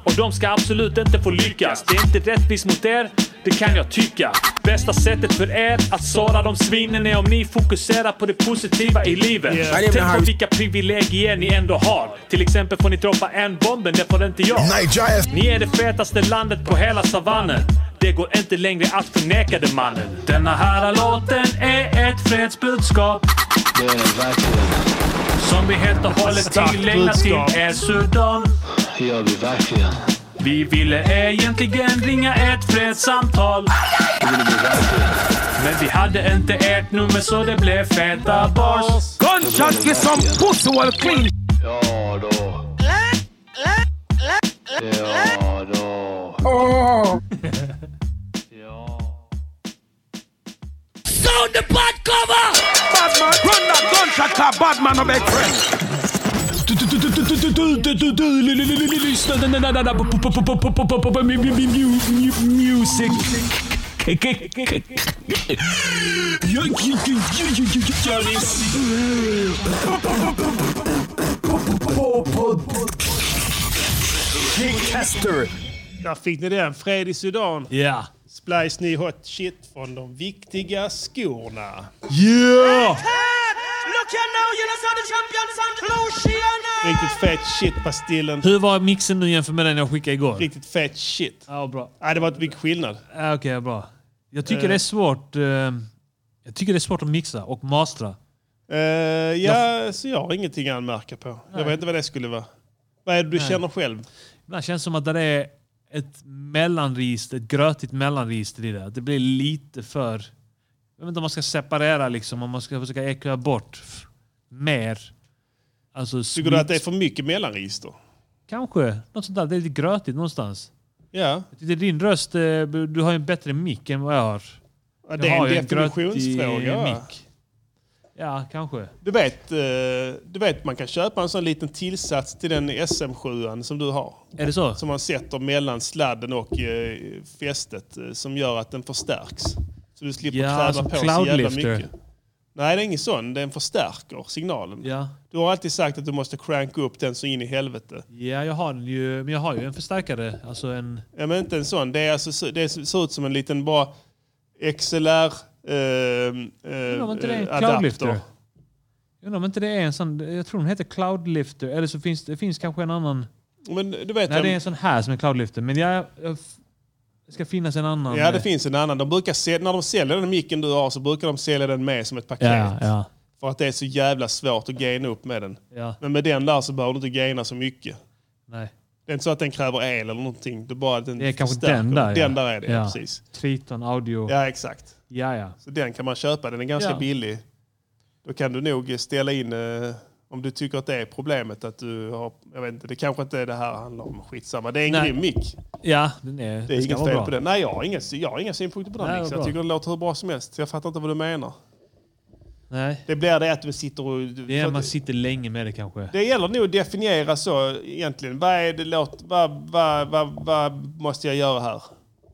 A: Och de ska absolut inte få lyckas. Det är inte rättvist mot er, det kan jag tycka. Bästa sättet för er att såra de svinen är om ni fokuserar på det positiva i livet.
H: Yeah.
A: Tänk på vilka privilegier ni ändå har. Till exempel får ni droppa en bomb, men det får inte jag. Ni är det fetaste landet på hela savannen. Det går inte längre att förneka det mannen. Denna här låten är ett fredsbudskap.
B: Det är den verkligen.
A: Som vi helt och hållet
B: Starkt
A: tillägnar
B: budskap.
A: till er Sudan.
B: Det gör vi verkligen.
A: Vi ville egentligen ringa ett fredssamtal. Men vi hade inte ert nummer så det blev feta bars.
N: Gunshot är som puss och clean
B: Ja då. Ja då.
H: Sound the bad cover! Badman, run that gunshot car, Badman har blivit friend.
A: Music.
D: Kingcaster. Där fick ni den. Fred i Sudan.
O: Ja.
D: Splice ny hot shit från de viktiga skorna.
O: Yeah!
H: Look here now, you know, so the champion Saint Luciana!
D: Riktigt fet shit, Bastillen.
O: Hur var mixen nu jämfört med den jag skickade igår?
D: Riktigt fet shit.
O: Ja, bra.
D: Nej, det var inte mycket skillnad.
O: Ja, Okej, bra. Jag tycker
D: Eh.
O: det är svårt. eh, Jag tycker det är svårt att mixa och mastra.
D: Eh, ja, så jag har ingenting att anmärka på. Jag
O: Nej.
D: vet inte vad det skulle vara. Vad är det du
O: Nej.
D: känner själv?
O: Ibland känns det som att det är
A: ett mellanregister, ett grötigt mellanregister i det. Att Det blir lite för... Jag vet inte om man ska separera liksom, om man ska försöka ekla bort f- mer. Alltså,
D: Tycker du att det är för mycket mellanregister?
A: Kanske. Något sånt där. Det är lite grötigt någonstans.
D: Ja.
A: Jag tyckte din röst, eh, du har ju en bättre mick än vad jag har.
D: Ja,
A: Jag
D: det är en
A: har ju grötig
D: definitionsfråga. ja.
A: mick. Ja, kanske.
D: Du vet, eh, du vet, man kan köpa en sån liten tillsats till den SM7 som du har.
A: Är det så?
D: Som man sätter mellan sladden och eh, fästet eh, som gör att den förstärks. Så du slipper
A: Ja,
D: kläva
A: som
D: på så jävla
A: cloudlifter.
D: mycket. Nej, det är ingen sån. Den förstärker signalen.
A: Ja.
D: Du har alltid sagt att du måste cranka upp den så in i helvete.
A: Ja, jag har den ju, men jag har ju en förstärkare. Alltså en...
D: Ja, men inte en sån. Det, är alltså, så- det ser ut som en liten bara XLR eh, eh,
A: Undrar om inte det är en
D: eh,
A: cloudlifter.
D: adapter.
A: Jag undrar om inte det är en sån, jag tror den heter cloudlifter, eller så finns det finns kanske en annan.
D: Men du vet,
A: Nej,
D: en-
A: det är en sån här som är cloudlifter, men jag, jag f- det ska finnas en annan.
D: Ja, det
A: eh,
D: finns en annan. De brukar sälja, när de säljer den micken du har så brukar de sälja den med som ett paket.
A: Ja, ja.
D: För att det är så jävla svårt att gaina upp med den.
A: Ja.
D: Men med den där så behöver du inte gaina så mycket.
A: Nej.
D: Det är inte så att den kräver el eller någonting. Det, är bara att den
A: Det är kanske
D: förstärker.
A: den där.
D: Den
A: ja.
D: där är det, ja.
A: ja.
D: precis.
A: Triton audio.
D: Ja, exakt.
A: Ja, ja.
D: Så den kan man köpa. Den är ganska
A: Ja.
D: billig. Då kan du nog ställa in, eh, om du tycker att det är problemet, att du har, jag vet inte, det kanske inte är det här handlar om. Skitsamma, det är en
A: Nej.
D: grym mick.
A: Ja, den är,
D: Det är
A: den ska
D: inget
A: vara
D: fel
A: bra.
D: på den. Nej, jag har inga, jag har inga synpunkter på den.
A: Nej, vad
D: mixen. jag
A: bra.
D: tycker den låter hur bra som helst. Jag fattar inte vad du menar.
A: Nej.
D: Det blir det att du sitter och... Du,
A: Det är,
D: för-
A: man sitter länge med det kanske.
D: det gäller nog att definiera så egentligen. Vad, är det låt, vad, vad, vad, vad måste jag göra här?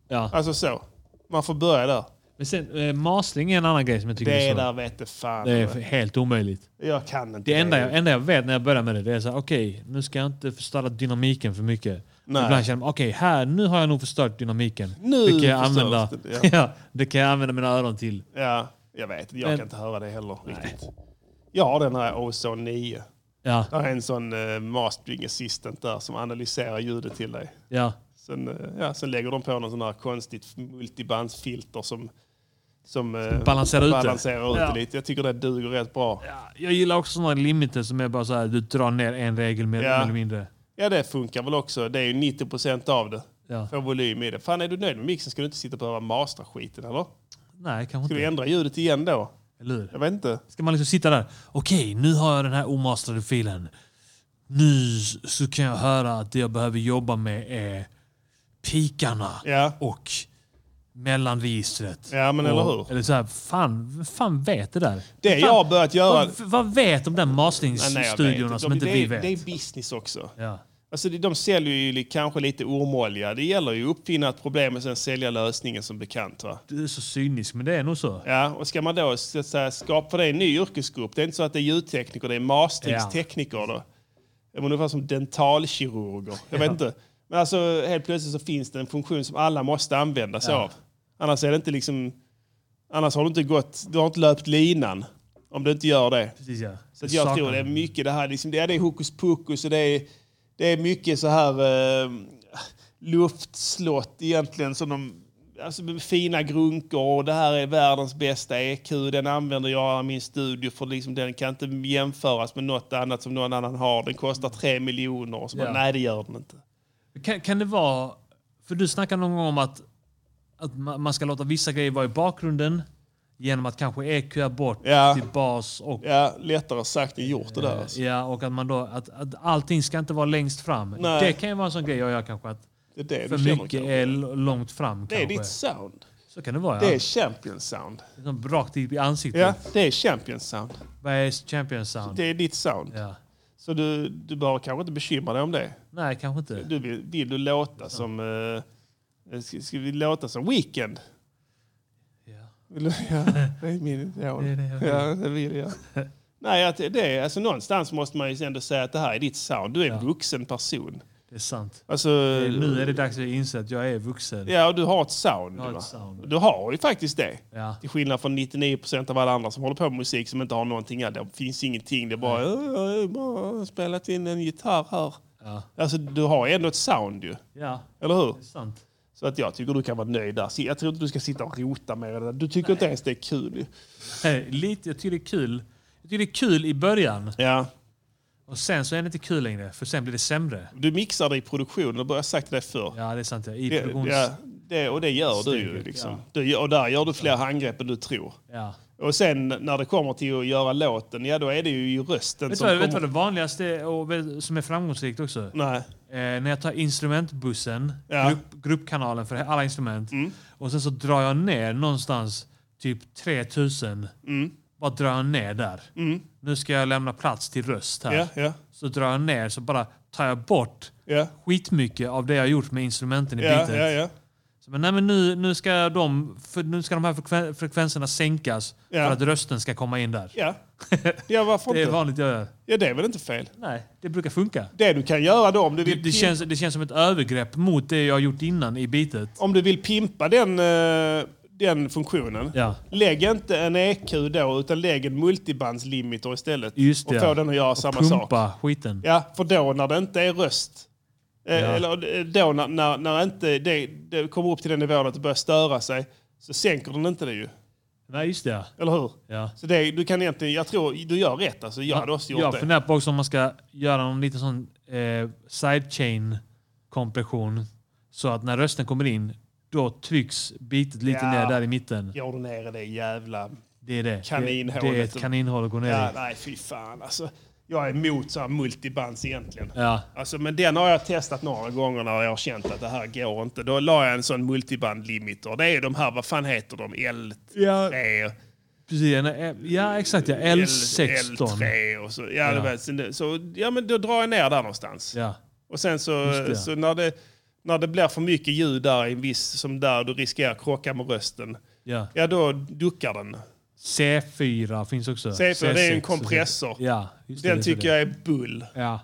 A: Ja.
D: Alltså så. Man får börja där.
A: Men sen, eh, mastering är en annan grej som jag tycker
D: Det
A: är så.
D: där vet du fan.
A: Det är f- helt omöjligt.
D: Jag kan inte
A: Det enda jag, enda jag vet när jag börjar med det, det är så här, okej, nu ska jag inte förstöra dynamiken för mycket.
D: Nej.
A: Ibland känner man, okej, här, nu har jag nog förstört dynamiken.
D: Nu
A: det kan jag
D: förstörs
A: använda.
D: det,
A: (laughs) ja.
D: ja.
A: det kan jag använda mina öron till.
D: Ja, jag vet. Jag
A: Men-
D: kan inte höra det heller riktigt. Jag har den här Ozone 9.
A: Ja.
D: Där är en sån eh, mastering assistant där som analyserar ljudet till dig.
A: Ja.
D: Sen, eh, ja, sen lägger de på någon sån här konstigt multibandsfilter som, som eh,
A: balanserar ut det.
D: balanserar ut
A: Ja.
D: det lite. Jag tycker det duger rätt bra.
A: Jag gillar också sådana limiter som är bara så här, du drar ner en regel mer
D: Ja.
A: eller mindre.
D: Ja, det funkar väl också. Det är ju 90 procent av det.
A: Ja.
D: Får volym i det. Fan, är du nöjd med mixen ska du inte sitta och behöva mastra skiten, eller?
A: Nej, kanske
D: Ska
A: inte.
D: vi ändra ljudet igen då?
A: Eller hur?
D: Jag vet inte.
A: Ska man liksom sitta där, okej, nu har jag den här omastrade filen. Nu så kan jag höra att det jag behöver jobba med är pikarna och mellanregistret.
D: Ja, men
A: och,
D: eller hur?
A: Eller så här, fan, vem fan vet det där?
D: Det
A: fan,
D: jag har börjat göra-
A: Vad, vad vet de där
D: Nej, nej, jag
A: masteringsstudiorna
D: vet.
A: som
D: De-
A: inte
D: det,
A: vi
D: är-
A: vet?
D: Det är business också.
A: Ja.
D: Alltså, de- de säljer ju li- kanske lite ormolja. Det gäller ju att uppfinna ett problem och sen sälja lösningen som bekant. Va?
A: Du är så cynisk, men det är nog så.
D: Ja, och ska man då så att säga, skapa för det en ny yrkesgrupp? Det är inte så att det är ljudtekniker, det är masteringstekniker. då. Det är Ungefär som dentalkirurger. Jag vet
A: Ja.
D: inte. Men alltså, helt plötsligt så finns det en funktion som alla måste använda sig
A: Ja.
D: av. Annars är det inte liksom... Annars har du inte gått... Du har inte löpt linan. Om du inte gör det.
A: Precis, ja.
D: Så att jag
A: Saknar
D: tror det är
A: den.
D: mycket det här, liksom, det, är- det är hokus pokus och det är, det är mycket så här eh, luftslott egentligen. Som de, alltså, med fina grunkor och det här är världens bästa EQ. Den använder jag i min studio för liksom, den kan inte jämföras med något annat som någon annan har. Den kostar tre miljoner. Och så bara,
A: Ja.
D: Nej, det gör den inte.
A: Kan, kan det vara... För du snackade någon gång om att, att ma- man ska låta vissa grejer vara i bakgrunden genom att kanske EQa bort till bas och...
D: Ja, lättare sagt än gjort det där. Alltså.
A: Ja, och att, man då, att, att allting ska inte vara längst fram.
D: Nej.
A: Det kan ju vara en sån grej jag gör kanske. Att
D: Det är det du
A: för
D: känner
A: mycket
D: kanske.
A: är l- långt fram
D: Det är
A: kanske.
D: ditt sound.
A: Så kan det vara.
D: Det
A: ja.
D: är champion sound.
A: Liksom rakt i i ansiktet.
D: Ja, det är champion sound.
A: Vad är champion sound?
D: Det är ditt sound.
A: Ja.
D: Så du, du behöver kanske inte bekymra dig om det.
A: Nej, kanske inte.
D: Du vill, vill du låta som... eh, ska, ska vi låta som Weekend? Ja. Vill du, ja det är min idol.
A: Det är det jag vill.
D: ja, det vill jag. Nej, att det är, alltså, någonstans måste man ju ändå säga att det här är ditt sound. Du är en vuxen person.
A: Det är sant.
D: Alltså,
A: Det är- nu är det dags att inse att jag är vuxen.
D: Ja, och du har ett sound.
A: Jag har ett
D: va?
A: sound.
D: Du har ju faktiskt det.
A: Ja.
D: Till skillnad från 99% av alla andra som håller på med musik som inte har någonting. alls. Det finns ingenting. Det är bara... "Åh, jag har bara spelat in en gitarr här.
A: Ja.
D: Alltså, du har ändå ett sound ju.
A: Ja.
D: Eller hur?
A: sant.
D: Så att jag tycker du kan vara nöjd där. Jag tror inte du ska sitta och rota med det där. Du tycker inte ens det är kul. ju.
A: Eh, Nej, lite, jag tycker det är kul. Jag tycker det är kul i början.
D: Ja.
A: Och sen så är det inte kul längre, för sen blir det sämre.
D: Du mixar det i produktionen, det har jag sagt till dig förr.
A: Ja, det är sant. I
D: det,
A: produktions-
D: ja, det, och det gör du ju.
A: Steget,
D: Liksom.
A: ja.
D: Du gör- och där gör du fler handgrepp än du tror.
A: Ja.
D: Och sen när det kommer till att göra låten, ja då är det ju i rösten
A: Vet du
D: som
A: vad, vet du
D: kommer- Mm.
A: vad det vanligaste är och vet- som är framgångsrikt också?
D: Nej.
A: Eh, när jag tar instrumentbussen, grupp, gruppkanalen för alla instrument,
D: Mm.
A: och sen så drar jag ner någonstans typ 3000.
D: Mm.
A: Bara drar jag ner där. Nu ska jag lämna plats till röst här.
D: Ja, ja.
A: Så drar jag ner så bara tar jag bort
D: Ja.
A: skitmycket av det jag gjort med instrumenten i
D: Ja,
A: beatet.
D: ja, ja.
A: Så, men nej, men nu, nu, ska de, för, nu ska de här frekven- frekvenserna sänkas
D: Ja.
A: för att rösten ska komma in där.
D: Ja. ja,
A: (laughs)
D: varför
A: Det är
D: inte?
A: vanligt jag gör.
D: Ja, det är väl inte fel?
A: Nej, det brukar funka.
D: Det du kan göra då om du
A: Det,
D: vill...
A: det, känns, det känns som ett övergrepp mot det jag har gjort innan i bitet.
D: Om du vill pimpa den, eh, den funktionen,
A: Ja.
D: lägg inte en EQ då, utan lägg en multibandslimiter istället.
A: Just
D: och
A: det.
D: få den att göra
A: Och
D: samma
A: pumpa
D: sak.
A: skiten.
D: Ja, för då när det inte är röst, eh,
A: Ja.
D: eller eh, då när, när, när inte det, det kommer upp till den nivån att det börjar störa sig, så sänker den inte det ju.
A: Nej, just det.
D: Eller hur?
A: Ja.
D: Så det, du kan egentligen, jag tror du gör rätt alltså. Jag hade också gjort
A: Jag
D: det.
A: funderar på också om man ska göra någon liten sån eh, sidechain kompression så att när rösten kommer in då trycks bitet lite
D: Ja.
A: ner där i mitten.
D: Går du ner i det jävla
A: Det är det.
D: kaninhålet.
A: Det, det är ett kaninhål att gå ner
D: ja,
A: i.
D: Nej, fy fan alltså. Jag är emot så här multibands egentligen.
A: Ja.
D: Alltså, men den har jag testat några gånger när jag har känt att det här går inte. Då la jag en sån multiband limiter. Det är ju de här, vad fan heter de? L3
A: Ja, precis. Nej, ja exakt. Ja. L16.
D: L3 och så. Ja,
A: Ja.
D: Det var, sen det- så, ja, men då drar jag ner där någonstans.
A: Ja.
D: Och sen
A: Just
D: så,
A: det.
D: så när, det, när det blir för mycket ljud där i en viss, som där du riskerar att krocka med rösten.
A: Ja.
D: Ja, då duckar den.
A: C4 finns också.
D: C4, det är en
A: C6.
D: kompressor.
A: Ja, just det,
D: den
A: det är för
D: tycker
A: det.
D: jag är bull.
A: Ja.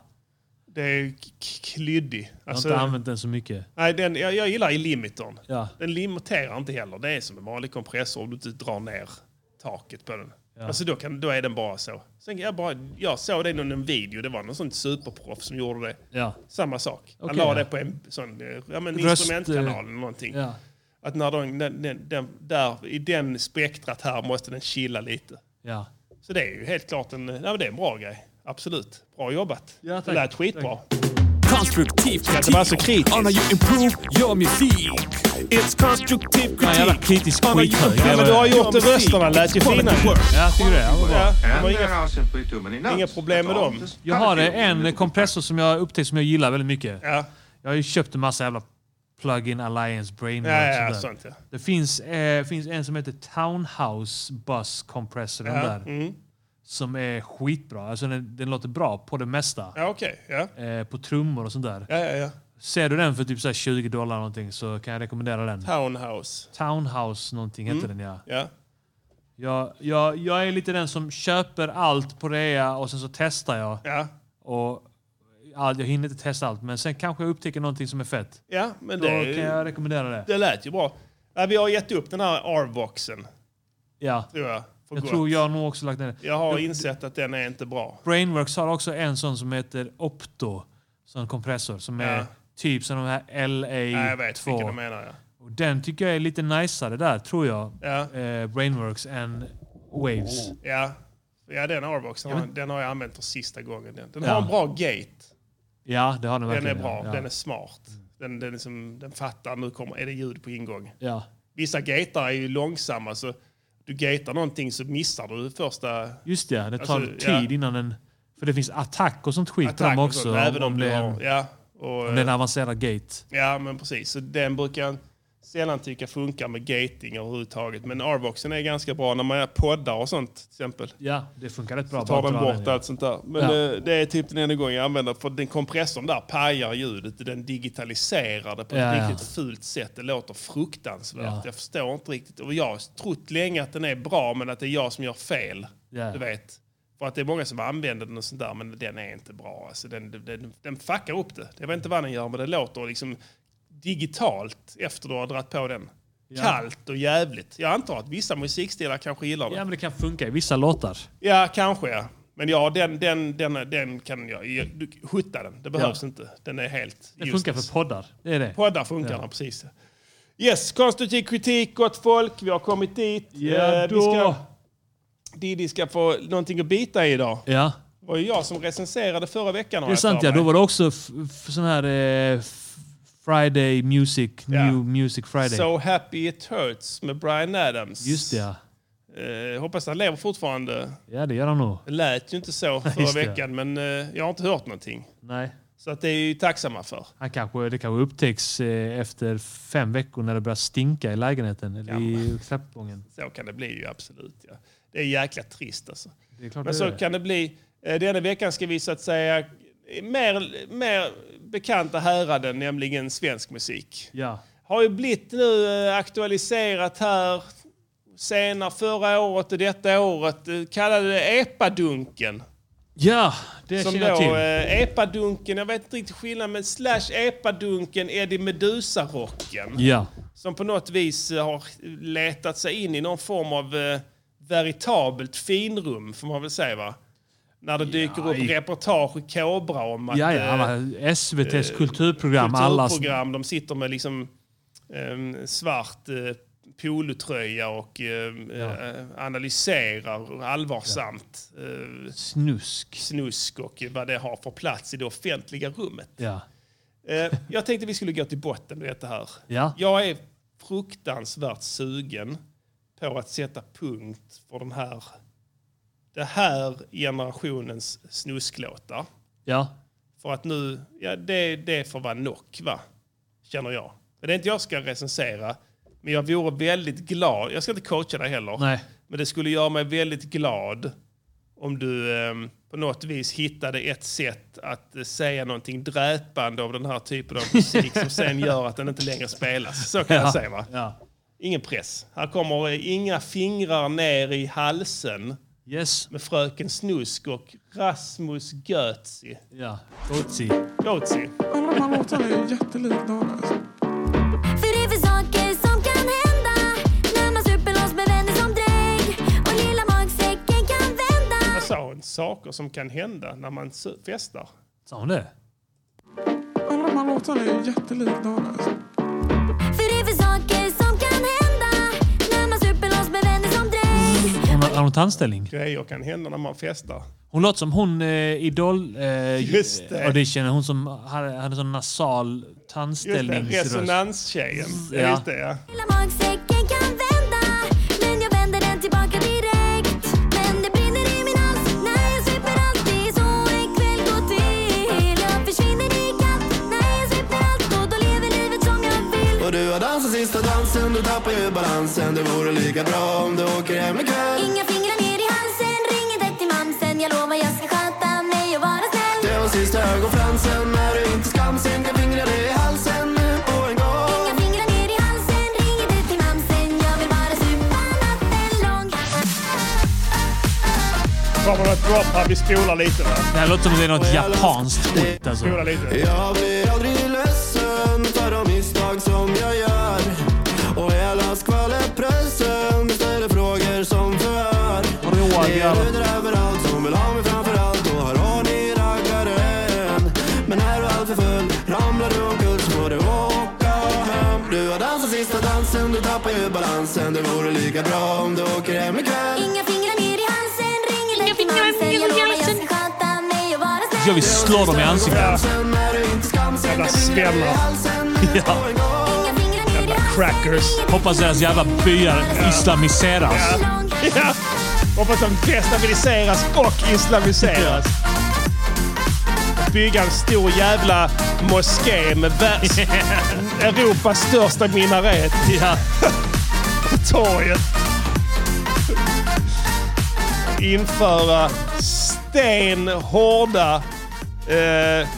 D: Det är k- k- klyddig.
A: Jag har
D: Alltså-
A: inte använt den så mycket.
D: Nej, den, jag, jag gillar i limitern.
A: Ja.
D: Den limiterar inte heller. Det är som en vanlig kompressor om du inte drar ner taket på den.
A: Ja.
D: Alltså då, kan, då är den bara så. Sen jag, bara, jag såg det i någon video. Det var någon sån superproff som gjorde det.
A: Ja.
D: Samma sak. Han
A: Okej,
D: la
A: ja.
D: det på en sån, eh, ja, men
A: Röst,
D: instrumentkanal
A: eh,
D: eller någonting.
A: ja.
D: Att när den, den, den, den, där, i den spektrat här måste den chilla lite.
A: Ja.
D: Så det är ju helt klart en, nej, men det är en bra grej. Absolut. Bra jobbat.
A: Ja,
D: det
A: tack.
D: lät skitbra.
G: Konstruktiv
D: Ska inte vara så kritisk.
G: On how you improve your music. It's constructive
A: Fan, jävla kritisk skithög.
D: Ja, men du har gjort det. Rösterna lät ju fina.
A: Ja, jag tycker det. Ja, vad bra.
D: Ja, det var inga, inga problem med dem.
A: Jag har en kompressor som jag har upptäckt som jag gillar väldigt mycket. Jag har ju köpt en massa jävla Plug-in Alliance brain
D: Ja, ja,
A: och
D: sånt, ja.
A: Det finns, eh, finns en som heter Townhouse Bus Compressor. Den
D: Ja, mm.
A: där, Som är skitbra. Alltså den, den låter bra på det mesta.
D: Ja, okej. Ja.
A: Eh, på trummor och sånt där.
D: Ja, ja, ja.
A: Ser du den för typ så här 20 dollar någonting så kan jag rekommendera den.
D: Townhouse.
A: Townhouse någonting heter
D: Mm.
A: den ja.
D: Ja.
A: Jag, jag, jag är lite den som köper allt på rea och sen så testar jag. Och all, jag hinner inte testa allt men sen kanske jag upptäcker någonting som är fett.
D: Ja, men
A: Då
D: det,
A: kan jag rekommendera det.
D: det lät ju bra. Ja, vi har gett upp den här R-boxen.
A: Ja.
D: Tror jag. För
A: Jag
D: gott.
A: tror jag nog också lagt ner
D: Jag har
A: Jag-
D: insett att den är inte bra.
A: Brainworks har också en sån som heter Opto. Som kompressor som är
D: Ja.
A: typ som de här LA2.
D: Ja, jag vet vilken du menar, ja.
A: Och den tycker jag är lite niceare där tror jag. Eh, Brainworks än Waves.
D: Ja, ja den R-boxen
A: Ja,
D: har-
A: men-
D: den har jag använt för sista gången. Den, den
A: Ja.
D: har en bra gate.
A: Ja, det har den
D: Den är
A: verkligen.
D: bra,
A: ja.
D: den är smart. Den, den, är som, den fattar, nu kommer, är det ljud på ingång.
A: Ja.
D: Vissa gatar är ju långsamma, så du gatar någonting så missar du första...
A: Just det, det tar
D: Alltså, ja.
A: tid innan den... För det finns attack och sånt skit på
D: Attack
A: dem
D: och
A: också.
D: sånt, även om
A: det
D: du
A: är
D: har-
A: en,
D: ja, och,
A: om det är en
D: eh,
A: avancerad gate.
D: Ja, men precis. Så den brukar jag sällan tycka funkar med gating överhuvudtaget. Men R-boxen är ganska bra när man poddar och sånt till exempel.
A: Ja, det funkar rätt bra.
D: Så tar
A: bara
D: den
A: dra
D: bort
A: ja.
D: allt sånt där. Men
A: Ja.
D: eh, det är typ den enda gången jag använder för den kompressorn där pajar ljudet. Den digitaliserar det på
A: Ja,
D: ett
A: ja.
D: riktigt fult sätt. Det låter fruktansvärt.
A: Ja.
D: Jag förstår inte riktigt. Och jag har trott länge att den är bra men att det är jag som gör fel.
A: Ja.
D: Du vet. För att det är många som använder den och sånt där men den är inte bra. Alltså den, den, den fuckar upp det. Jag vet inte vad den gör men det låter liksom digitalt efter du har dragit på den.
A: Ja.
D: Kallt och jävligt. Jag antar att vissa musikstilar kanske gillar det.
A: ja, men det kan funka i vissa låtar.
D: Ja, kanske ja. Men ja, den, den, den, den kan jag... jag- Du, hutta den. Det behövs
A: Ja.
D: inte. Den är helt...
A: Det funkar för poddar. Det är det.
D: Poddar funkar
A: Ja.
D: den, precis. Yes, konstruktiv kritik, gott folk. Vi har kommit dit.
A: Ja,
D: Eh, vi
A: då.
D: ska, Didi ska få någonting att bita i idag.
A: Ja.
D: Det var ju jag som recenserade förra veckan.
A: Det
D: har
A: är
D: jag
A: sant
D: för
A: ja, då
D: mig.
A: var det också f- f- sån här eh, f- Friday Music, New Music Friday.
D: So happy it hurts med Brian Adams.
A: Just det ja.
D: Eh, hoppas han lever fortfarande.
A: Ja, det gör han nog.
D: Det lät ju
A: (laughs)
D: inte så
A: Nej,
D: förra
A: just det.
D: veckan, men eh, jag har inte hört någonting.
A: Nej.
D: Så att det är ju tacksamma för.
A: Han kanske, det kanske upptäcks eh, efter fem veckor när det börjar stinka i lägenheten eller i trappgången.
D: Så kan det bli ju absolut. Ja. Det är jäkla trist alltså.
A: klart
D: Men
A: det
D: så
A: är det.
D: kan det bli. Eh, Denna veckan ska vi så att säga eh, mer, mer bekanta häraden, nämligen svensk musik.
A: Ja.
D: Har ju blivit nu eh, aktualiserat här senare förra året och detta året. eh, Kallade det epadunken.
A: Ja, det
D: Som
A: känner jag
D: då,
A: till.
D: eh, epadunken, jag vet inte riktigt skillnaden, men slash epadunken, Eddie Meduza-rocken.
A: Ja.
D: Som på något vis eh, har letat sig in i någon form av eh, veritabelt finrum, får man väl säga va? När det dyker upp
A: i-
D: reportage i Kobra om att...
A: Ja, ja,
D: eh,
A: alla SVTs
D: eh,
A: kulturprogram, allas-
D: Kulturprogram, de sitter med liksom eh, svart eh, polotröja och eh, eh, analyserar allvarsamt. eh,
A: Snusk.
D: Snusk och vad det har för plats i det offentliga rummet.
A: Ja.
D: Eh, jag tänkte vi skulle gå till botten med detta här.
A: Ja.
D: Jag är fruktansvärt sugen på att sätta punkt för den här, den här generationens snusklåtar.
A: Ja.
D: För att nu, ja, det, det får vara nog, va? känner jag. Men det är inte jag ska recensera, men jag vore väldigt glad. Jag ska inte coacha dig heller.
A: Nej.
D: Men det skulle göra mig väldigt glad om du ehm, på något vis hittade ett sätt att eh, säga någonting dräpande av den här typen av musik som sen gör att den inte längre spelas. Så kan
A: Ja,
D: jag säga va? Ingen press. Här kommer eh, inga fingrar ner i halsen med Fröken Snusk och Rasmus Götzi.
A: Ja, Götzi.
D: Götzi.
P: Men de här låtarna är ju jättelika varandra. alltså.
Q: För det är för saker som kan hända när man super loss med vänner som dräng och lilla magsäcken kan vända.
D: Jag sa hon saker som kan hända när man su- festar.
A: Sa hon det?
P: Men de här låtarna är ju jättelika varandra. alltså.
Q: För det är för saker som kan hända när man super loss med vänner som dräng.
A: Hon har, har hon tandställning?
D: Grejer kan hända när man festar.
A: Hon låter som hon eh, Idol... Eh,
D: Just det.
A: Audition. Hon som hade, hade sån nasal
D: Just det,
A: tandställningsröst.
D: resonanstjejen. Ja.
A: Ja.
D: Just det, ja.
Q: Lilla magsäcken kan vända men jag vänder den tillbaka direkt. Men det brinner i min hals när jag super allt. Det är så en kväll går till. Jag försvinner i kapp när jag super allt och då lever livet som jag vill.
R: Och du har dansat sista dansen, du tappar ju balansen Det vore lika bra om du åker hem ikväll
Q: Inga fingrar ner i halsen, ring inte till mamsen Jag lovar jag ska sköta mig och vara snäll
R: Det var sista ögonfransen när du inte skamsen kan fingra dig i halsen nu på en gång
Q: Inga fingrar ner i halsen, ring inte till mamsen Jag vill bara supa natten lång
D: Kommer något drop här? Vi spolar lite va?
A: Det här låter som det är något japanskt skit alltså.
R: Jag blir aldrig ledsen för de misstag som jag gör Och hela skvallerpressen ställer frågor som förhör Det är brudar överallt som vill ha mig framförallt Och här har ni raggaren Men är du alltför full, ramlar du omkull så får du åka hem Du har dansat sista dansen, du tappar ju balansen Det vore lika bra om du åker hem ikväll
Q: Inga fingrar ner i halsen, ring inte till mamsen Jag lovar jag ska sköta mig och vara snäll
A: Jag vill slå dem i ansiktet.
D: Jävla svennar.
A: Ja.
D: Jävla crackers.
A: Hoppas deras jävla byar islamiseras.
D: Ja. Hoppas de destabiliseras och islamiseras. Bygga en stor jävla moské med världs... Europas största minaret.
A: Ja.
D: På torget. Införa stenhårda eh,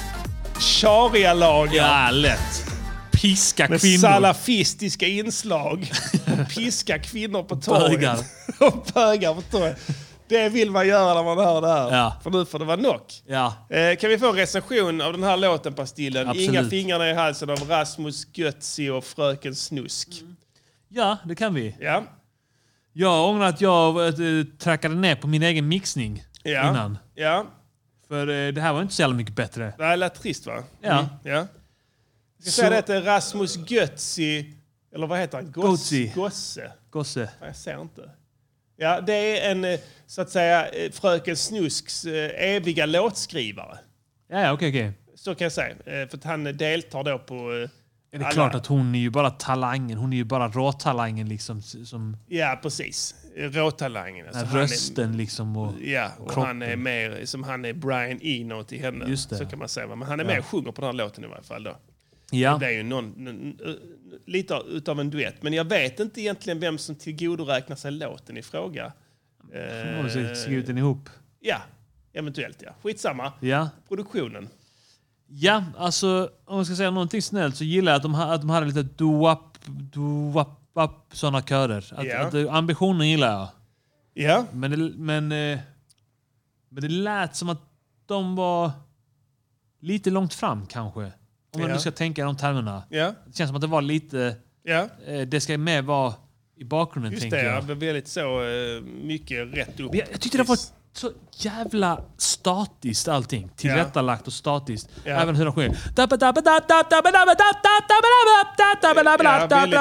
D: sharia-lagar.
A: Ja, lätt. Piska
D: Med
A: kvinnor.
D: salafistiska inslag. Piska kvinnor på torget.
A: Bögar.
D: (laughs) och bögar på torget. Det vill man göra när man hör det här.
A: Ja.
D: För nu får det vara nog.
A: Ja.
D: Eh, kan vi få en recension av den här låten, Pastillen?
A: Absolut.
D: Inga fingrar i halsen av Rasmus Götzi och Fröken Snusk.
A: Ja, det kan vi.
D: Ja.
A: Jag ångrar att jag eh, trackade ner på min egen mixning
D: Ja.
A: innan.
D: Ja.
A: För eh, det här var inte så jävla mycket bättre.
D: Det här lät trist va?
A: Ja.
D: Mm. ja. Jag ska
A: Så-
D: säga det till Rasmus Götzi, eller vad heter han? Goss-
A: Götzi.
D: Gosse.
A: Gosse.
D: Jag ser inte. Ja, det är en, eh, så att säga, eh, Fröken Snusks eh, eviga låtskrivare.
A: Ja, ja, okej, okej.
D: Så kan jag säga. Eh, För att han eh, deltar då på... eh,
A: Är det
D: alla-
A: klart att hon är ju bara talangen. Hon är ju bara råtalangen liksom. s- Som
D: Ja, precis. Eh, Råtalangen.
A: den här
D: han är-
A: rösten liksom. Och,
D: Ja, och
A: kroppen.
D: han är mer som han är Brian Eno till henne.
A: Just det.
D: Så kan man säga. va? Men han är
A: Ja.
D: med och sjunger på den här låten i varje fall. Då.
A: Ja.
D: Det blir ju någon, n- n- eh, lite av- utav en duett. Men jag vet inte egentligen vem som tillgodoräknar sig låten i fråga.
A: Hon håller sig-
D: Eh,
A: skrivit den ihop.
D: Ja, eventuellt ja. Skitsamma.
A: Ja.
D: Produktionen.
A: Ja, alltså om jag ska säga någonting snällt så gillar jag att de, ha- att de hade lite doap, doap, up sådana körer. Att,
D: Ja.
A: att, eh, ambitionen gillar jag.
D: Ja.
A: Men det, men, eh, men det lät som att de var lite långt fram kanske. Om man
D: Ja.
A: nu ska tänka i de termerna.
D: Ja.
A: Det känns som att det var lite...
D: Ja.
A: eh, Det ska med vara i bakgrunden
D: Just
A: tänker
D: det, ja.
A: jag.
D: Det var väldigt så eh, mycket rätt upp.
A: Men Jag, jag tyckte det var så jävla statiskt allting. Tillrättalagt och statiskt.
D: Ja.
A: Även hur de sjunger.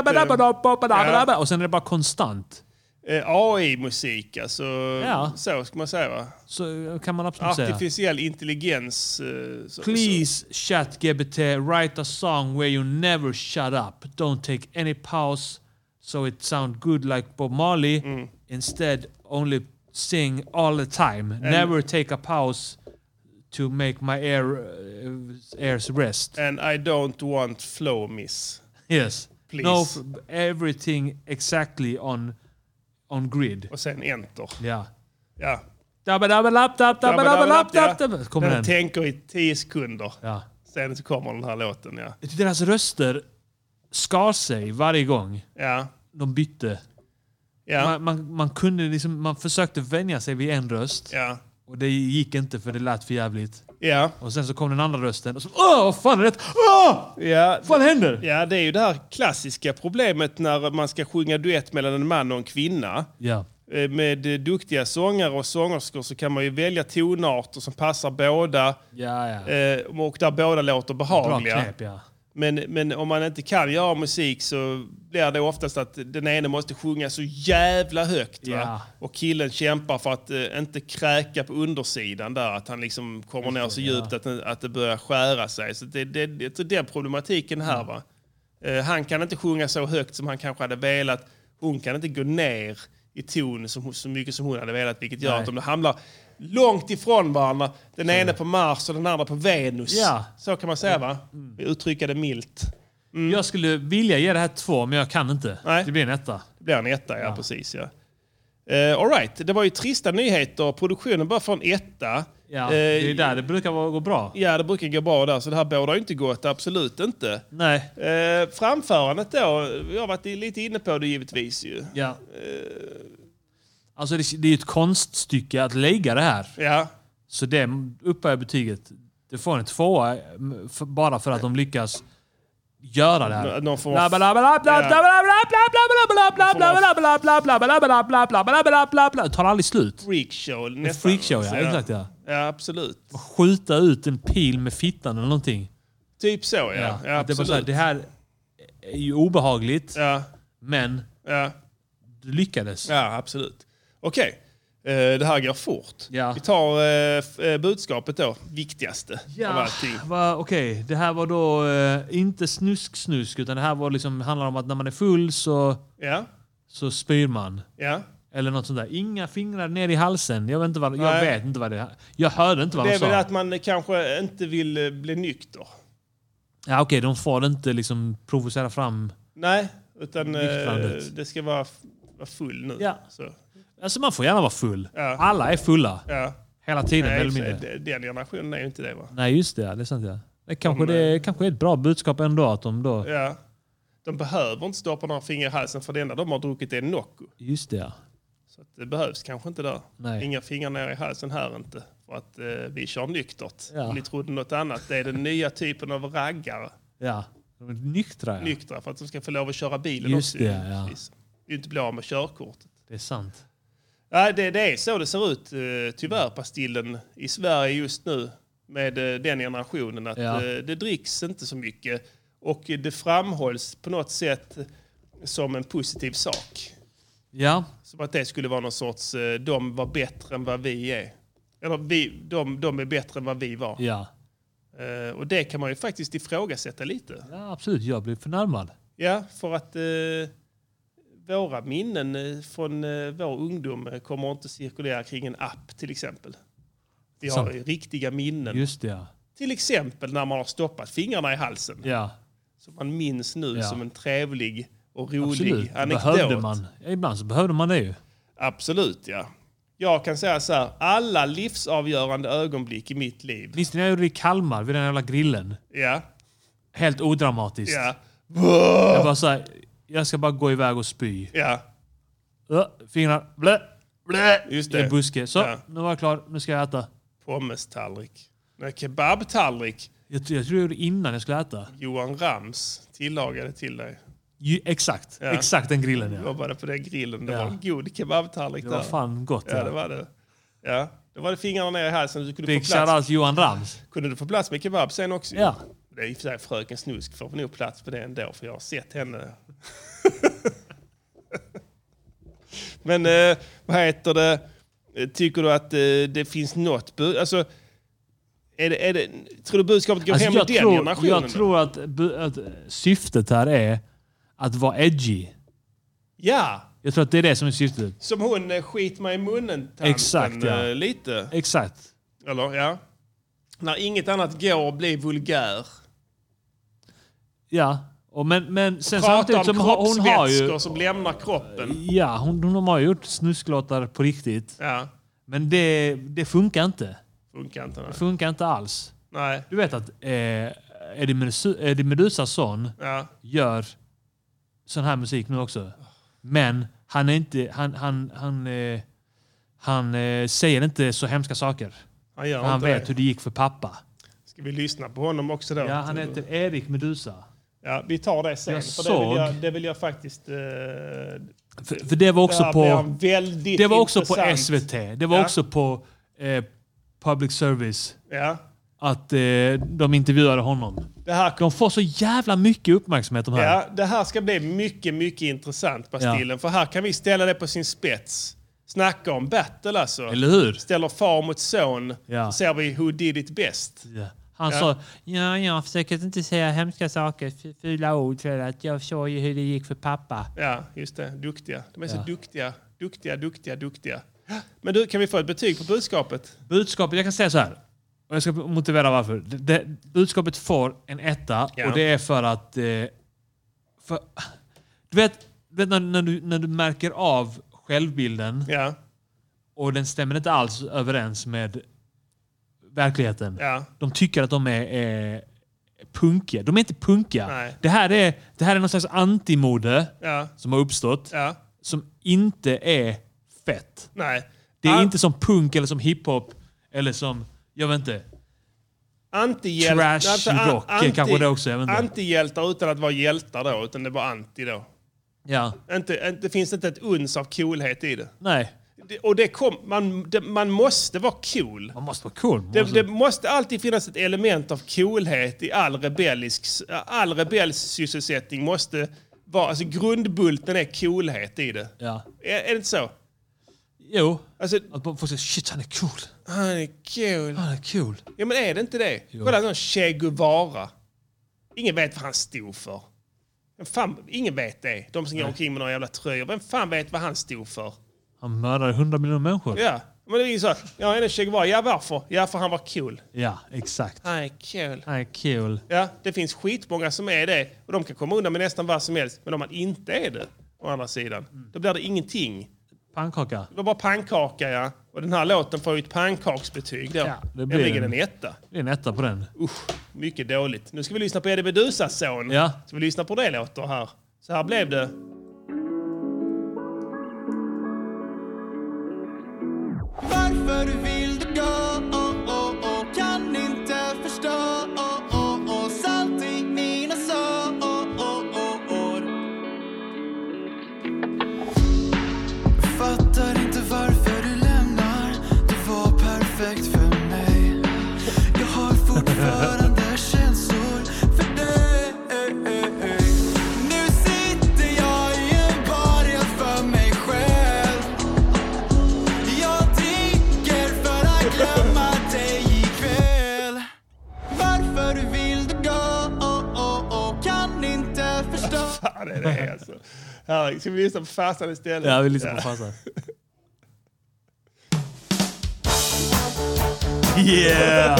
A: Dabba-dabba-dabba-dabba-dabba-dabba-dabba-dabba-dabba-dabba-dabba-dabba-dabba-dabba-dabba. Och sen är det bara konstant.
D: Eh, AI-musik, alltså.
A: Ja.
D: Så ska man säga va?
A: Så kan man absolut säga.
D: Artificiell intelligens. eh, så-
A: Please, ChatGPT, write a song where you never shut up. Don't take any pause so it sound good like Bob Marley. Instead, only sing all the time. never take a pause to make my air, uh, airs rest.
D: And I don't want flow miss.
A: Yes.
D: Please.
A: No, f- everything exactly on, on grid.
D: Och sen enter.
A: Ja.
D: Ja.
A: Dabba, dabba, lapp, dapp, dabba, dabba, lapp, dapp, dabba. Kommer den.
D: den tänker i tio sekunder.
A: Ja.
D: Sen så kommer den här
A: (laughs)
D: låten. Ja.
A: Jag tyckte deras röster skar sig varje gång
D: Ja.
A: de bytte.
D: Ja.
A: Man, man, man, kunde liksom, man försökte vänja sig vid en röst.
D: Ja.
A: Och det gick inte för det lät för jävligt.
D: Ja.
A: Och sen så kom den andra rösten och så Åh, vad fan är det? Åh!
D: Ja,
A: Vad fan händer?
D: Ja, det är ju det här klassiska problemet när man ska sjunga duett mellan en man och en kvinna.
A: Ja.
D: Eh, Med eh, duktiga sångare och sångerskor så kan man ju välja tonarter som passar båda
A: Ja, ja.
D: eh, och där båda låter behagliga.
A: Bra knep, ja.
D: Men, men om man inte kan göra musik så blir det oftast att den ene måste sjunga så jävla högt. Va?
A: Ja.
D: Och killen kämpar för att eh, inte kräka på undersidan där. Att han liksom kommer ner så
A: Ja.
D: djupt att, den- att det börjar skära sig. Så det, det, det, jag tror det är problematiken
A: Mm.
D: här. Va? Eh, han kan inte sjunga så högt som han kanske hade velat. Hon kan inte gå ner i ton som, så mycket som hon hade velat. Vilket gör
A: Nej.
D: att de hamnar långt ifrån varandra. Den ene på Mars och den andra på Venus.
A: Ja. Mm.
D: Så kan man säga va? Uttrycka det milt. Mm.
A: Jag skulle vilja ge det här två, men jag kan inte. Det blir en etta.
D: Det blir en etta, ja, precis. Ja. Eh, all right. det var ju trista nyheter. Produktionen bara från etta. Eh,
A: Ja, det är där det brukar vara- gå bra.
D: Ja, det brukar gå bra där, så det här bådar ju inte gott. Absolut inte.
A: Nej.
D: Eh, framförandet då, jag har varit lite inne på det givetvis ju.
A: Ja.
D: Eh.
A: Alltså det, det är ju ett konststycke att lägga det här.
D: Ja.
A: Så det upphöjer betyget. Det får en tvåa m, för, bara för att de lyckas göra det här.
D: Nå- någon form av-
A: Det tar aldrig slut.
D: Freakshow
A: Ett
D: nästan.
A: freakshow, ja.
D: Så,
A: Exakt ja.
D: Ja, absolut.
A: Skjuta ut en pil med fittan eller någonting.
D: Typ så, ja. ja.
A: Att det, är bara så här,
D: absolut.
A: det här är ju obehagligt, men
D: Ja.
A: du lyckades.
D: Ja, absolut. Okej, eh, det här går fort. Vi tar eh, f- eh, budskapet då, viktigaste av
A: Ja,
D: allting.
A: va, okej. Det här var då eh, inte snusk-snusk, utan det här var liksom, handlar om att när man är full så,
D: Ja.
A: så spyr man.
D: Ja.
A: Eller något sånt där. Inga fingrar ner i halsen. Jag vet inte vad, jag
D: Nej.
A: vet inte vad det Jag hörde inte vad
D: det
A: de
D: är
A: sa.
D: väl att man kanske inte vill eh, bli nykter.
A: Ja, okej, de får inte liksom provocera fram...
D: Nej, utan eh,
A: Nyktrandet.
D: det ska vara, f- vara full nu.
A: Ja.
D: Så.
A: Alltså man får gärna vara full.
D: Ja.
A: Alla är fulla.
D: Ja.
A: Hela tiden,
D: Nej,
A: mer eller
D: i och för sig,
A: mindre.
D: d- Den generationen är ju inte det va?
A: Nej, just det. ja. Det är sant ja. Det kanske,
D: De,
A: det, kanske är ett bra budskap ändå att de då...
D: Ja. De behöver inte stoppa några fingrar i halsen för det enda de har druckit är Nocco.
A: Just det ja.
D: Så att det behövs kanske inte där.
A: Nej.
D: Inga fingrar ner i halsen här inte. För att eh, vi kör nyktert.
A: Ja.
D: Om ni trodde något annat. Det är den nya typen av raggare.
A: Ja. De är nyktra ja.
D: Nyktra för att de ska få lov att köra bilen
A: Just
D: också.
A: det, ja.
D: givetvis. Det är ju inte bli av med körkortet.
A: Det är sant.
D: Nej, det, det är så det ser ut eh, tyvärr, Pastillen, i Sverige just nu med eh, den generationen. Att
A: Ja.
D: eh, det dricks inte så mycket och eh, det framhålls på något sätt som en positiv sak.
A: Ja.
D: Som att det skulle vara någon sorts, eh, de var bättre än vad vi är. Eller vi, de, de är bättre än vad vi var.
A: Ja.
D: Eh, och det kan man ju faktiskt ifrågasätta lite.
A: Ja, absolut. Jag blev förnärmad.
D: Ja, för att eh, våra minnen eh, från eh, vår ungdom eh, kommer inte cirkulera kring en app till exempel. Vi har
A: Sant.
D: ju riktiga minnen.
A: Just det, ja.
D: Till exempel när man har stoppat fingrarna i halsen.
A: Ja.
D: Som man minns nu
A: Ja.
D: som en trevlig och rolig
A: Absolut.
D: anekdot.
A: Behövde man. Ibland så behövde man det ju.
D: Absolut, ja. Jag kan säga så här, alla livsavgörande ögonblick i mitt liv.
A: Minns ni när jag gjorde det i Kalmar vid den jävla grillen?
D: Ja,
A: Helt odramatiskt.
D: Ja.
A: Jag bara såhär, jag ska bara gå iväg och spy.
D: ja.
A: Ö, Fingrar, blä, blä,
D: Just
A: i
D: det.
A: en buske. Så,
D: Ja.
A: nu var jag klar. Nu ska jag äta.
D: Pommes-tallrik. Nej, Kebab-tallrik.
A: Jag, jag tror jag gjorde det innan jag skulle äta.
D: Johan Rams tillagade till dig.
A: Ju, exakt, exakt den grillen
D: Du
A: ja.
D: jobbade på den grillen. Det
A: Ja.
D: var en god kebabtallrik
A: Det var
D: där.
A: fan gott,
D: Ja,
A: ja.
D: det var det. Ja, då var det fingrarna ner i halsen. Du kunde
A: Big
D: få plats.
A: shoutout Johan Rams.
D: Kunde du få plats med kebab sen också?
A: Ja.
D: Det är i och för sig Fröken Snusk får nog plats på det ändå, för jag har sett henne. (laughs) Men eh, vad heter det? Eh, Tycker du att eh, det finns något bud? Alltså, är det, är det, tror du budskapet går
A: Alltså,
D: hem
A: jag,
D: med den
A: tror,
D: generationen?
A: jag tror att, bu- att syftet här är att vara edgy.
D: Ja,
A: Jag tror att det är det som är syftet.
D: som hon eh, skit mig i munnen tanten,
A: Exakt, ja.
D: eh, lite.
A: Exakt.
D: Eller ja. När inget annat går att bli vulgär.
A: Ja. Och men, men sen
D: Prata
A: samtidigt
D: om
A: som hon hon har
D: kroppsvätskor
A: ju...
D: som lämnar kroppen.
A: Ja, hon, hon har ju gjort snusklåtar på riktigt.
D: Ja.
A: Men det, det funkar inte.
D: Funkar inte.
A: Det
D: Nej.
A: funkar inte alls.
D: Nej.
A: Du vet att eh, Eddie, Medusa, Eddie Medusas son
D: Ja.
A: gör sån här musik nu också. Men han är inte... Han, han, han, eh, han eh, säger inte så hemska saker.
D: Han gör
A: För han
D: inte
A: vet
D: det.
A: hur det gick för pappa.
D: Ska vi lyssna på honom också då?
A: Ja, han heter Erik Medusa.
D: Ja, vi tar det sen.
A: Jag
D: för det, vill jag,
A: såg-
D: det vill jag faktiskt... eh,
A: För, för det var också
D: där
A: på...
D: blir han väldigt
A: Det var också på
D: intressant.
A: SVT. Det var
D: Ja.
A: också på eh, public service.
D: Ja.
A: Att eh, de intervjuade honom.
D: Det här,
A: de får så jävla mycket uppmärksamhet de här.
D: Ja, det här ska bli mycket, mycket intressant, Bastillen. För här kan vi ställa det på sin spets. Snacka om battle alltså.
A: Eller hur?
D: Ställer far mot son,
A: Ja.
D: så ser vi who did it best.
A: Han
D: Ja.
A: sa ja, jag försöker inte säga hemska saker, f- fula ord, för att jag såg ju hur det gick för pappa.
D: Ja, just det. Duktiga. De är så
A: Ja.
D: duktiga, duktiga, duktiga, duktiga. Men du, kan vi få ett betyg på budskapet?
A: Budskapet, jag kan säga så här. Och jag ska motivera varför. Det, det, budskapet får en etta
D: Ja.
A: och det är för att... Eh, för, du vet, du vet när, när, du, när du märker av självbilden och den stämmer inte alls överens med verkligheten.
D: Ja.
A: De tycker att de är, är punkiga. De är inte punkiga. Det här är, det här är någon slags antimode
D: Ja.
A: som har uppstått som inte är fett.
D: Nej.
A: Det är
D: An-
A: inte som punk eller som hiphop eller som, jag vet inte.
D: Antihjäl-
A: Trash
D: alltså, an-
A: rock är kanske det också, jag vet inte.
D: Antihjältar utan att vara hjältar då, utan det är bara anti då.
A: Ja.
D: Inte, inte, det finns inte ett uns av coolhet i det.
A: Nej.
D: Det, och det kom, man, det, man måste vara cool.
A: Man måste vara cool. Man
D: Det,
A: måste-
D: det måste alltid finnas ett element av coolhet i all rebellisk... All rebellsysselsättning måste vara... Alltså grundbulten är coolhet i det.
A: Ja.
D: Är, är det inte så?
A: Jo.
D: Alltså,
A: att folk säger shit han är cool.
D: Han är cool.
A: Han är cool.
D: Ja men är det inte det?
A: Jo.
D: Kolla någon Che Guevara. Ingen vet vad han stod för. Vem fan, ingen vet det. De som går omkring med några jävla tröjor. Vem fan vet vad han stod för?
A: Han mördar hundra miljoner människor.
D: Ja. Men det är ju så. Ja, en Che Guevara. Ja, varför? Ja, för han var cool.
A: Ja, exakt.
D: Han är cool.
A: Han är cool.
D: Ja, det finns skitmånga som är det. Och de kan komma undan med nästan vad som helst. Men om man inte är det, å andra sidan,
A: Mm.
D: då blir det ingenting.
A: Pannkaka.
D: Det var bara pannkaka, ja. Och den här låten får ju ett pannkaksbetyg då.
A: Ja, det blir
D: Nämligen
A: en-
D: en etta.
A: Det är en etta på den.
D: Usch, mycket dåligt. Nu ska vi lyssna på Eddie Medusas son.
A: Ja.
D: Ska vi lyssna på det låter här? Så här blev det. (laughs)
H: Varför vill du gå? Oh, oh, oh. Kan inte förstå oh, oh, oh. Salt i mina sår oh, oh, oh. Fattar inte varför du lämnar Du var perfekt för mig Jag har fortfarande känslor för dig Nu sitter jag i
D: fan är det alltså? Här, ska vi lyssna på farsan istället?
A: Ja, vi lyssnar på farsan. Yeah!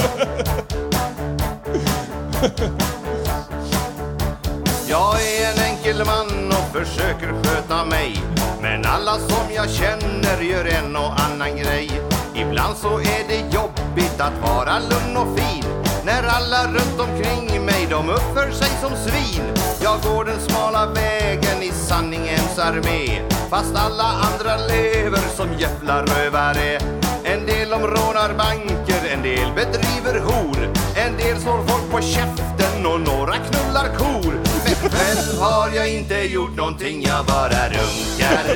S: Jag är en enkel man och försöker sköta mig Men alla som jag känner gör en och annan grej Ibland så är det jobbigt att vara lugn och fin När alla runt omkring mig de uppför sig som svin Jag går den smala vägen i sanningens armé Fast alla andra lever som jävla rövare En del om rånar banker, en del bedriver hor En del slår folk på käften och några knullar kor Men själv har jag inte gjort någonting, jag bara runkar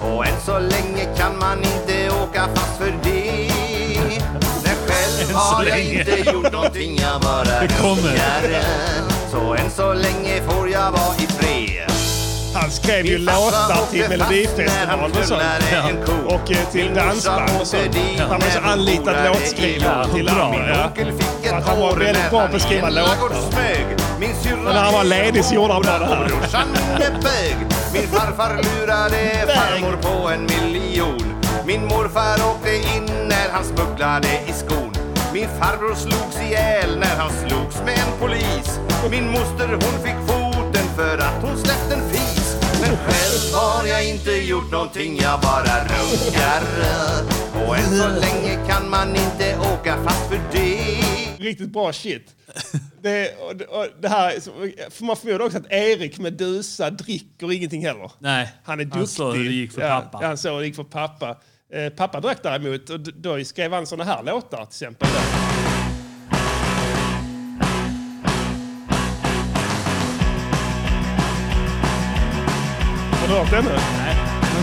S: Och än så länge kan man inte åka fast för det Men själv
H: så
S: har jag
H: länge.
S: inte gjort någonting, jag bara
H: Det kommer.
S: runkar Så än så länge får jag vara i fred
D: Han skrev ju
S: Min farsa
D: låtar
S: åkte fast
D: till
S: när han
D: Melodifestivalen och sånt.
S: knullar en ko.
D: Och eh, till
S: Min morsa
D: dansband och sånt.
S: åkte dit
D: Han var
S: när
D: så
S: hon
D: anlitad
S: horade i
D: låtskrivare
S: jord.
D: till
S: Bra,
D: Amin.
S: ja.
D: ja.
S: fick
D: Att han var väldigt bra på att skriva låtar. Och när han var ledig så gjorde han bara det här.
S: Brorsan är bög. Min farfar lurade farmor på en miljon. Min morfar åkte in när han smugglade i skon. Min farbror slogs ihjäl när han slogs med en polis. Min moster hon fick foten för att hon släppte en fis. Men själv har jag inte gjort någonting, jag bara runkar. Och än så länge kan man inte åka fast för det.
D: Riktigt bra shit. Det, och, det- och det här, är så- för man förmodar också att Erik med Meduza dricker ingenting heller.
A: Nej,
D: Han är duktig.
A: Han såg hur det gick för
D: ja,
A: pappa.
D: Han såg hur det gick för pappa. Eh, pappa drack däremot och d- då skrev han såna här låtar till exempel. Har du hört den nu? Nej.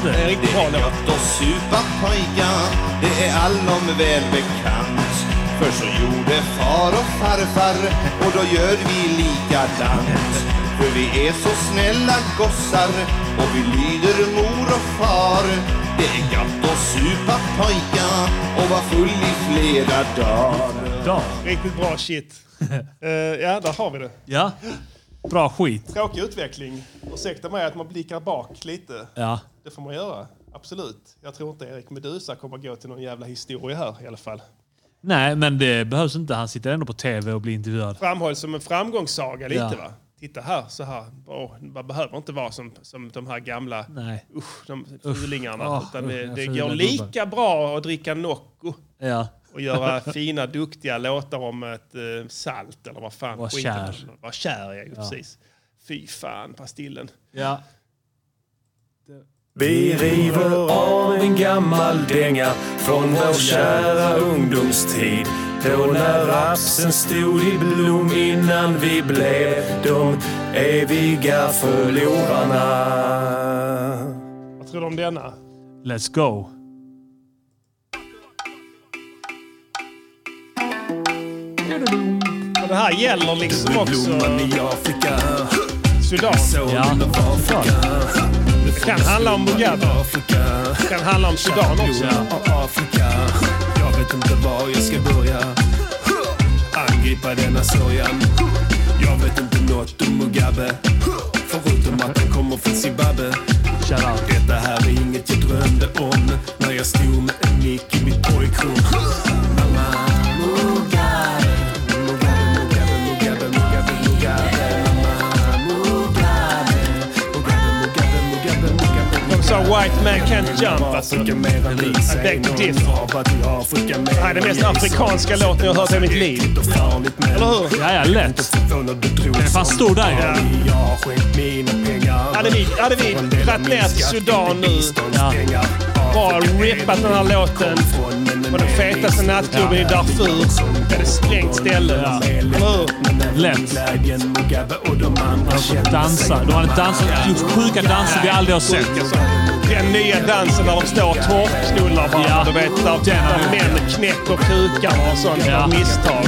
S: Det är riktigt bra låt. Och supa pojkar, det är allom väl bekant. För så gjorde far och farfar och då gör vi likadant. För vi är så snälla gossar och vi lyder mor och far. Det är gött att supa pojkar och vara full i flera dagar.
D: Riktigt
A: (laughs)
D: bra shit. Eh, ja, där har vi det.
A: Ja. Bra skit.
D: Tråkig utveckling. Ursäkta mig att man blickar bak lite.
A: Ja.
D: Det får man göra. Absolut. Jag tror inte Erik Meduza kommer gå till någon jävla historia här i alla fall.
A: Nej, men det behövs inte. Han sitter ändå på tv och blir intervjuad.
D: Framhålls som en framgångssaga lite
A: Ja.
D: va? Titta här, så här. Åh, man behöver inte vara som, som de här gamla
A: Nej.
D: Usch, de
A: Usch.
D: fulingarna.
A: Ah,
D: Utan det,
A: usch,
D: det
A: fula
D: går
A: gubbar.
D: lika bra att dricka Nocco
A: Ja. (laughs)
D: och göra fina, duktiga låtar om ett eh, salt eller vad fan.
A: Var
D: skiten är.
A: kär.
D: Var kär, ja, ju
A: Ja.
D: precis. Fy fan, pastillen.
A: Ja.
G: Vi river av en gammal dänga från vår kära ungdomstid. Då när rapsen stod i blom innan vi blev de eviga förlorarna.
D: Vad tror du om denna?
A: Let's go.
D: Och det här gäller liksom också... Sudan.
G: Ja.
D: Det kan handla om Mugabe. Det kan handla om Sudan också.
G: Afrika. Jag vet inte var jag ska börja. Angripa denna sorgen. Jag vet inte något om Mugabe. Förutom att han kommer från Zimbabwe. Detta här är inget jag drömde om när jag stod med en mick i mitt pojkrum. Mamma, Mugabe. Mugabe, Mugabe, Mugabe, Mugabe, Mugabe. Mamma, Mugabe. Mugabe, Mugabe, Mugabe, Mugabe.
D: De sa white man can't jump. Alltså. I beg to differ. Det här är den mest afrikanska låten jag har hört i mitt liv. Eller hur?
A: Ja, ja, lätt. Den är fan stor där
D: Ja. Hade vi, hade vi dragit ner till Sudan nu. Bara rippat den här låten på den fetaste nattklubben i Darfur. Med ett sprängt ställe. Eller hur?
A: Lätt. De dansar. De hade dansat, gjort sjuka danser vi aldrig har sett.
D: Den nya dansen när de står och torpknullar varandra.
A: Ja.
D: Du vet, där, där män knäcker kukarna och sånt
G: Ja.
D: av misstag.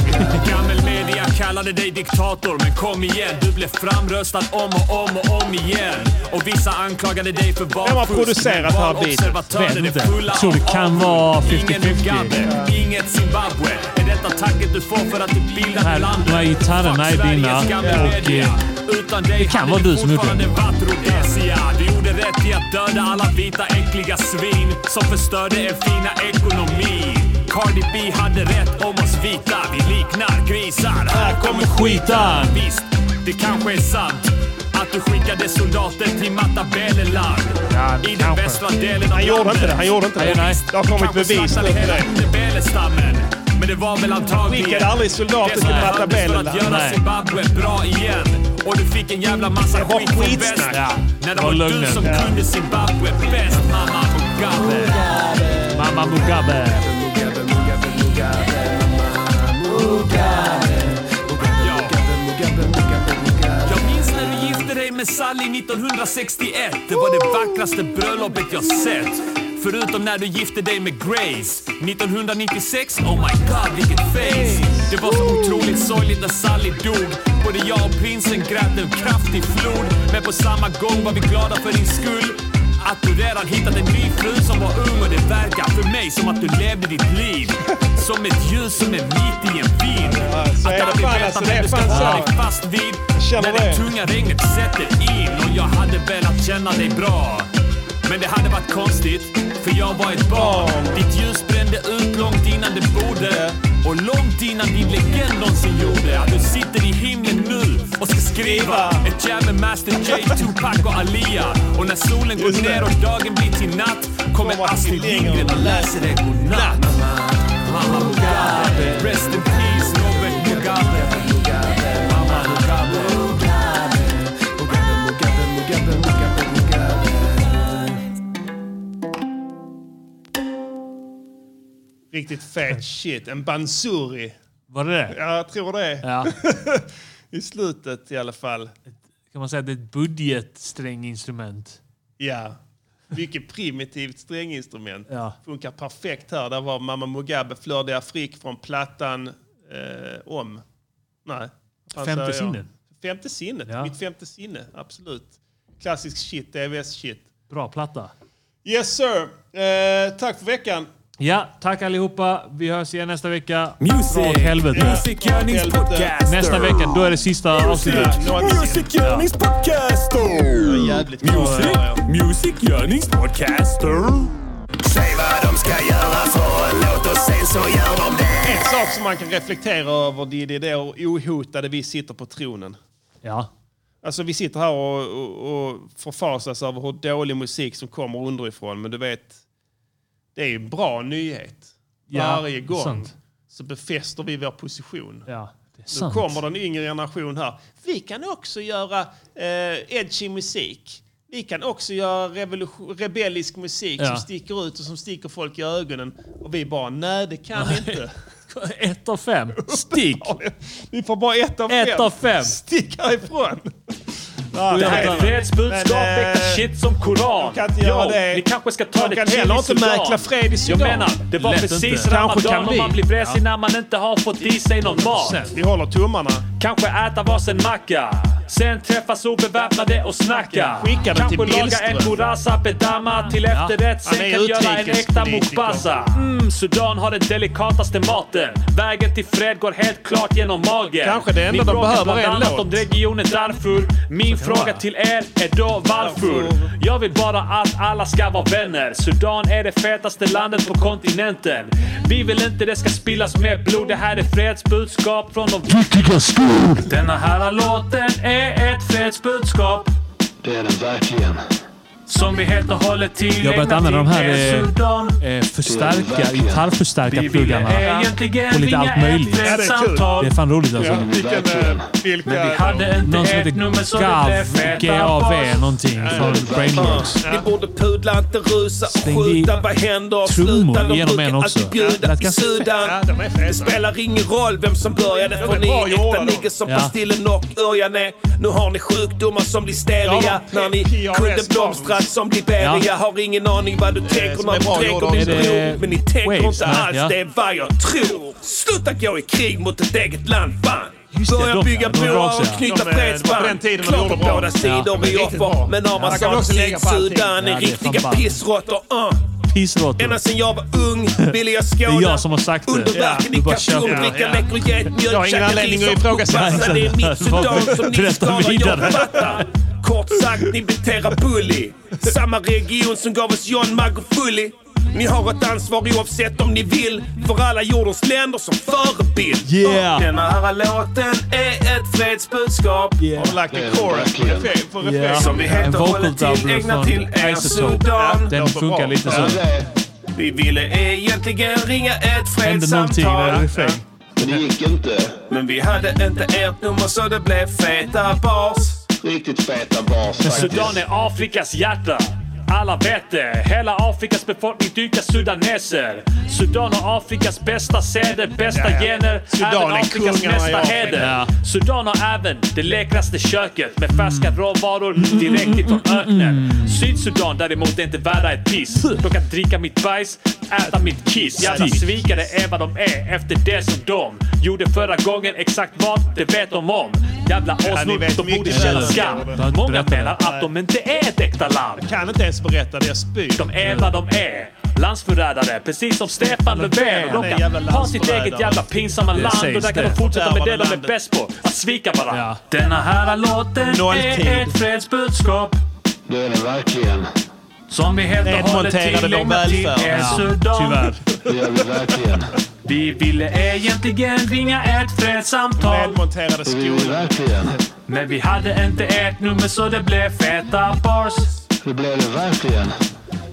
G: Gammel media kallade dig diktator, men kom igen. Du blev framröstad om och om och om igen. Och vissa anklagade dig för valfusk.
A: har producerat
G: men
A: det här beatet?
G: valobservatörer
A: Vet
G: är
A: inte.
G: fulla
A: Tror det
G: av
A: kan
G: avund.
A: vara
G: Ingen
A: 50-50.
G: Mugabe, inget Zimbabwe. Är detta tacket du får för att du bildat
A: Här,
G: landet?
A: de här gitarrerna är dina och eh,
B: Utan dig
A: kan
B: hade
A: vara
B: det
A: du som gjort det.
B: fortfarande varit Rhodesia. Du gjorde rätt i att döda alla vita äckliga svin som förstörde er fina ekonomi. Cardi B hade rätt om oss vita. Vi liknar grisar. Här kommer skiten! Visst, det kanske är sant. Att du skickade soldater till Matabeleland. I den västra delen av
D: Han gjorde inte det, han gjorde inte det. Det har kommit bevis nu för det.
B: Belestammen. Men det var väl antagligen...
D: Skickade aldrig soldater
B: det som
D: till
B: behövdes
D: Matabeleland.
B: för att göra
D: Nej.
B: Zimbabwe bra igen. Och du fick en jävla massa skit från väst. När det
A: Var
B: var du
A: lugnet.
B: som
A: Ja.
B: kunde Zimbabwe bäst, mamma Mugabe.
A: Mamma Mugabe.
B: Jag minns när du gifte dig med Sally 1961. Det var det vackraste bröllopet jag sett. Förutom när du gifte dig med Grace 1996. Oh my god, vilket face! Det var så otroligt sorgligt när Sally dog. Både jag och prinsen grät en kraftig flod. Men på samma gång var vi glada för din skull. Att du redan hittat en ny fru som var ung och det verkar för mig som att du levde ditt liv som ett ljus som är mitt i en vind.
D: så är
B: Att aldrig
D: det fan,
B: veta
D: alltså, det
B: vem
D: är
B: du ska
D: fan
B: hålla
D: så.
B: dig fast vid
D: känner
B: när det
D: det.
B: tunga regnet sätter in och jag hade velat känna dig bra. Men det hade varit konstigt, för jag var ett barn. Ditt ljus brände ut långt innan det borde. Och långt innan din legend någonsin gjorde. Att du sitter i himlen nu och ska skriva ett jam med Master J, Tupac och Alia. Och när solen går ner och dagen blir till natt kommer Astrid Lindgren och läser dig godnatt. Mamma Mugabe, rest in peace Robert Mugabe. Mamma Mugabe.
D: Riktigt fet shit. En bansuri.
A: Var det det?
D: Ja, jag tror det.
A: Ja.
D: (laughs) I slutet i alla fall.
A: Kan man säga att det är ett budgetstränginstrument?
D: Ja. Mycket primitivt stränginstrument.
A: Ja.
D: Funkar perfekt här. Där var Mamma Mugabe flördiga frick från plattan eh, om... Nej. vad fan
A: Femte
D: säger jag?
A: sinnet.
D: Femte sinnet.
A: Ja.
D: Mitt femte sinne. Absolut. Klassisk shit. DVS-shit.
A: Bra platta.
D: Yes sir. Eh, tack för veckan.
A: Ja, tack allihopa. Vi hörs igen nästa vecka.
D: Music.
A: Dra åt helvete.
D: Music Yearnings Podcaster.
A: Nästa vecka, då är det sista avsnittet.
G: Säg vad de ska göra för en låt och sen så gör de det.
D: En sak som man kan reflektera över det är det hur ohotade vi sitter på tronen.
A: Ja.
D: Alltså vi sitter här och, och, och förfasas över hur dålig musik som kommer underifrån. Men du vet, det är ju en bra nyhet.
A: Ja,
D: Varje gång
A: sant.
D: så befäster vi vår position.
A: Ja, det är
D: Nu
A: sant.
D: kommer den yngre generation här. Vi kan också göra eh, edgy musik. Vi kan också göra revolution- rebellisk musik
A: Ja.
D: som sticker ut och som sticker folk i ögonen. Och vi bara, nej det kan vi inte.
A: Ett av fem.
D: (laughs)
A: Stick!
D: Vi får bara ett av
A: Ett
D: fem.
A: av fem.
D: Stick härifrån!
A: Och jag har ett fredsbudskap,
D: Men, eh,
A: äkta shit som Koran.
D: de kan inte göra
A: Jo,
D: det.
A: Vi kanske ska ta
D: De
A: det
D: kan
A: till
D: heller inte
A: Sudan.
D: mäkla fred i Sudan.
A: Jag menar, det var
D: Lätt
A: precis
D: inte. Kanske
A: ramadan
D: kan
A: och
D: vi.
A: man blir vresig
D: Ja.
A: när man inte har fått i sig någon mat.
D: Vi håller tummarna.
A: Kanske äta varsin macka. Sen träffas obeväpnade och snacka.
D: Skicka den
A: Kanske
D: till
A: laga
D: Billström.
A: en burrasa bedamma till efterrätt.
D: Han
A: Sen
D: är
A: kan göra en äkta
D: utrikespolitiker.
A: mukbassa. Mm, Sudan har den delikaste maten. Vägen till fred går helt klart genom magen.
D: Kanske det enda
A: Ni
D: de
A: bråkar
D: behöver
A: bland
D: är en
A: annat
D: låt.
A: om regionen Darfur. Min fråga till er är då varför? Jag vill bara att alla ska vara vänner. Sudan är det fetaste landet på kontinenten. Vi vill inte det ska spillas mer blod. Det här är fredsbudskap från de viktigaste ord. Denna här låten är ett fredsbudskap.
M: Det är den verkligen.
A: Som vi helt och hållet tillägnar
M: Jag har börjat använda de här,
A: till
M: eh,
A: Sudan.
M: eh,
A: förstärka-
M: gitarrförstärka
A: pluggarna och lite allt möjligt.
M: Ja, det är kul.
A: Det är fan roligt alltså.
M: Ja,
D: Eh,
M: vilken,
A: Men vi hade inte
M: Någon som
A: ett
M: heter
A: nummer som det
M: Gav,
A: blev feta
M: G-A-V,
A: på. Äh,
M: någonting från Brainworks.
N: Ni borde pudla, inte rusa och
M: Släng i
N: skjuta. Vad händer?
M: trummor
N: Sluta, de
M: genom en
N: brukar
M: också.
N: alltid
M: Ja, det
N: bjuda
M: lät
N: i
M: ganska
N: Sudan. Det spelar ingen roll vem som började, för ni är äkta nigger som
M: Ja.
N: Pastillen och Örjan är. Nu har ni sjukdomar som
M: Ja,
N: listeria.
M: de
N: När ni
M: PRS
N: kunde blomstra som Liberia.
M: Ja.
N: Har ingen aning vad du tänker
M: som är
N: när du
M: bra gjorda
N: tänker
M: också.
N: din
M: Är
N: bror.
M: det
N: Men ni tänker
M: Waves?
N: inte
M: Nej,
N: alls,
M: ja.
N: det är vad jag tror. Sluta gå i krig mot ett eget land, fan!
M: det,
N: Börja
M: de,
N: bygga
M: ja. De är bra
N: broar
M: också,
N: och
M: ja.
N: knyta
M: De är-
N: fredsband.
M: på den tiden de
N: Klart
M: gjorde
N: att
M: bra.
N: båda sidor
M: Ja.
N: är
M: Riktigt bra.
N: offer. Men
M: Ja, där kan vi
N: Amazon
M: också lägga på allting.
N: Sydsudan
M: Ja,
N: är
M: det är fan
N: riktiga
M: ballt.
N: pissråttor. Uh.
B: pissråttor.
N: Ända sen jag var ung ville jag
B: Det är
N: skåda
B: jag som har sagt det.
N: Underverken
B: Du
N: i
B: bara
N: kalkon,
B: köper.
N: dricka läckerjet, mjölk,
B: Jag har ingen anledning att ifrågasätta.
N: Det är
B: (laughs)
N: mitt Sudan som ni
B: Berätta
N: skadar, jag
B: vidare.
N: författar. Kort sagt, ni beterar bully. Samma region som gav oss John Magufuli. Ni har ett ansvar oavsett om ni vill för alla jordens länder som förebild.
B: Yeah.
N: Den här låten är ett fredsbudskap. Yeah. Har vi lagt en chorus på refräng- på refräng?
B: Yeah.
N: Som vi
B: En
N: helt och
B: vocal
N: hållet
B: doubler
N: tillägnar
B: från
N: till er
B: Isotope.
N: Sudan.
B: Den
N: Låter
B: funkar
N: bra.
B: lite så.
N: Ja, det är- Vi ville egentligen ringa ett
B: Hände någonting
N: fredssamtal.
B: där i refräng.
N: Men det gick inte. Men vi hade inte ert nummer så det blev feta bars. Riktigt feta bars
A: Sudan är Afrikas hjärta. Alla vet det. Hela Afrikas befolkning dyrkar sudaneser. Sudan har Afrikas bästa seder, bästa
B: Ja, ja.
A: gener,
B: Sudan
A: även
B: är
A: Afrikas
B: kungarna i
A: mesta
B: Afrika.
A: heder.
B: Ja.
A: Sudan har även det läkraste köket med färska
B: Mm.
A: råvaror direkt ifrån öknen. Sydsudan däremot är inte värda ett piss. De kan dricka mitt bajs, äta mitt kiss. Jävla
B: Stick.
A: svikare är vad de är efter det som de gjorde förra gången. Exakt vad, det vet de om. Jävla
D: ni
A: åsnor,
D: vet
A: de borde
D: mycket
A: känna
D: väl.
A: skam.
D: Jag behöver inte
A: Många
D: berätta
A: menar
D: det.
A: att de inte är ett äkta land. Jag kan inte ens berätta det, jag spyr. De är vad de är. Landsförrädare, precis som Stefan Löfven.
D: Han
A: Och
D: är
A: De
D: jävla
A: kan ha sitt
D: landsförrädare.
A: eget jävla pinsamma
D: Det
A: land och
D: sägs
A: där kan
D: det.
A: de fortsätta med det de är
D: Landet.
A: bäst på. Att svika varandra. Denna här låten
D: Nolltid.
A: är ett fredsbudskap. Det är det verkligen. Som vi helt och hållet
D: Nedmonterade de
A: tillägnar till
D: välfärden.
A: El
D: Ja,
A: Sudan.
D: tyvärr. Det gör vi verkligen.
A: Vi ville egentligen ringa ett fredssamtal. Nedmonterade skolor. Men vi hade inte ert nummer så det blev feta bars. Det blev det verkligen.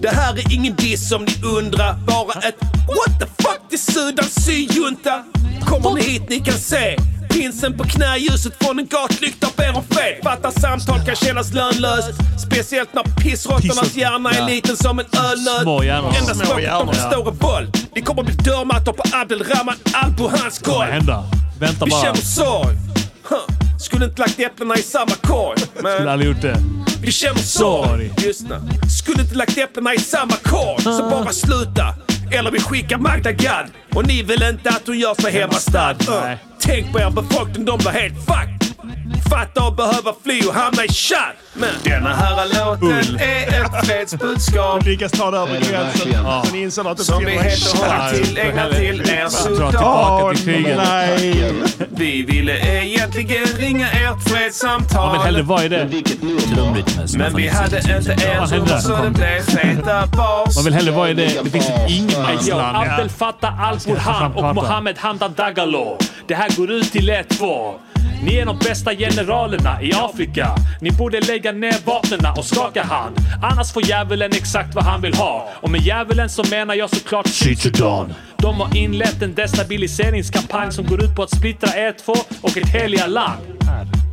N: Det här är ingen diss om ni undrar, bara ett what the fuck till Sudans syjunta. Kommer ni hit ni kan se Pinsen på knä, ljuset från en gatlykta ber om fred. Fattar samtal kan kännas lönlöst. Speciellt när pissråttornas
B: Pissrått-
N: hjärna är
B: ja.
N: liten som en ölnöt.
B: Små hjärnor.
N: Enda
B: Små
N: språket
B: hjärnor,
N: de förstår är våld. Ni kommer bli dörrmattor på Abdelrahman Al-Burhans
B: Vad
N: golv.
B: händer? Vänta
N: Vi
B: bara.
N: känner sorg. Huh. Skulle inte lagt äpplena i samma korg. men-
B: Skulle aldrig gjort det.
N: vi känner sorg. Lyssna. Skulle inte lagt äpplena i samma korg, så bara sluta. Eller vi skickar Magda Gad. Och ni vill inte att hon gör sig hemmastad. Uh. Tänk på er befolkning, de blir helt fucked. Fatta att behöva fly och hamna i tjack. Men denna här låten
D: Bull.
N: är ett (laughs) fredsbudskap.
D: Lyckas ta det över gränsen.
N: Ja.
D: Sen inser att det
N: Som
D: ska
N: vi
D: vara
N: helt och hållet
D: starkt.
N: tillägnar till er
D: Dra tillbaka till kriget.
N: Vi ville egentligen ringa ert fredssamtal.
B: Ja, men hellre vad är det?
N: Men vi hade inte
B: Vad
N: ens
B: händer?
N: ord så det blev feta bars.
B: Man vill hellre vara i det. Det finns ett
A: Jag,
B: ingenmansland.
A: Abdel Fattah Al-Burhan
B: fan prata.
A: och Mohammed Hamdan Dagalo. Det här går ut till er två. Ni är de bästa generalerna i Afrika. Ni borde lägga ner vapnen och skaka hand. Annars får djävulen exakt vad han vill ha. Och med djävulen så menar jag såklart Sydsudan. De har inlett en destabiliseringskampanj som går ut på att splittra er två och ett heliga land.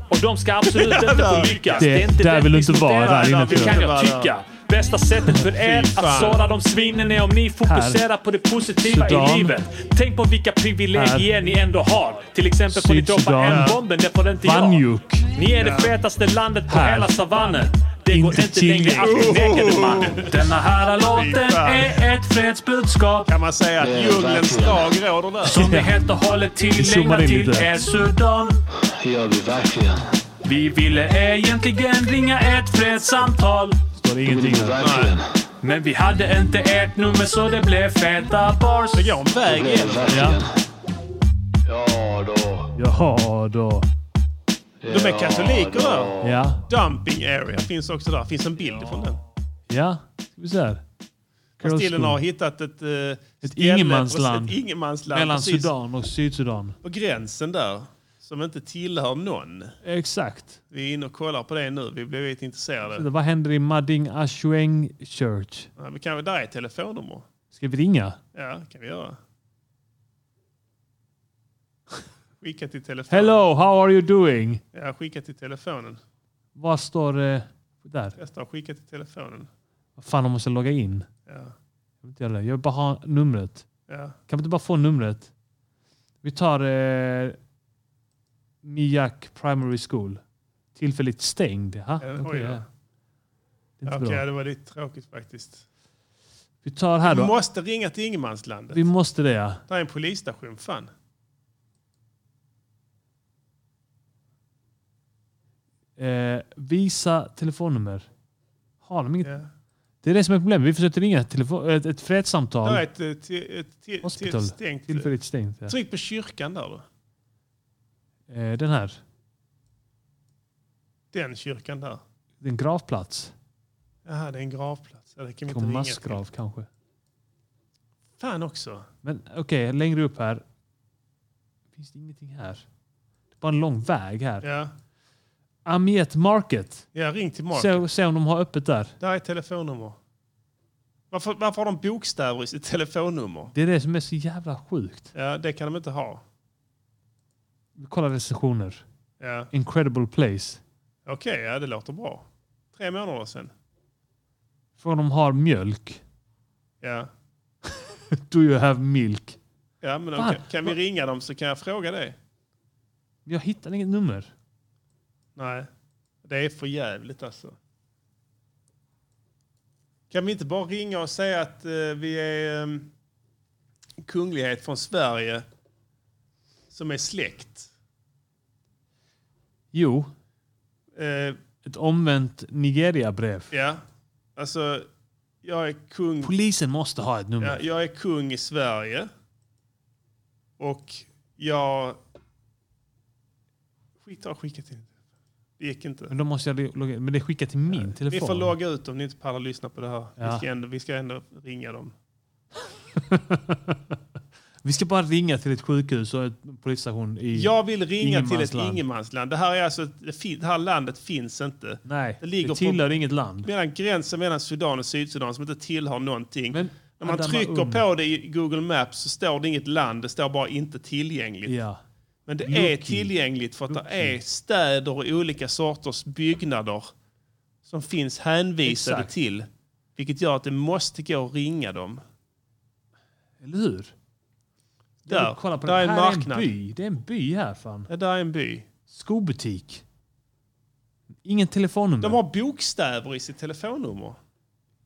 A: Och de
B: (laughs)
A: ska absolut inte få lyckas.
B: Det- där vill du
A: rättvist
B: inte
A: mot
B: vara,
A: er,
B: där inne,
A: Det
B: tror jag.
A: kan jag tycka. Bästa sättet för er
B: Fy
A: att
B: fan.
A: såra de svinen är om ni fokuserar på det positiva i
B: Sudan.
A: livet. Tänk på vilka privilegier
B: Här.
A: ni ändå har. Till exempel får ni droppa
B: Sydsudan.
A: en bomben, det får inte jag.
B: Banjuk.
A: Ni är det fetaste landet på
B: Här.
A: hela savannen. Det går
B: Inte Oh.
A: inte längre
B: tillägg.
A: att förneka det man. Denna här
D: Fy
A: låten
D: fan.
A: är ett fredsbudskap. Kan man säga
D: att Det är djungelns verkligen. lag råder där?
A: Som är helt och hållet tillägnad
D: zoomar in
A: till
D: lite.
A: er Sudan. gör vi verkligen. Vi ville egentligen ringa ett fredssamtal.
B: Står det ingenting där.
A: Men vi hade inte ert nummer så det blev feta bars. Det går en väg
B: Ja.
A: Ja då.
B: Jaha då.
D: De är katoliker där.
B: Ja.
D: Dumping area finns också där. Finns en bild ifrån den.
B: Ja. Ska vi se här.
D: Kastillen har hittat ett... eh,
B: Ett
D: ställe,
B: ingenmansland.
D: Ett ingenmansland.
B: Mellan
D: precis
B: Sudan och Sydsudan.
D: På gränsen där. Som inte tillhör någon.
B: Exakt.
D: Vi är inne och kollar på det nu. Vi blev lite intresserade.
B: Vad händer i Madding Ashweng Church?
D: Ja, vi kan, där är ett telefonnummer.
B: Ska vi ringa?
D: Ja, kan vi göra. Skicka till telefonen.
B: Hello, how are you doing?
D: Ja, skicka till telefonen.
B: Vad står det? Där.
D: Testa och skicka till telefonen.
B: Vad fan, de måste logga in.
D: Ja.
B: Jag vill inte göra det. Jag vill bara ha numret.
D: Ja.
B: Kan vi inte bara få numret? Vi tar eh, Miak Primary School. Tillfälligt stängd. Ha? okej,
D: Ja, Eh, oj då.
B: ja. Det är
D: Ja,
B: inte
D: Okej,
B: bra.
D: det var lite tråkigt faktiskt.
B: Vi tar här
D: Vi
B: då.
D: måste ringa till ingenmanslandet.
B: Vi måste det ja.
D: Där är en polisstation, fan.
B: Eh, visa telefonnummer. Har de inget?
A: Det är det som är problemet. Vi försökte ringa ett, telefon, ett, ett fredssamtal.
D: Ja, ett, ett, ett, ett, till- till
A: Hospital.
D: ett stängt... eh,
A: Tillfälligt stängt. Ja.
D: Tryck på kyrkan där då.
A: Eh, Den här.
D: Den kyrkan där.
A: Det är en gravplats.
D: Jaha, det är en gravplats. Ja, det kan vi
A: Och
D: inte ringa till.
A: massgrav kanske.
D: Fan också.
A: Men okej, längre upp här. Finns det ingenting här? Det är bara en lång väg här.
D: Ja.
A: Amiet Market.
D: Ja, ring till Mark.
A: Se, se om de har öppet där.
D: Där är ett telefonnummer. Varför, varför har de bokstäver i sitt telefonnummer?
A: Det är det som är så jävla sjukt.
D: Ja, det kan de inte ha.
A: Kolla recensioner.
D: Ja.
A: Incredible place.
D: Okej, ja, det låter bra. Tre månader sedan.
A: Från de har mjölk.
D: Ja,
A: Do you have milk?
D: ja men
A: Fan.
D: de, kan, kan vi ringa dem så kan jag fråga dig?
A: Jag hittar inget nummer.
D: Nej, det är för jävligt alltså. Kan vi inte bara ringa och säga att eh, vi är eh, kunglighet från Sverige som är släkt?
A: Jo,
D: Eh,
A: ett omvänt Nigeria-brev.
D: ja, alltså jag är kung.
A: Polisen måste ha ett nummer.
D: Ja, jag är kung i Sverige. Och jag... Skit har skickat in. Det gick inte.
A: Men då måste jag logga in. Men det är skickat till min telefon.
D: Ni får logga ut om ni inte pallar lyssna på det här.
A: Ja.
D: Vi, ska ändå, vi ska ändå ringa dem.
A: Vi ska bara ringa till ett sjukhus och en polisstation i
D: Jag vill ringa till ett
A: ingenmansland.
D: ingenmansland. Det här, är alltså, ett- det, fin- det här landet finns inte.
A: Nej,
D: det, ligger
A: det tillhör inget land.
D: Mellan gränsen mellan Sudan och Sydsudan som inte tillhör någonting. När man
A: Adama
D: trycker
A: Um.
D: på det i Google Maps så står det inget land, det står bara inte tillgängligt.
A: Ja.
D: Men det
A: Loki.
D: är tillgängligt för att det är städer och olika sorters byggnader som finns hänvisade
A: Exakt.
D: till. Vilket gör att det måste gå att ringa dem.
A: Eller hur? Jag
D: Där,
A: vill kolla på
D: där
A: det.
D: är en
A: här
D: marknad.
A: Är en by. Det är en by här fan.
D: Ja, där är en by.
A: Skobutik. Ingen telefonnummer.
D: De har bokstäver i sitt telefonnummer.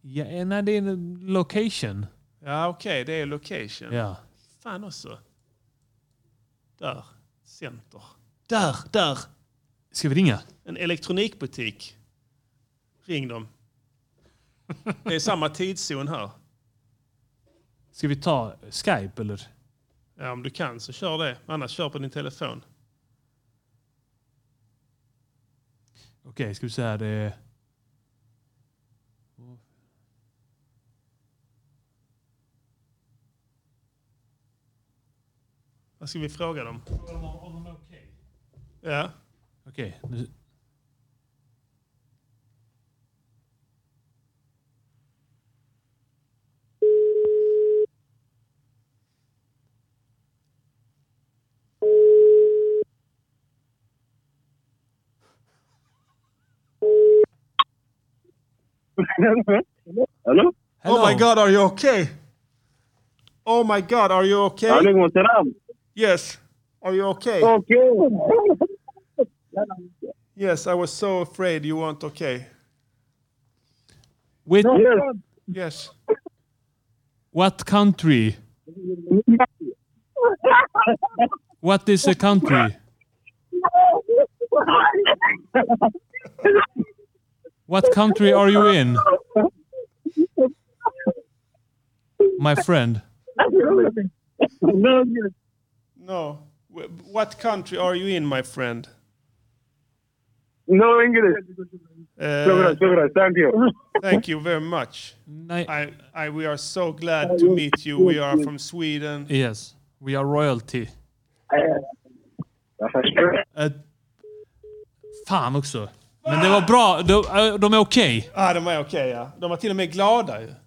A: Ja, eh, nej, det är en location.
D: Ja, okej, det är location.
A: Ja.
D: Fan också. Där, center. Där, där.
A: Ska vi ringa?
D: En elektronikbutik. Ring dem. Det är samma tidszon här.
A: Ska vi ta Skype eller?
D: Ja, om du kan så kör det. Annars kör på din telefon.
A: Okej, ska vi säga här. Eh...
D: Vad ska vi fråga dem? Ja.
A: Okej. nu-
T: Hello?
D: Oh my god, are you okay? Oh my god, are you okay?
T: Alaikum assalam.
D: Yes. Are you okay?
T: Okay.
D: Yes, I was so afraid you weren't okay.
A: With
D: Yes.
A: what country? What is a country? What country are you in? My friend.
D: No. Wh- What country are you in, my friend?
T: No English. Shukran, shukran. Thank you.
D: Uh, Thank you very much.
A: Mm.
D: I, I, we are so glad to meet you. We are from Sweden.
A: Yes, we are royalty. Eh, fan också. Men det var bra. De, eh, de är okej.
D: Ah, de är okej, ja. De var till och med glada ju.